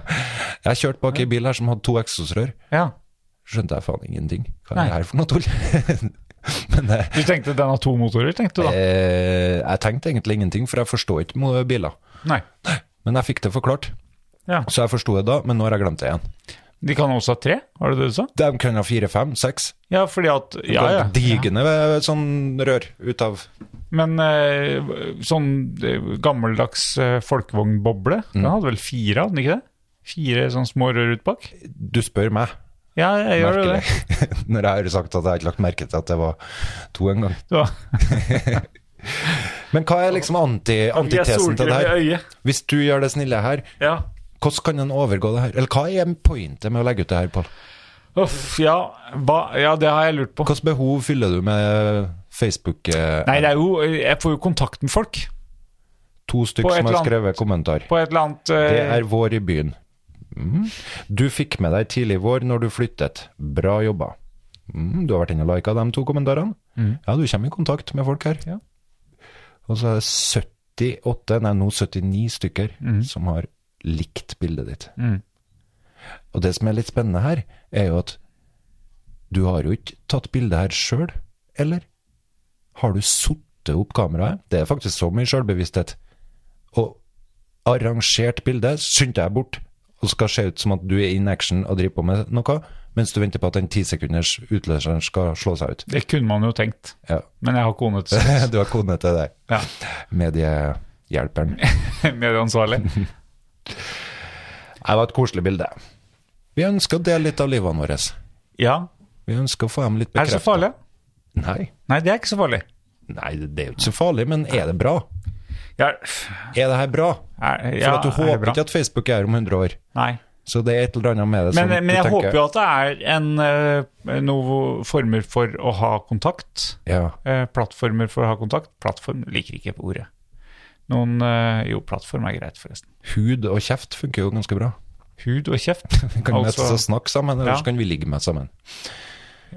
B: Jeg kjørte bak ei bil her som hadde to eksosrør.
A: Ja.
B: Skjønte jeg faen ingenting. Hva
A: Nei.
B: er det her for noe tull? Men eh,
A: Du tenkte den har to motorer, tenkte du da?
B: [LAUGHS] eh, jeg tenkte egentlig ingenting, for jeg forstår ikke mo- biler.
A: Nei.
B: Men jeg fikk det forklart,
A: Ja.
B: så jeg forsto det da, men nå har jeg glemt det igjen.
A: De kan også ha tre, var det det du sa?
B: De kan ha fire, fem, seks.
A: Ja, fordi at Ja, ja.
B: Digende eh, sånn rør ut av
A: Men eh, sånn eh, gammeldags eh, folkevognboble,
B: Mm.
A: den hadde vel fire, hadde den ikke det? Fire sånne små rør ut bak?
B: Du spør meg,
A: Ja, jeg gjør jo det.
B: merkelig. [LAUGHS] Når jeg har sagt at jeg ikke lagt merke til at det var to en gang.
A: Så,
B: Men hva er liksom anti,
A: vi er
B: [LAUGHS] antitesen til det
A: solkrem i
B: her?
A: øyet.
B: Hvis du gjør det snille her,
A: Ja.
B: hvordan kan en overgå det her? Eller hva er pointet med å legge ut det her, Pål?
A: Uff, ja. Hva, ja, det har jeg lurt på.
B: Hvilket behov fyller du med Facebook? eh,
A: Nei, det er jo Jeg får jo kontakt med folk
B: to
A: på
B: stykker
A: et
B: som har
A: eller
B: skrevet kommentar.
A: på et eller annet eh,
B: Det er vår i byen. Mm. Du fikk med deg tidlig vår når du flyttet. Bra jobba. Mm, du har vært inne og lika de to kommentarene. Ja, du kommer i kontakt med folk her. Og så er det 78, nei nå 79 stykker som har likt bildet ditt. Og det som er litt spennende her, er jo at du har jo ikke tatt bildet her sjøl, eller? Har du sottet opp kameraet? Det er faktisk så mye sjølbevissthet. Og arrangert bilde, skynd deg bort, og skal se ut som at du er in action og driver på med noe, mens du venter på at den ti sekunders utløseren skal slå seg ut.
A: Det kunne man jo tenkt,
B: Ja. [LAUGHS]
A: men jeg har kone til sånt.
B: Du har kone til deg.
A: [LAUGHS] Ja.
B: Mediehjelperen.
A: Medieansvarlig.
B: Det var et koselig bilde. Vi ønsker å dele litt av livene våre.
A: Ja.
B: Vi ønsker å få dem litt
A: Er det
B: bekreftet.
A: så farlig?
B: Nei.
A: Nei, det er ikke så farlig.
B: Nei, det er jo ikke så farlig, men er det bra?
A: Ja,
B: Er det her bra?
A: er,
B: For
A: ja,
B: at du
A: er det
B: håper
A: bra?
B: ikke at Facebook er her om 100 år.
A: Nei.
B: Så det er et eller annet med det
A: Men,
B: som
A: men
B: du
A: jeg
B: tenker
A: håper jo at det er en, eh, noen former for å ha kontakt.
B: Ja,
A: Eh, Plattformer for å ha kontakt. Plattform liker ikke på ordet. Noen eh, Jo, plattform er greit, forresten.
B: hud og kjeft funker jo ganske bra.
A: Hud og kjeft.
B: [LAUGHS]
A: Altså,
B: Vi kan møtes og snakke sammen, eller
A: Ja.
B: så kan vi ligge med sammen.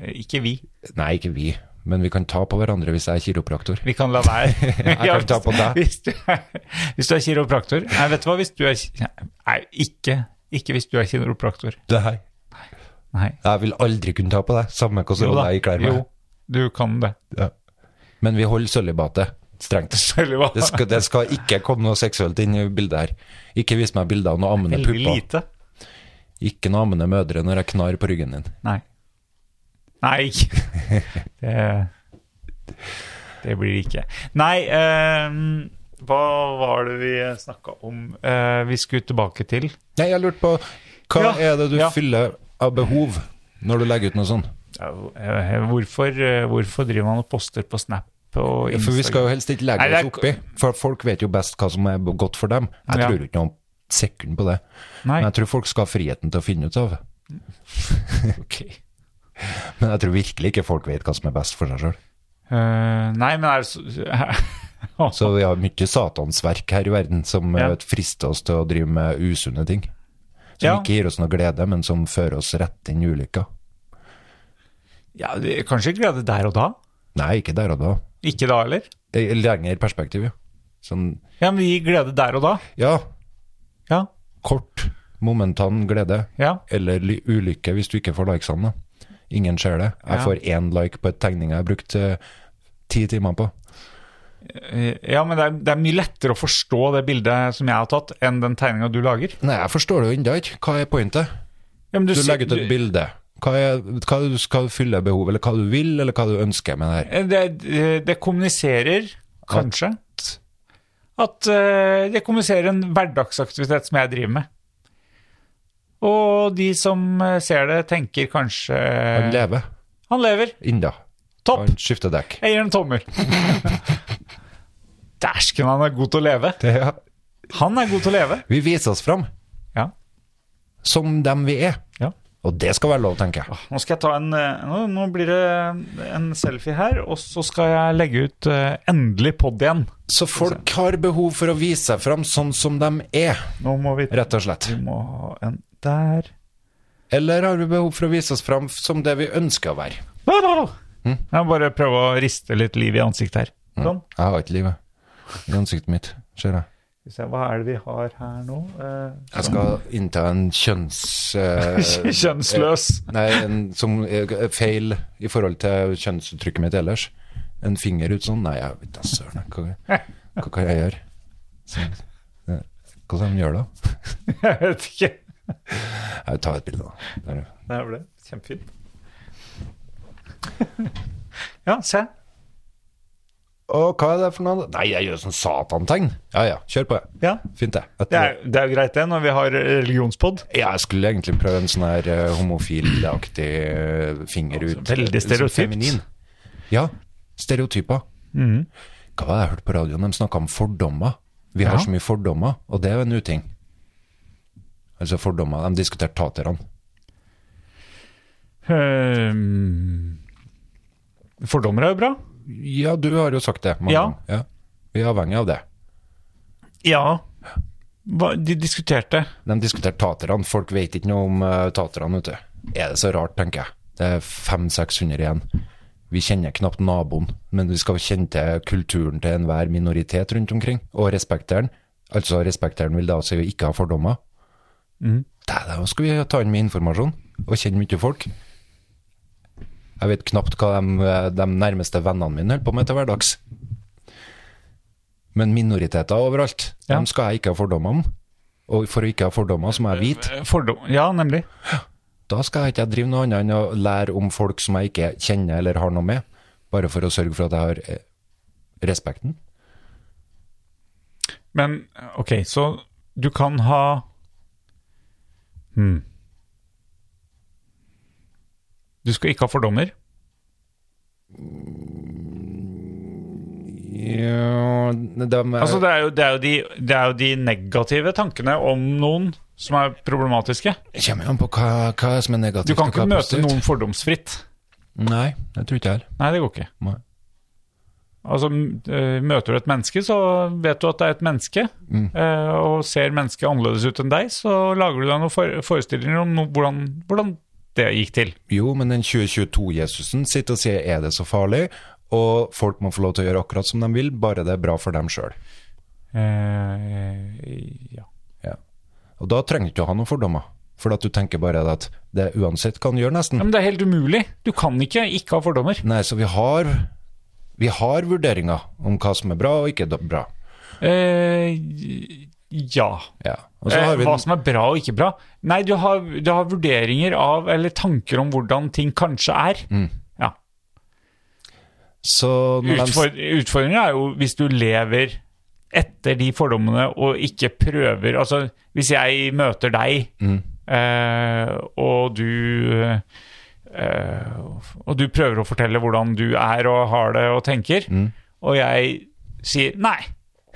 A: eh, ikke vi.
B: Nei, ikke vi, men vi kan ta på hverandre hvis jeg er kiropraktor.
A: Vi kan la
B: [LAUGHS]
A: være.
B: Jeg kan ta på deg.
A: [LAUGHS] Hvis du, er, hvis du er kiropraktor Nei, vet du hva, hvis du er ki- Nei, ikke, ikke hvis du er kiropraktor.
B: Nei,
A: Nei.
B: jeg vil aldri kunne ta på deg, samme hvilken rolle jeg ikler meg.
A: Jo, du kan det. [LAUGHS]
B: Ja. Men vi holder sølibatet strengt.
A: Eller hva?
B: Det skal, det skal ikke komme noe seksuelt inn i bildet her. Ikke vis meg bilder av noen ammende
A: Veldig
B: pupper.
A: lite.
B: Ikke noen ammende mødre når jeg knar på ryggen din.
A: Nei. Nei, [LAUGHS] ikke Det, det blir det ikke. Nei, ehm, hva var det vi snakka om? Eh, vi skulle tilbake til
B: Nei, jeg lurte på
A: Ja,
B: Hva er det du
A: ja.
B: fyller av behov når du legger ut noe sånt?
A: ja, eh, hvorfor, eh, hvorfor driver man og poster på Snap og
B: For vi skal
A: Instagram?
B: jo helst ikke legge
A: Nei, det er-
B: oss oppi. For folk vet jo best hva som er godt for dem. Jeg
A: Ja.
B: tror ikke noe sekund på det.
A: Nei.
B: Men jeg tror folk skal ha friheten til å finne ut av.
A: Ok.
B: Men jeg tror virkelig ikke folk vet hva som er best for seg sjøl.
A: Eh, nei, men er det så [LAUGHS]
B: Så vi har mye satansverk her i verden som
A: Ja.
B: eh, frister oss til å drive med usunne ting. Som
A: Ja.
B: ikke gir oss noe glede, men som fører oss rett inn i ulykka.
A: ja, det- Kanskje ikke glede der og da?
B: Nei, ikke der og da.
A: Ikke da heller?
B: I lengre perspektiv, ja. Sånn,
A: Ja, men det gir glede der og da.
B: ja,
A: Ja,
B: kort, momentan glede.
A: ja.
B: eller ly- ulykke hvis du ikke får likesene. da. Ingen ser det. Jeg
A: Ja.
B: får én like på et tegning jeg har brukt eh, ti timer på.
A: Eh, Ja, men det er, det er mye lettere å forstå det bildet som jeg har tatt, enn den tegninga du lager.
B: Nei, jeg forstår det jo ennå ikke. Hva er pointet?
A: Ja, men
B: Du
A: ser-
B: legger ut et bilde. Hva, er, hva er det du skal fylle behovet, eller hva du vil, eller hva du ønsker med det her?
A: Eh, Det, det- det kommuniserer kanskje at eh, det kommuniserer en hverdagsaktivitet som jeg driver med. Og de som eh, ser det, tenker kanskje
B: Han lever
A: Han lever.
B: ennå.
A: Topp!
B: Han skifter dekk.
A: Jeg gir en
B: [LAUGHS]
A: tommel. Dæsken, han er god til å leve.
B: Ja.
A: Han er god til å leve.
B: Vi viser oss fram
A: Ja.
B: som dem vi er.
A: Ja.
B: Og det skal være lov, tenker jeg.
A: Nå skal jeg ta en eh, Nå, nå blir det en selfie her, og så skal jeg legge ut eh, endelig pod igjen.
B: Så folk har behov for å vise seg fram sånn som de er,
A: Nå må vi
B: rett og slett.
A: Vi må ha en der.
B: Eller har vi behov for å vise oss fram som det vi ønsker å være?
A: Der, der, der. Jeg må bare prøve å riste litt liv i ansiktet her. Sånn.
B: Jeg har ikke livet i ansiktet mitt, ser jeg.
A: Skal vi se, hva er det vi har her nå? Eh,
B: Jeg skal innta en kjønns...
A: [LAUGHS]
B: eh,
A: Kjønnsløs.
B: eh, nei, en som er er feil i forhold til kjønnsuttrykket mitt ellers. En finger ut sånn. Nei, jeg vet da søren.
A: eh.
B: Hva, hva kan jeg gjøre? Sånn. Eh, Hva skal de gjøre da?
A: [LAUGHS] Jeg vet ikke.
B: Jeg tar et bilde, da. Der, ja.
A: Der ble det. Kjempefint. [LAUGHS] Ja, se.
B: Å, hva er det for noe? Nei, jeg gjør sånn satantegn. Ja ja, kjør på. jeg.
A: Ja.
B: Fint, det. Etter-
A: Det er, det er jo greit, det, når vi har religionspod.
B: Ja, jeg skulle egentlig prøve en sånn her eh, homofilaktig eh, finger ut.
A: veldig
B: eh, som
A: stereotypt. Mhm.
B: feminin. Ja, stereotyper. Hva var det jeg hørte på radioen? De snakka om fordommer. Vi har
A: Ja.
B: så mye fordommer, og det er jo en uting. Altså fordommer. De diskuterte taterne.
A: Ehm, Fordommer er jo bra.
B: Ja, du har jo sagt det mange
A: Ja.
B: ganger. Ja. Vi er avhengig av det.
A: Ja. Hva, de diskuterte
B: De diskuterte taterne. Folk vet ikke noe om eh, taterne, vet du. Er det så rart, tenker jeg. Det er 500-600 igjen. Vi kjenner knapt naboen, men vi skal kjenne til kulturen til enhver minoritet rundt omkring, og respekteren. Altså, respekteren vil da si å ikke ha fordommer. Det er det, hva skal vi ta inn med informasjon, og kjenne mye folk. Jeg eh, vet knapt hva de, de nærmeste vennene mine holder på med til hverdags. Men minoriteter overalt,
A: Ja.
B: dem skal jeg ikke ha fordommer om. Og for å ikke ha fordommer så må jeg vite.
A: Fordom. Ja, nemlig.
B: Da skal jeg ikke drive noe annet enn å lære om folk som jeg ikke kjenner eller har noe med, bare for å sørge for at jeg har eh, respekten.
A: Men ok, så du kan ha hmm. Du skal ikke ha fordommer.
B: Ja, dem er-
A: Altså, det, er jo, det, er jo de, det er jo de negative tankene om noen som er problematiske.
B: det kommer jo an på hva, hva som er negativt.
A: Du kan
B: og
A: ikke
B: hva er
A: møte
B: positivt.
A: noen fordomsfritt.
B: Nei, det tror ikke jeg heller.
A: Nei, det går ikke.
B: Nei.
A: Altså, m- eh, Møter du et menneske, så vet du at det er et menneske. eh, Og ser mennesket annerledes ut enn deg, så lager du deg noen for- forestillinger om no hvordan, hvordan det gikk til.
B: Jo, men den 2022-Jesusen sitter og sier er det så farlig, og folk må få lov til å gjøre akkurat som de vil, bare det er bra for dem sjøl.
A: Eh, ja.
B: Og da trenger du ikke å ha noen fordommer, for at du tenker bare at det uansett kan gjøre
A: Ja,
B: nesten.
A: men det er helt umulig. Du kan ikke ikke ha fordommer.
B: Nei, så vi har, vi har vurderinger om hva som er bra og ikke da- bra.
A: Eh, ja.
B: Ja. Og så
A: Eh,
B: har vi
A: hva som er bra og ikke bra. Nei, du har, du har vurderinger av, eller tanker om hvordan ting kanskje er.
B: Mm.
A: Ja.
B: så når de-
A: Utfor, utfordringen er jo hvis du lever etter de fordommene og ikke prøver Altså, hvis jeg møter deg,
B: Mm.
A: eh, og du eh, Og du prøver å fortelle hvordan du er og har det og tenker,
B: Mm.
A: og jeg sier nei.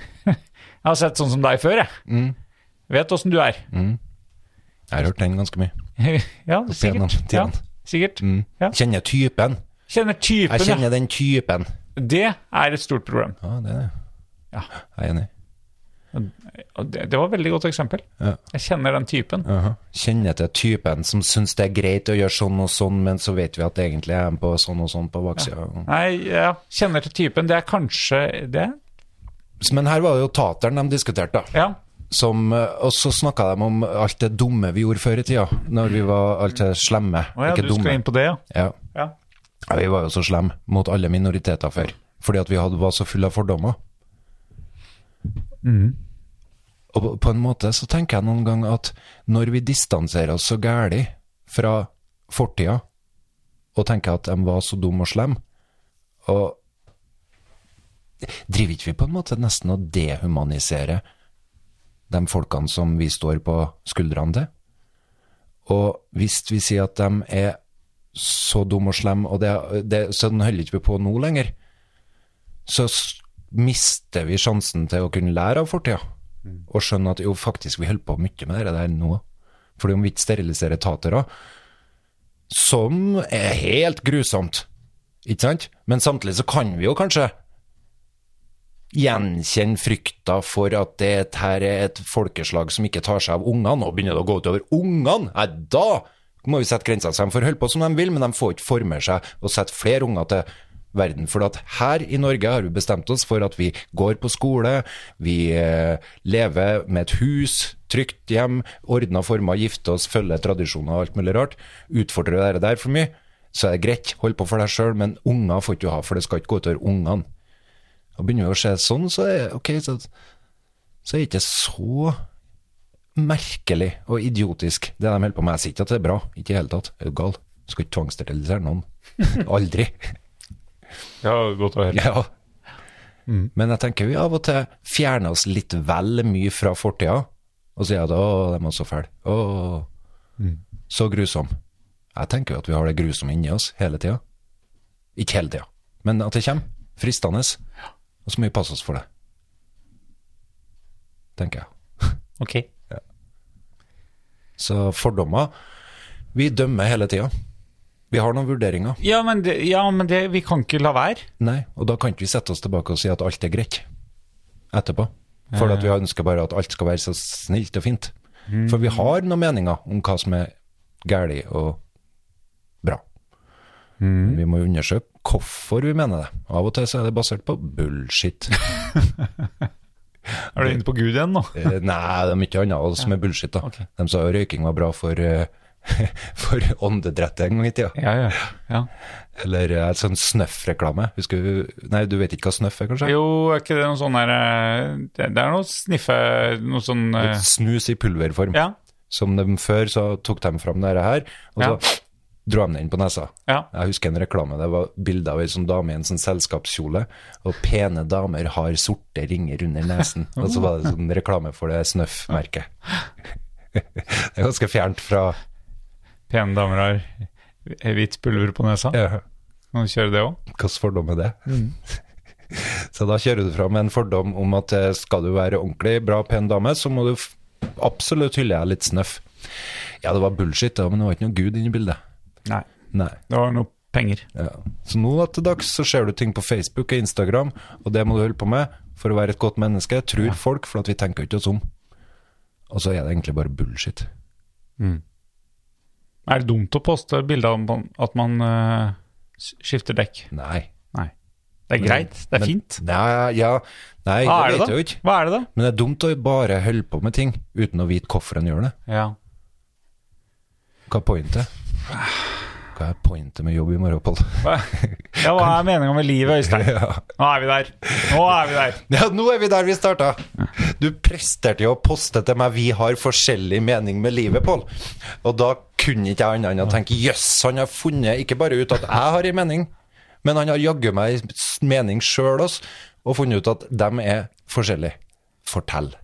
A: [LAUGHS] Jeg har sett sånn som deg før, jeg.
B: Mm.
A: Vet åssen du er.
B: Jeg har hørt den ganske mye.
A: [LAUGHS] ja,
B: gjennom
A: sikkert. Ja,
B: tiden.
A: sikkert. Ja.
B: Kjenner typen.
A: Kjenner typen,
B: Jeg kjenner den typen.
A: ja. Det er et stort problem.
B: Ja, det er det.
A: Ja.
B: Jeg er enig.
A: Og Det, det var et veldig godt eksempel.
B: Ja.
A: Jeg kjenner den typen.
B: Aha. Kjenner til typen som syns det er greit å gjøre sånn og sånn, men så vet vi at det egentlig er en på sånn og sånn på baksida.
A: Nei, ja, kjenner til typen. Det er kanskje det.
B: Men her var det jo tateren de diskuterte, da.
A: Ja.
B: Som, eh, og så snakka de om alt det dumme vi gjorde før i tida, når vi var alt det slemme.
A: Å ja,
B: ikke
A: du
B: dumme.
A: skal inn på det, ja.
B: ja.
A: ja.
B: ja, vi var jo så slemme mot alle minoriteter før, fordi at vi hadde, var så fulle av fordommer. Og på- på en måte så tenker jeg noen gang at når vi distanserer oss så gærlig fra fortida, og tenker at de var så dumme og slemme, og driver ikke vi på en måte nesten å dehumanisere de folkene som vi står på skuldrene til? Og hvis vi sier at de er så dum og slem, og det, det, sånn holder ikke vi på nå lenger, så s- mister vi sjansen til å kunne lære av fortida. Og skjønne at jo, faktisk, vi holder på mye med det der nå. Fordi om vi ikke steriliserer tatere, som er helt grusomt, ikke sant? Men samtidig så kan vi jo kanskje gjenkjenne frykta for at det her er et folkeslag som ikke tar seg av ungene, og begynner det å gå utover ungene, nei, da må vi sette grenser. Så de får holde på som de vil, men de får ikke forme seg og sette flere unger til verden. For at her i Norge har vi bestemt oss for at vi går på skole, vi eh, lever med et hus, trygt hjem, ordna former, gifter oss, følger tradisjoner og alt mulig rart. Utfordrer dere der for mye, så er det greit, hold på for deg sjøl, men unger får ikke du ha, for det skal ikke gå utover ungene. Og begynner vi å se sånn, så er ok, så, så er det ikke så merkelig og idiotisk det de holder på med. Jeg sier ikke at det er bra, ikke i det hele tatt. Er du gal? Skal ikke tvangssterilisere noen. Aldri.
A: ja godt å høre.
B: [LAUGHS] ja. Men jeg tenker vi av og til fjerner oss litt vel mye fra fortida, og sier at å, de er så fæle. Å, så grusom. Jeg tenker jo at vi har det grusomme inni oss hele tida. Ikke hele tida, men at det kommer. Fristende. Og så må vi passe oss for det. Tenker jeg.
A: Ok.
B: Så fordommer Vi dømmer hele tida. Vi har noen vurderinger.
A: Ja, men, det, ja, men det, vi kan ikke la være.
B: Nei, og da kan ikke vi sette oss tilbake og si at alt er greit etterpå. For at vi ønsker bare at alt skal være så snilt og fint.
A: Mm.
B: For vi har noen meninger om hva som er galt og bra.
A: Mm.
B: Vi må jo undersøke hvorfor vi mener det. Av og til så er det basert på
A: [LAUGHS]
B: bullshit.
A: Er du inne på Gud igjen nå?
B: Eh, Nei, det er mye annet også som er bullshit. da.
A: ok.
B: De sa jo røyking var bra for eh, [LAUGHS] for åndedrettet en gang i tida.
A: Ja, ja. ja.
B: Eller eh, sånn snøff-reklame. Husker du Nei, du vet ikke hva snøff er, kanskje?
A: Jo, er ikke det noe sånn der eh, Det det er noe sniffe Noe sånn eh,
B: Snus i pulverform.
A: Ja.
B: Som de før så tok de fram dette her, og
A: Ja.
B: så dro de den inn på nesa.
A: Ja.
B: Jeg husker en reklame, det var bilde av en sånn dame i en sånn selskapskjole, og pene damer har sorte ringer under nesen. Og så var det sånn reklame for det snøff-merket. [LAUGHS] Det er ganske fjernt fra
A: Pene damer har hvitt pulver på nesa.
B: ja,
A: Kan du kjøre det òg?
B: Hvilken fordom er det? [LAUGHS] Så da kjører du fram en fordom om at eh, skal du være ordentlig bra, pen dame, så må du f- absolutt hylle deg litt snøff. Ja, det var bullshit, da, men det var ikke noe gud inne i bildet.
A: Nei.
B: Nei.
A: Det var noe penger.
B: Ja. Så nå til dags så ser du ting på Facebook og Instagram, og det må du holde på med for å være et godt menneske, tror folk, for at vi tenker ikke oss om. Og så er det egentlig bare bullshit.
A: Er det dumt å poste bilder om at man eh, s- skifter dekk?
B: Nei.
A: Nei. Det er greit. Det er
B: Men-
A: fint.
B: Nei, ja, nei
A: Hva er
B: det
A: det,
B: vet jeg jo
A: da?
B: ikke.
A: Hva er det, da?
B: Men det er dumt å bare holde på med ting uten å vite hvorfor en gjør det.
A: Ja.
B: Hva er pointet? Hva er pointet med jobb i morgen, Pål? [LAUGHS]
A: Hva, ja, hva er meninga med livet, [LAUGHS] Øystein?
B: Ja.
A: Nå er vi der. Nå er vi der.
B: [LAUGHS] ja, nå er vi der vi starta! Du presterte jo å poste til meg 'Vi har forskjellig mening med livet', Pål. Og da kunne ikke jeg annet enn å tenke 'jøss, han har funnet ikke bare ut at jeg har ei mening', men han har jaggu meg ei s- mening sjøl også, og funnet ut at dem er forskjellige. Fortell.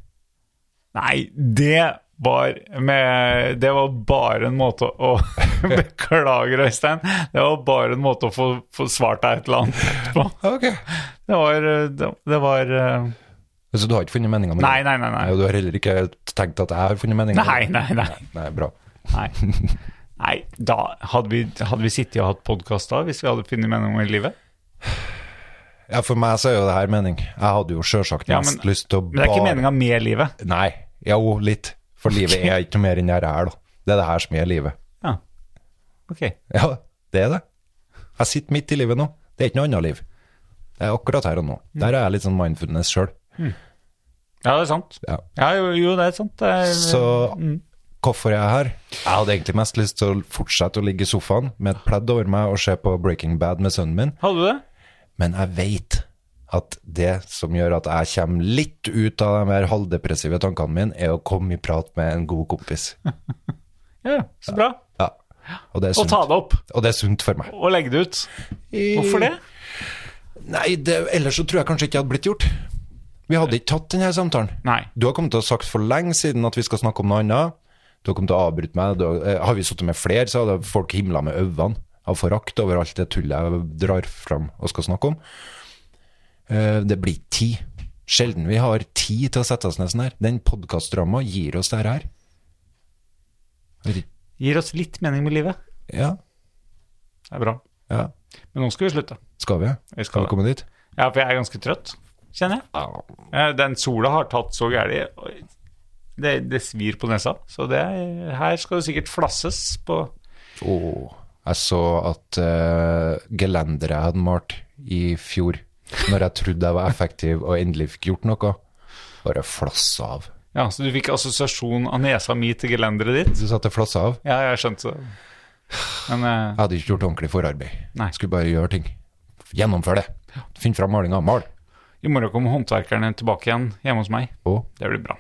A: Nei, det var med Det var bare en måte å [LAUGHS] Beklager, Øystein. Det var bare en måte å få, få svart deg et eller annet på.
B: Ok.
A: Det var eh, Det, det var eh,
B: Så du har ikke funnet meninga mi?
A: Nei, nei, nei. Nei,
B: Og du har heller ikke tenkt at jeg har funnet meninga
A: nei. nei, nei.
B: Nei, bra.
A: nei. nei da hadde vi, hadde vi sittet og hatt podkast da, hvis vi hadde funnet mening med livet?
B: Ja, for meg så er jo det her mening. Jeg hadde jo sjølsagt
A: Ja,
B: mest
A: men-
B: lyst til å
A: Men det er ikke
B: bare-
A: meninga med livet.
B: Nei. Jo, litt. For livet er ikke noe mer enn det her er, da. Det er det her som er livet.
A: Ja. Ok.
B: Ja, det er det. Jeg sitter midt i livet nå. Det er ikke noe annet liv. Det er akkurat her og nå.
A: Mm.
B: Der er jeg litt sånn mindfulness sjøl.
A: Ja, det er sant.
B: Ja.
A: Ja, jo, jo det er sant. Det er,
B: Så
A: mm.
B: hvorfor er jeg her? Jeg hadde egentlig mest lyst til å fortsette å ligge i sofaen med et pledd over meg og se på Breaking Bad med sønnen min.
A: Hadde du det?
B: Men jeg veit at det som gjør at jeg kommer litt ut av de her halvdepressive tankene mine, er å komme i prat med en god kompis.
A: Ja, så bra.
B: Ja. Og det er
A: Og
B: sunt,
A: ta det opp.
B: og det er sunt for meg.
A: Og legge det ut. Hvorfor det?
B: Nei, det, ellers så tror jeg kanskje ikke det hadde blitt gjort. Vi hadde ikke tatt denne samtalen.
A: Nei.
B: Du har kommet til å ha sagt for lenge siden at vi skal snakke om noe annet. Du har kommet til å avbryte meg. Du har, eh, har vi sittet med flere, så hadde folk himla med øynene av forakt over alt det tullet jeg drar fram og skal snakke om. Eh, Det blir tid. Sjelden vi har tid til å sette oss ned sånn her. Den podkastramma gir oss det her. Vet ikke-
A: Gir oss litt mening med livet.
B: Ja,
A: Det er bra.
B: ja.
A: Men nå skal vi slutte.
B: Skal vi?
A: Vi
B: Skal
A: skal
B: vi komme dit?
A: Ja, for jeg er ganske trøtt, kjenner jeg.
B: Ja.
A: Eh, Den sola har tatt så gæli. og Det, det svir på nesa. Så det er, her skal det sikkert flasses på
B: Åh, jeg så at uh, gelenderet jeg hadde malt i fjor, når jeg trodde jeg var effektiv og endelig fikk gjort noe, bare flassa av.
A: Ja, så du fikk assosiasjon av nesa mi til gelenderet ditt?
B: Du sa at det flassa av?
A: Ja, jeg skjønte det. Men eh,
B: Jeg hadde ikke gjort ordentlig forarbeid.
A: Nei.
B: Skulle bare gjøre ting. Gjennomføre det. Finn fram malinga. Mal.
A: i morgen kommer håndverkerne tilbake igjen hjemme hos meg.
B: Og
A: Det blir bra.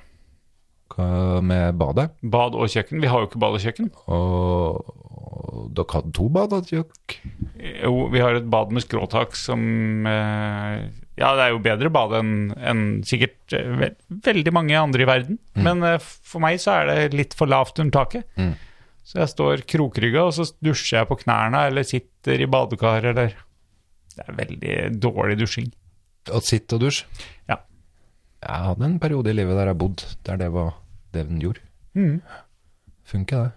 B: hva med badet?
A: Bad og kjøkken. Vi har jo ikke bad og kjøkken.
B: Og, og dere hadde to bad? hadde dere ikke?
A: Jo, vi har et bad med skråtak som eh, Ja, det er jo bedre bad enn enn sikkert eh, ve veldig mange andre i verden.
B: Mm.
A: Men eh, for meg så er det litt for lavt under taket. Så jeg står krokrygga, og så dusjer jeg på knærne eller sitter i badekar eller Det er veldig dårlig dusjing.
B: Å sitte og dusje?
A: Ja.
B: Jeg hadde en periode i livet der jeg bodde, der det var det den gjorde.
A: Mm.
B: Funker det?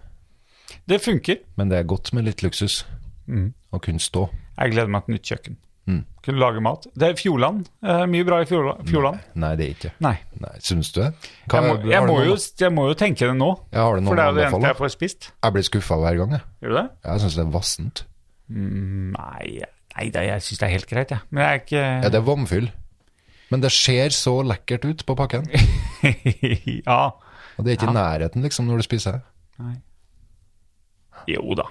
A: Det funker.
B: Men det er godt med litt luksus
A: Mm.
B: å kunne stå.
A: Jeg gleder meg til nytt kjøkken.
B: Mm.
A: Kunne lage mat. Det er Fjordland. Eh, mye bra i Fjordla- Fjordland.
B: Nei, det er ikke
A: Nei.
B: Nei, Syns du det? Hva-
A: Jeg må, jeg,
B: har du
A: må jo,
B: noen-
A: jeg må jo tenke det nå.
B: Ja, har du
A: For
B: noen
A: det er jo det
B: anbefaling?
A: eneste jeg
B: Jeg,
A: får spist.
B: blir skuffa hver gang, jeg.
A: Gjør du det?
B: Jeg syns det er vassent.
A: Nei, nei da, jeg syns det er helt greit, jeg. Men jeg er ikke
B: Ja, det er vannfyll. Men det ser så lekkert ut på pakken.
A: ja. [LAUGHS]
B: Og det er ikke i nærheten, liksom, når du spiser.
A: Nei. Jo da.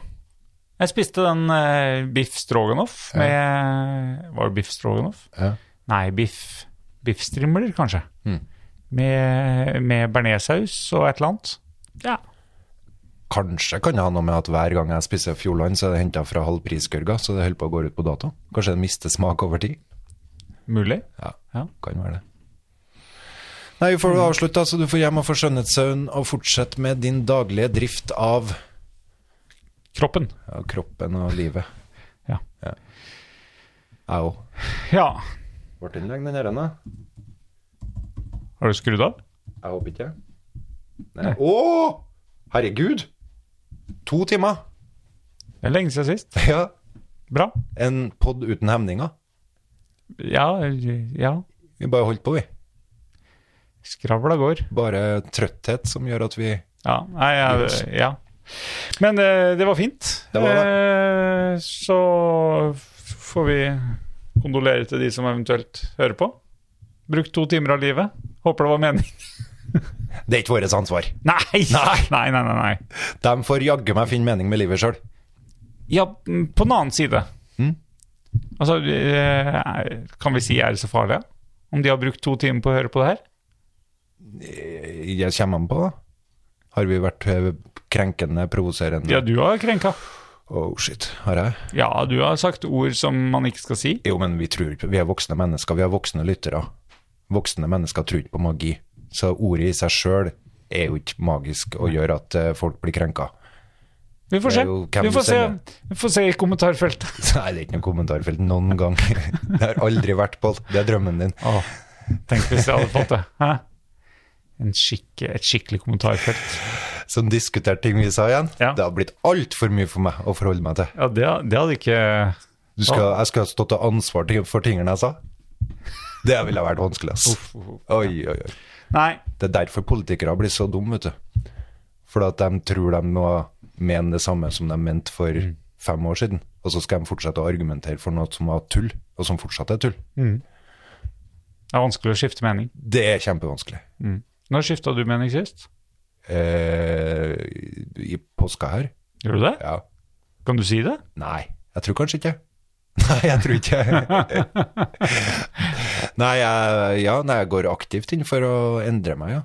A: Jeg spiste den eh, biff stroganoff med Var det biff stroganoff?
B: Ja.
A: Nei, biff biffstrimler, kanskje. Med, med bearnéssaus og et eller annet. Ja.
B: Kanskje kan det ha noe med at hver gang jeg spiser Fjordland, så er det henta fra halvpriskørga, så det holder på å gå ut på dato. Kanskje det mister smak over tid.
A: Mulig.
B: Ja,
A: Ja.
B: kan være det. Nei, vi får avslutte, da, så du får hjem og få skjønnhetssøvn, og fortsette med din daglige drift av
A: Kroppen.
B: ja, kroppen og livet.
A: Ja.
B: Jeg òg.
A: ja.
B: Ble den lenge, den her, da?
A: Har du skrudd av?
B: Jeg håper ikke. Nei. Å! Herregud! To timer!
A: Det er lenge siden sist.
B: Ja.
A: Bra.
B: En pod uten hemninger.
A: Ja, ja.
B: Vi bare holdt på, vi.
A: Skravla går.
B: Bare trøtthet som gjør at vi
A: Ja. Nei, ja, det- ja. Men eh, det var fint.
B: Det var
A: Eh, så f- får vi kondolere til de som eventuelt hører på. Brukt to timer av livet. Håper det var mening. [LAUGHS]
B: Det er ikke vårt ansvar.
A: Nei! Nei, nei, nei. nei.
B: De får jaggu meg finne mening med livet sjøl.
A: Ja, mm, på den annen side
B: Mm.
A: Altså, eh, kan vi si er det så farlig? Om de har brukt to timer på å høre på det her?
B: Jeg kommer an på, da. Har vi vært eh, krenkende, provoserende?
A: Ja, du har krenka.
B: Oh shit, har jeg?
A: Ja, du har sagt ord som man ikke skal si.
B: Jo, men vi tror ikke Vi er voksne mennesker, vi er voksne lyttere. Voksne mennesker tror ikke på magi. Så ordet i seg sjøl er jo ikke magisk og gjør at eh, folk blir krenka.
A: Vi får
B: Det er
A: se.
B: jo hvem
A: Vi
B: du
A: får se,
B: sender.
A: vi får se i kommentarfeltet.
B: [LAUGHS] Nei, det er ikke noe kommentarfelt noen gang. [LAUGHS] Det har aldri vært på. Det er drømmen din.
A: Åh, tenk hvis jeg hadde fått det. Hæ? En skikk, et skikkelig kommentarfelt.
B: Som diskuterte ting vi sa igjen.
A: Ja.
B: Det har blitt altfor mye for meg å forholde meg til.
A: Ja, det, det hadde ikke
B: Du skal, jeg skal stå til ansvar til- for tingene jeg sa. Det ville vært vanskelig, ass. Oi, oi, oi.
A: Nei.
B: Det er derfor politikere blir så dumme, vet du. Fordi at de tror de nå mener det samme som de mente for fem år siden. Og så skal de fortsette å argumentere for noe som var tull, og som fortsatt er tull.
A: Det er vanskelig å skifte mening.
B: Det er kjempevanskelig.
A: Når skifta du mening sist?
B: Eh, I påska her?
A: Gjør du det?
B: Ja.
A: Kan du si det?
B: Nei, jeg tror kanskje ikke. [LAUGHS] Nei, jeg tror ikke. [LAUGHS] nei, jeg, ja, nei, jeg går aktivt inn for å endre meg, ja.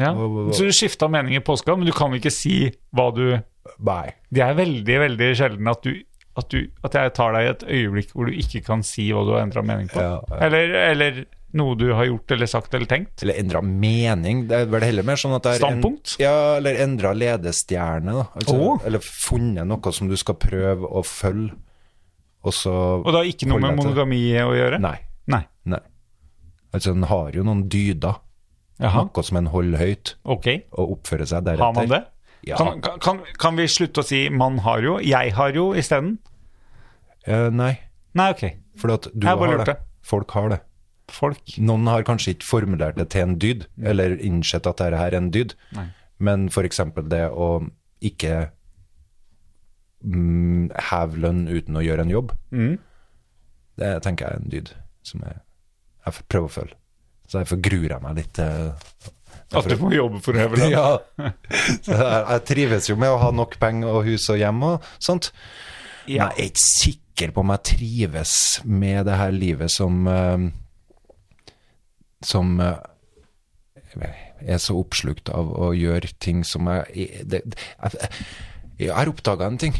A: Ja.
B: Hva- hva- hva-
A: Så du skifta mening i påska, men du kan ikke si hva du
B: Nei.
A: Det er veldig, veldig sjelden at du at, du, at jeg tar deg i et øyeblikk hvor du ikke kan si hva du har endra mening på.
B: Ja, ja.
A: Eller, eller noe du har gjort eller sagt eller tenkt.
B: Eller endra mening. Det er vel heller mer sånn at det er
A: Standpunkt?
B: En, ja, eller endra ledestjerne, da. Altså,
A: Åh.
B: Eller funnet noe som du skal prøve å følge, og så
A: Og det har ikke noe med
B: Holder jeg til
A: monogami å gjøre?
B: Nei.
A: Nei.
B: nei. Altså, en har jo noen dyder.
A: Jaha.
B: Noe som en holder høyt,
A: Ok.
B: og oppfører seg deretter.
A: Har man det?
B: Ja.
A: Kan, kan- kan, kan vi slutte å si 'man har jo', 'jeg har jo' isteden?
B: Eh, nei,
A: Nei, ok.
B: for at du
A: Jeg bare
B: har
A: lurte.
B: det. Folk har det.
A: Folk.
B: Noen har kanskje ikke formulert det til en dyd, eller innsett at dette her er en dyd,
A: Nei.
B: men f.eks. det å ikke mm, heve lønn uten å gjøre en jobb,
A: Mm.
B: det tenker jeg er en dyd som jeg, jeg f- prøver å følge. Så derfor gruer jeg meg litt. eh,
A: At du må jobbe for å heve lønn.
B: Ja. [LAUGHS] Så jeg, jeg trives jo med å ha nok penger og hus og hjem og sånt.
A: Ja.
B: Men jeg er ikke sikker på om jeg trives med det her livet som eh, Som eh, er så oppslukt av å gjøre ting som jeg det, Jeg, jeg har oppdaga en ting.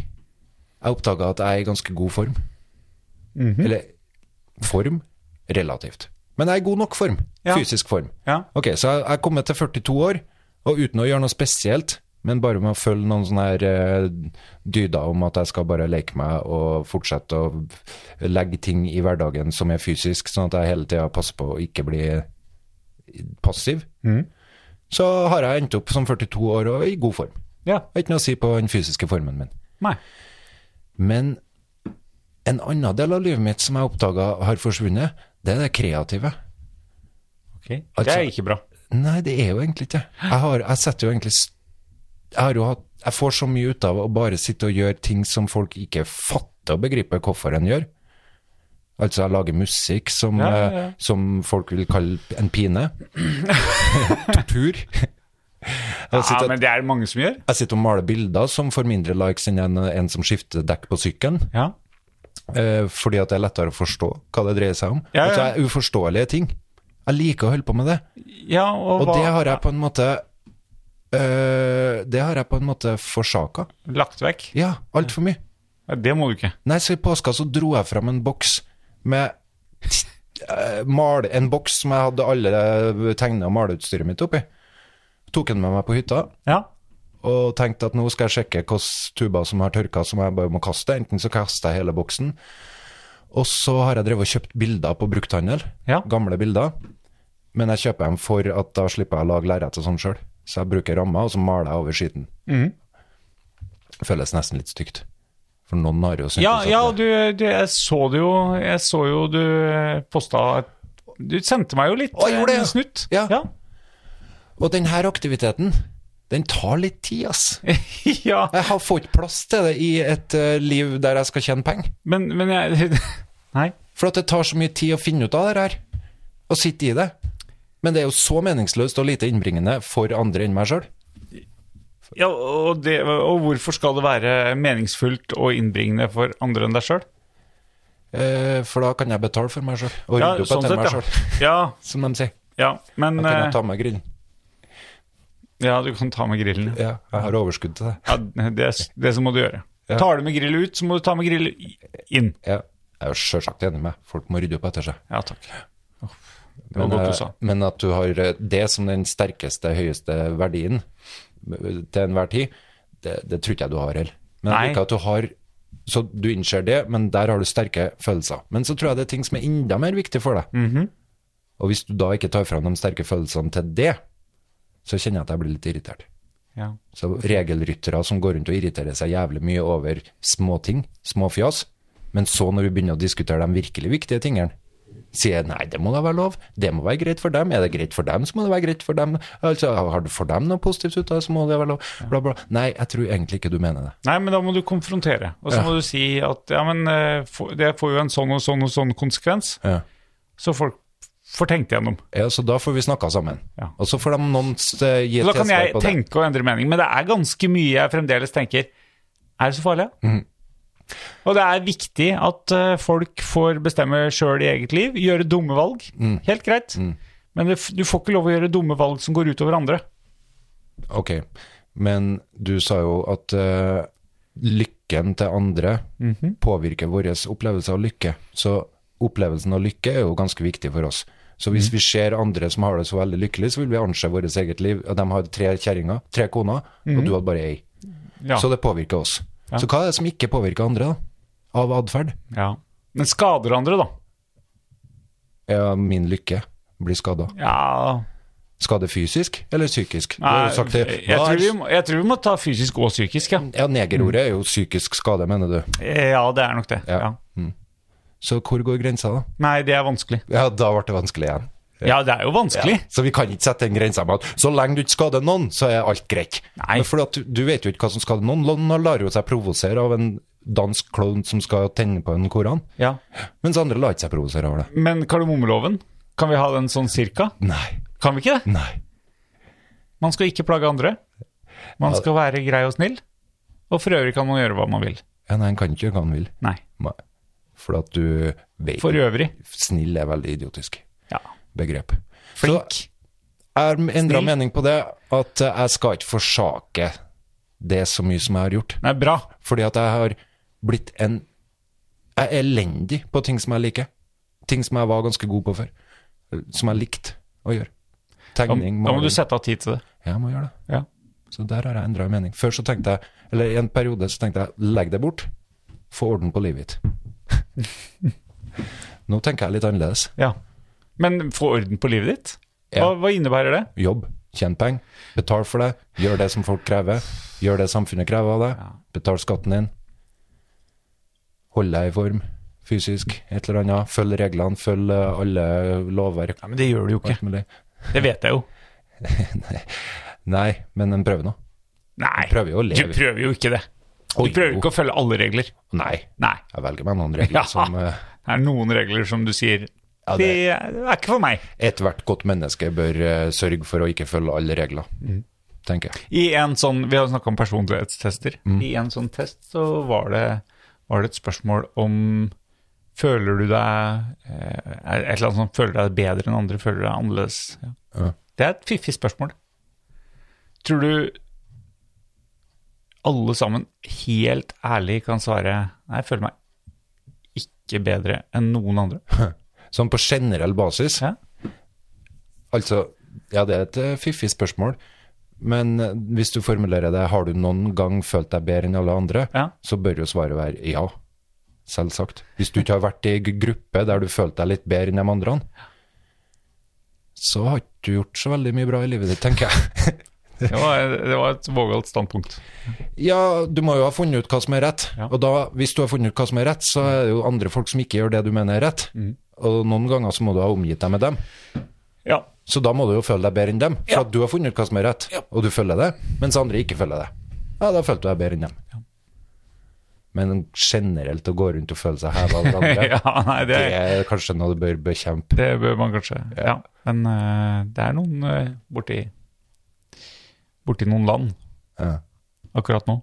B: Jeg oppdaga at jeg er i ganske god form.
A: Mhm.
B: Eller form relativt. Men jeg er i god nok form.
A: Ja.
B: Fysisk form.
A: Ja.
B: Ok, så jeg jeg er kommet til 42 år, og uten å gjøre noe spesielt, men bare med å følge noen sånne her eh, dyder om at jeg skal bare leke meg og fortsette å legge ting i hverdagen som er fysisk, sånn at jeg hele tida passer på å ikke bli passiv, så har jeg endt opp som 42 år og i god form.
A: Ja.
B: Jeg har ikke noe å si på den fysiske formen min.
A: Nei.
B: Men en annen del av livet mitt som jeg oppdaga har forsvunnet, det er det kreative.
A: Ok. Det
B: Altså-
A: er ikke bra.
B: Nei, det er jo egentlig ikke det. Jeg har, jeg setter jo egentlig s- jeg, har jo hatt, jeg får så mye ut av å bare sitte og gjøre ting som folk ikke fatter og begriper hvorfor en gjør. Altså, jeg lager musikk som,
A: Ja, ja, ja.
B: eh,
A: [LAUGHS]
B: som folk vil kalle en pine. Tortur. Jeg
A: Ja,
B: sitter,
A: men det er det mange som gjør.
B: jeg sitter og maler bilder som får mindre likes enn en, en som skifter dekk på sykkelen.
A: Ja.
B: Eh, fordi at det er lettere å forstå hva det dreier seg om.
A: Ja, ja.
B: At det er uforståelige ting. Jeg liker å holde på med det.
A: ja og,
B: Og
A: hva,
B: det har jeg på en måte eh, Det har jeg på en måte forsaka.
A: lagt vekk.
B: Ja, altfor mye.
A: Ja, det må du ikke.
B: Nei, så i påska så dro jeg fram en boks med eh, mal, En boks som jeg hadde alle tegne- og maleutstyret mitt oppi. Tok den med meg på hytta
A: Ja.
B: og tenkte at nå skal jeg sjekke hvilke tuber som har tørka som jeg bare må kaste. Enten så kaster jeg hele boksen, og så har jeg drevet og kjøpt bilder på brukthandel.
A: Ja.
B: Gamle bilder. Men jeg kjøper dem for at da slipper jeg å lage lerret og sånn sjøl. Så jeg bruker ramma, og så maler jeg over skitten.
A: Mhm.
B: Føles nesten litt stygt. For noen har jo syntes
A: Ja,
B: at
A: ja
B: det-
A: du, du, jeg så det jo Jeg så jo du posta Du sendte meg jo litt
B: Å, gjorde det,
A: eh,
B: ja.
A: snutt.
B: Ja.
A: Ja.
B: Og denne aktiviteten, den tar litt tid, ass.
A: [LAUGHS] ja.
B: Jeg har fått plass til det i et eh, liv der jeg skal tjene penger.
A: Men, men jeg [LAUGHS] Nei.
B: For at det tar så mye tid å finne ut av det her, og sitte i det. Men det er jo så meningsløst og lite innbringende for andre enn meg sjøl.
A: Ja, og, det, og hvorfor skal det være meningsfullt og innbringende for andre enn deg sjøl?
B: Eh, for da kan jeg betale for meg sjøl, og rydde opp etter meg sjøl,
A: sånn [LAUGHS] ja.
B: som de sier.
A: ja. Men
B: Da kan
A: eh,
B: jeg ta med grillen.
A: Ja, du kan ta med grillen.
B: Ja, jeg har overskudd til det.
A: Ja, det, er s- det som må du gjøre.
B: Ja.
A: Tar du med grill ut, så må du ta med grill i- inn.
B: Ja, jeg er jo sjølsagt enig med folk må rydde opp etter seg.
A: Ja, takk. Uff, Det var
B: Men,
A: godt du
B: eh,
A: sa.
B: men at du har eh, det som den sterkeste, høyeste verdien eh, til enhver tid, det, det tror ikke jeg du har heller. Men jeg
A: Nei.
B: liker at du har Så du innser det, men der har du sterke følelser. Men så tror jeg det er ting som er enda mer viktig for deg. Og hvis du da ikke tar fram de sterke følelsene til det, så kjenner jeg at jeg blir litt irritert.
A: Ja.
B: Så regelryttere som går rundt og irriterer seg jævlig mye over småting, småfjas, men så når vi begynner å diskutere de virkelig viktige tingene, sier nei, det må da være lov, det må være greit for dem, er det greit for dem, så må det være greit for dem, altså har du for dem noe positivt ut av det, så må det være lov, bla bla. Nei, jeg tror egentlig ikke du mener det.
A: Nei, men da må du konfrontere. Og så må du si at ja, men eh, få- det får jo en sånn og sånn og sånn konsekvens,
B: Ja.
A: så folk får tenkt igjennom.
B: Ja, så da får vi snakka sammen.
A: Ja.
B: Og så får de noen eh, gi
A: Og da
B: et
A: kan
B: tilsvar
A: jeg
B: på det.
A: tenke og endre mening, men det er ganske mye jeg fremdeles tenker Er det så farlig?
B: Mm.
A: Og det er viktig at eh, folk får bestemme sjøl i eget liv, gjøre dumme valg.
B: Mm.
A: Helt greit. Men det, f- du får ikke lov å gjøre dumme valg som går utover andre.
B: Ok, men du sa jo at eh, lykken til andre
A: Mhm.
B: påvirker vår opplevelse av lykke. Så opplevelsen av lykke er jo ganske viktig for oss. Så
A: Mhm.
B: hvis vi ser andre som har det så veldig lykkelig, så vil vi anse vårt eget liv. Og de har tre kjerringer, tre koner, og du hadde bare ei.
A: Mhm. Ja.
B: Så det påvirker oss. Så hva er det som ikke påvirker andre, da? Av atferd?
A: Ja. Men skader andre, da?
B: Ja, min lykke blir skada.
A: Ja
B: Skade fysisk eller psykisk? Du har jo sagt det.
A: Eh, jeg,
B: Hva er-
A: tror
B: Mm.
A: vi må, jeg tror vi må ta fysisk og psykisk, ja. Eh,
B: Ja, negerordet er jo psykisk skade, mener du.
A: Ja, det er nok det.
B: Ja.
A: Ja.
B: Så hvor går grensa, da?
A: Nei, det er vanskelig.
B: Ja, da ble det vanskelig igjen.
A: Ja, det er jo vanskelig.
B: Så vi kan ikke sette den grensa med at så lenge du ikke skader noen, så er alt greit.
A: Nei.
B: Men fordi at du- du vet jo ikke hva som skader noen. Noen lar jo seg provosere av en dansk klovn som skal tenne på en koran,
A: Ja.
B: mens andre lar ikke seg provosere av det.
A: Men kardemommeloven, kan vi ha den sånn cirka?
B: Nei,
A: Kan vi ikke det?
B: nei.
A: Man skal ikke plage andre. Man skal være grei og snill. Og for øvrig kan man gjøre hva man vil.
B: Ja, nei, en kan ikke gjøre hva han vil.
A: Nei.
B: Nei. For at du vet
A: For øvrig.
B: Snill er veldig idiotisk
A: Ja.
B: begrep.
A: Flink.
B: Jeg har endra
A: Snill.
B: mening på det, at eh, jeg skal ikke forsake det så mye som jeg har gjort.
A: Nei, bra.
B: Fordi at jeg har blitt en Jeg er elendig på ting som jeg liker. Ting som jeg var ganske god på før. Som jeg likte å gjøre.
A: Da,
B: Tegning,
A: da må du
B: maling.
A: sette av tid til det.
B: Ja, jeg må gjøre det.
A: Ja.
B: Så der har jeg endra mening. Før så tenkte jeg, eller i en periode så tenkte jeg legg det bort. Få orden på livet ditt. [LAUGHS] Nå tenker jeg litt annerledes.
A: ja. Men få orden på livet ditt.
B: Ja.
A: Hva, hva innebærer det?
B: Jobb, tjene penger, betal for det, gjør det som folk krever, gjør det samfunnet krever av deg, betal skatten din, hold deg i form, fysisk, et eller annet, følg reglene, følg eh, alle lovverk,
A: Ja, men det gjør du jo
B: alt mulig.
A: Det vet jeg jo.
B: Nei, men en prøver nå.
A: Nei.
B: Prøver jo å
A: Du
B: leve.
A: prøver jo ikke det. Du
B: Oi,
A: prøver
B: jo.
A: ikke å følge alle regler.
B: Nei,
A: Nei.
B: jeg velger meg noen regler
A: Ja.
B: som eh,
A: Det er noen regler som du sier
B: Ja,
A: det...
B: det-
A: er ikke for meg. Mm.
B: ethvert godt menneske bør eh, sørge for å ikke følge alle regler. tenker jeg.
A: I en sånn, Vi har jo snakka om personlighetstester. I en sånn test så var det, var det et spørsmål om Føler du deg eh, er- Et eller annet sånn Føler du deg bedre enn andre? Føler du deg annerledes? Ja.
B: Ja.
A: Det er et fiffig spørsmål. Tror du alle sammen helt ærlig kan svare Nei, jeg føler meg ikke bedre enn noen andre.
B: Sånn på generell basis
A: Ja.
B: Altså, ja, det er et eh, fiffig spørsmål. Men eh, hvis du formulerer det 'har du noen gang følt deg bedre enn alle andre',
A: Ja.
B: så bør jo svaret være ja. Selvsagt. Hvis du ikke har vært i g- gruppe der du følte deg litt bedre enn de andre, så har ikke du gjort så veldig mye bra i livet ditt, tenker jeg. [LAUGHS]
A: Det var, det var et vågalt standpunkt.
B: Ja, du må jo ha funnet ut hva som er rett.
A: Ja.
B: Og da, hvis du har funnet ut hva som er rett, så er det jo andre folk som ikke gjør det du mener er rett.
A: Mm.
B: Og noen ganger så må du ha omgitt deg med dem.
A: Ja,
B: Så da må du jo føle deg bedre enn dem, for at du har funnet ut hva som er rett, og du følger det, mens andre ikke følger det. Ja, da følte du deg bedre enn dem. Men generelt å gå rundt og føle seg heva over
A: [LAUGHS]
B: andre,
A: [LAUGHS] ja nei,
B: det
A: det er
B: er kanskje noe du bør bekjempe.
A: Det bør man kanskje. Ja. Men eh, det er noen eh, borti, borti noen land
B: Ja.
A: akkurat nå.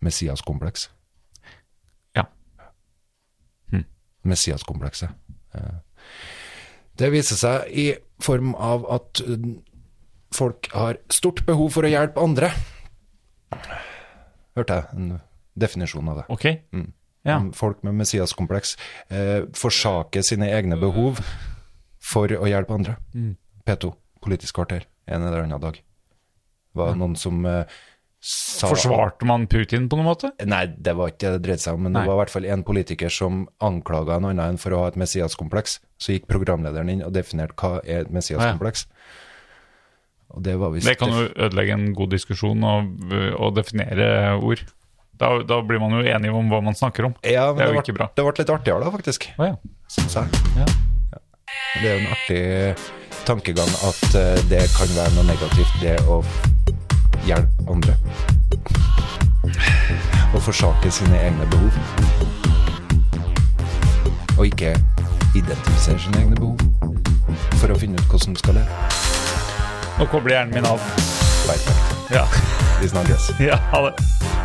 B: Messias-kompleks.
A: Ja. Hm.
B: Messias-komplekset. Eh, Det viser seg i form av at eh, folk har stort behov for å hjelpe andre. Hørte jeg en definisjon av det.
A: Ok. Ja.
B: Om Folk med Messias-kompleks eh, forsaker sine egne behov for å hjelpe andre.
A: Mm.
B: P2, Politisk kvarter, en eller annen dag. Var det noen som eh, sa
A: Forsvarte man Putin på noen måte?
B: Nei, det var ikke det det dreide seg om, men
A: Nei.
B: det var i hvert fall en politiker som anklaga en annen for å ha et Messias-kompleks. Så gikk programlederen inn og definerte hva er et Messias-kompleks. Og det var visst
A: Ah, Det kan jo ødelegge en god diskusjon og, og definere ord. Da, da blir man jo enig om hva man snakker om.
B: ja, men
A: det
B: det,
A: er jo
B: ble,
A: ikke bra.
B: det ble litt artigere da, faktisk.
A: Å ja.
B: Synes jeg. Det er jo en artig tankegang at eh, det kan være noe negativt, det å hjelpe andre. Å forsake sine egne behov. Og ikke identifisere sine egne behov. For å finne ut hvordan du skal leve.
A: Nå kobler hjernen min av.
B: Perfekt.
A: Ja,
B: Vi snakkes.
A: [LAUGHS] ja ha det.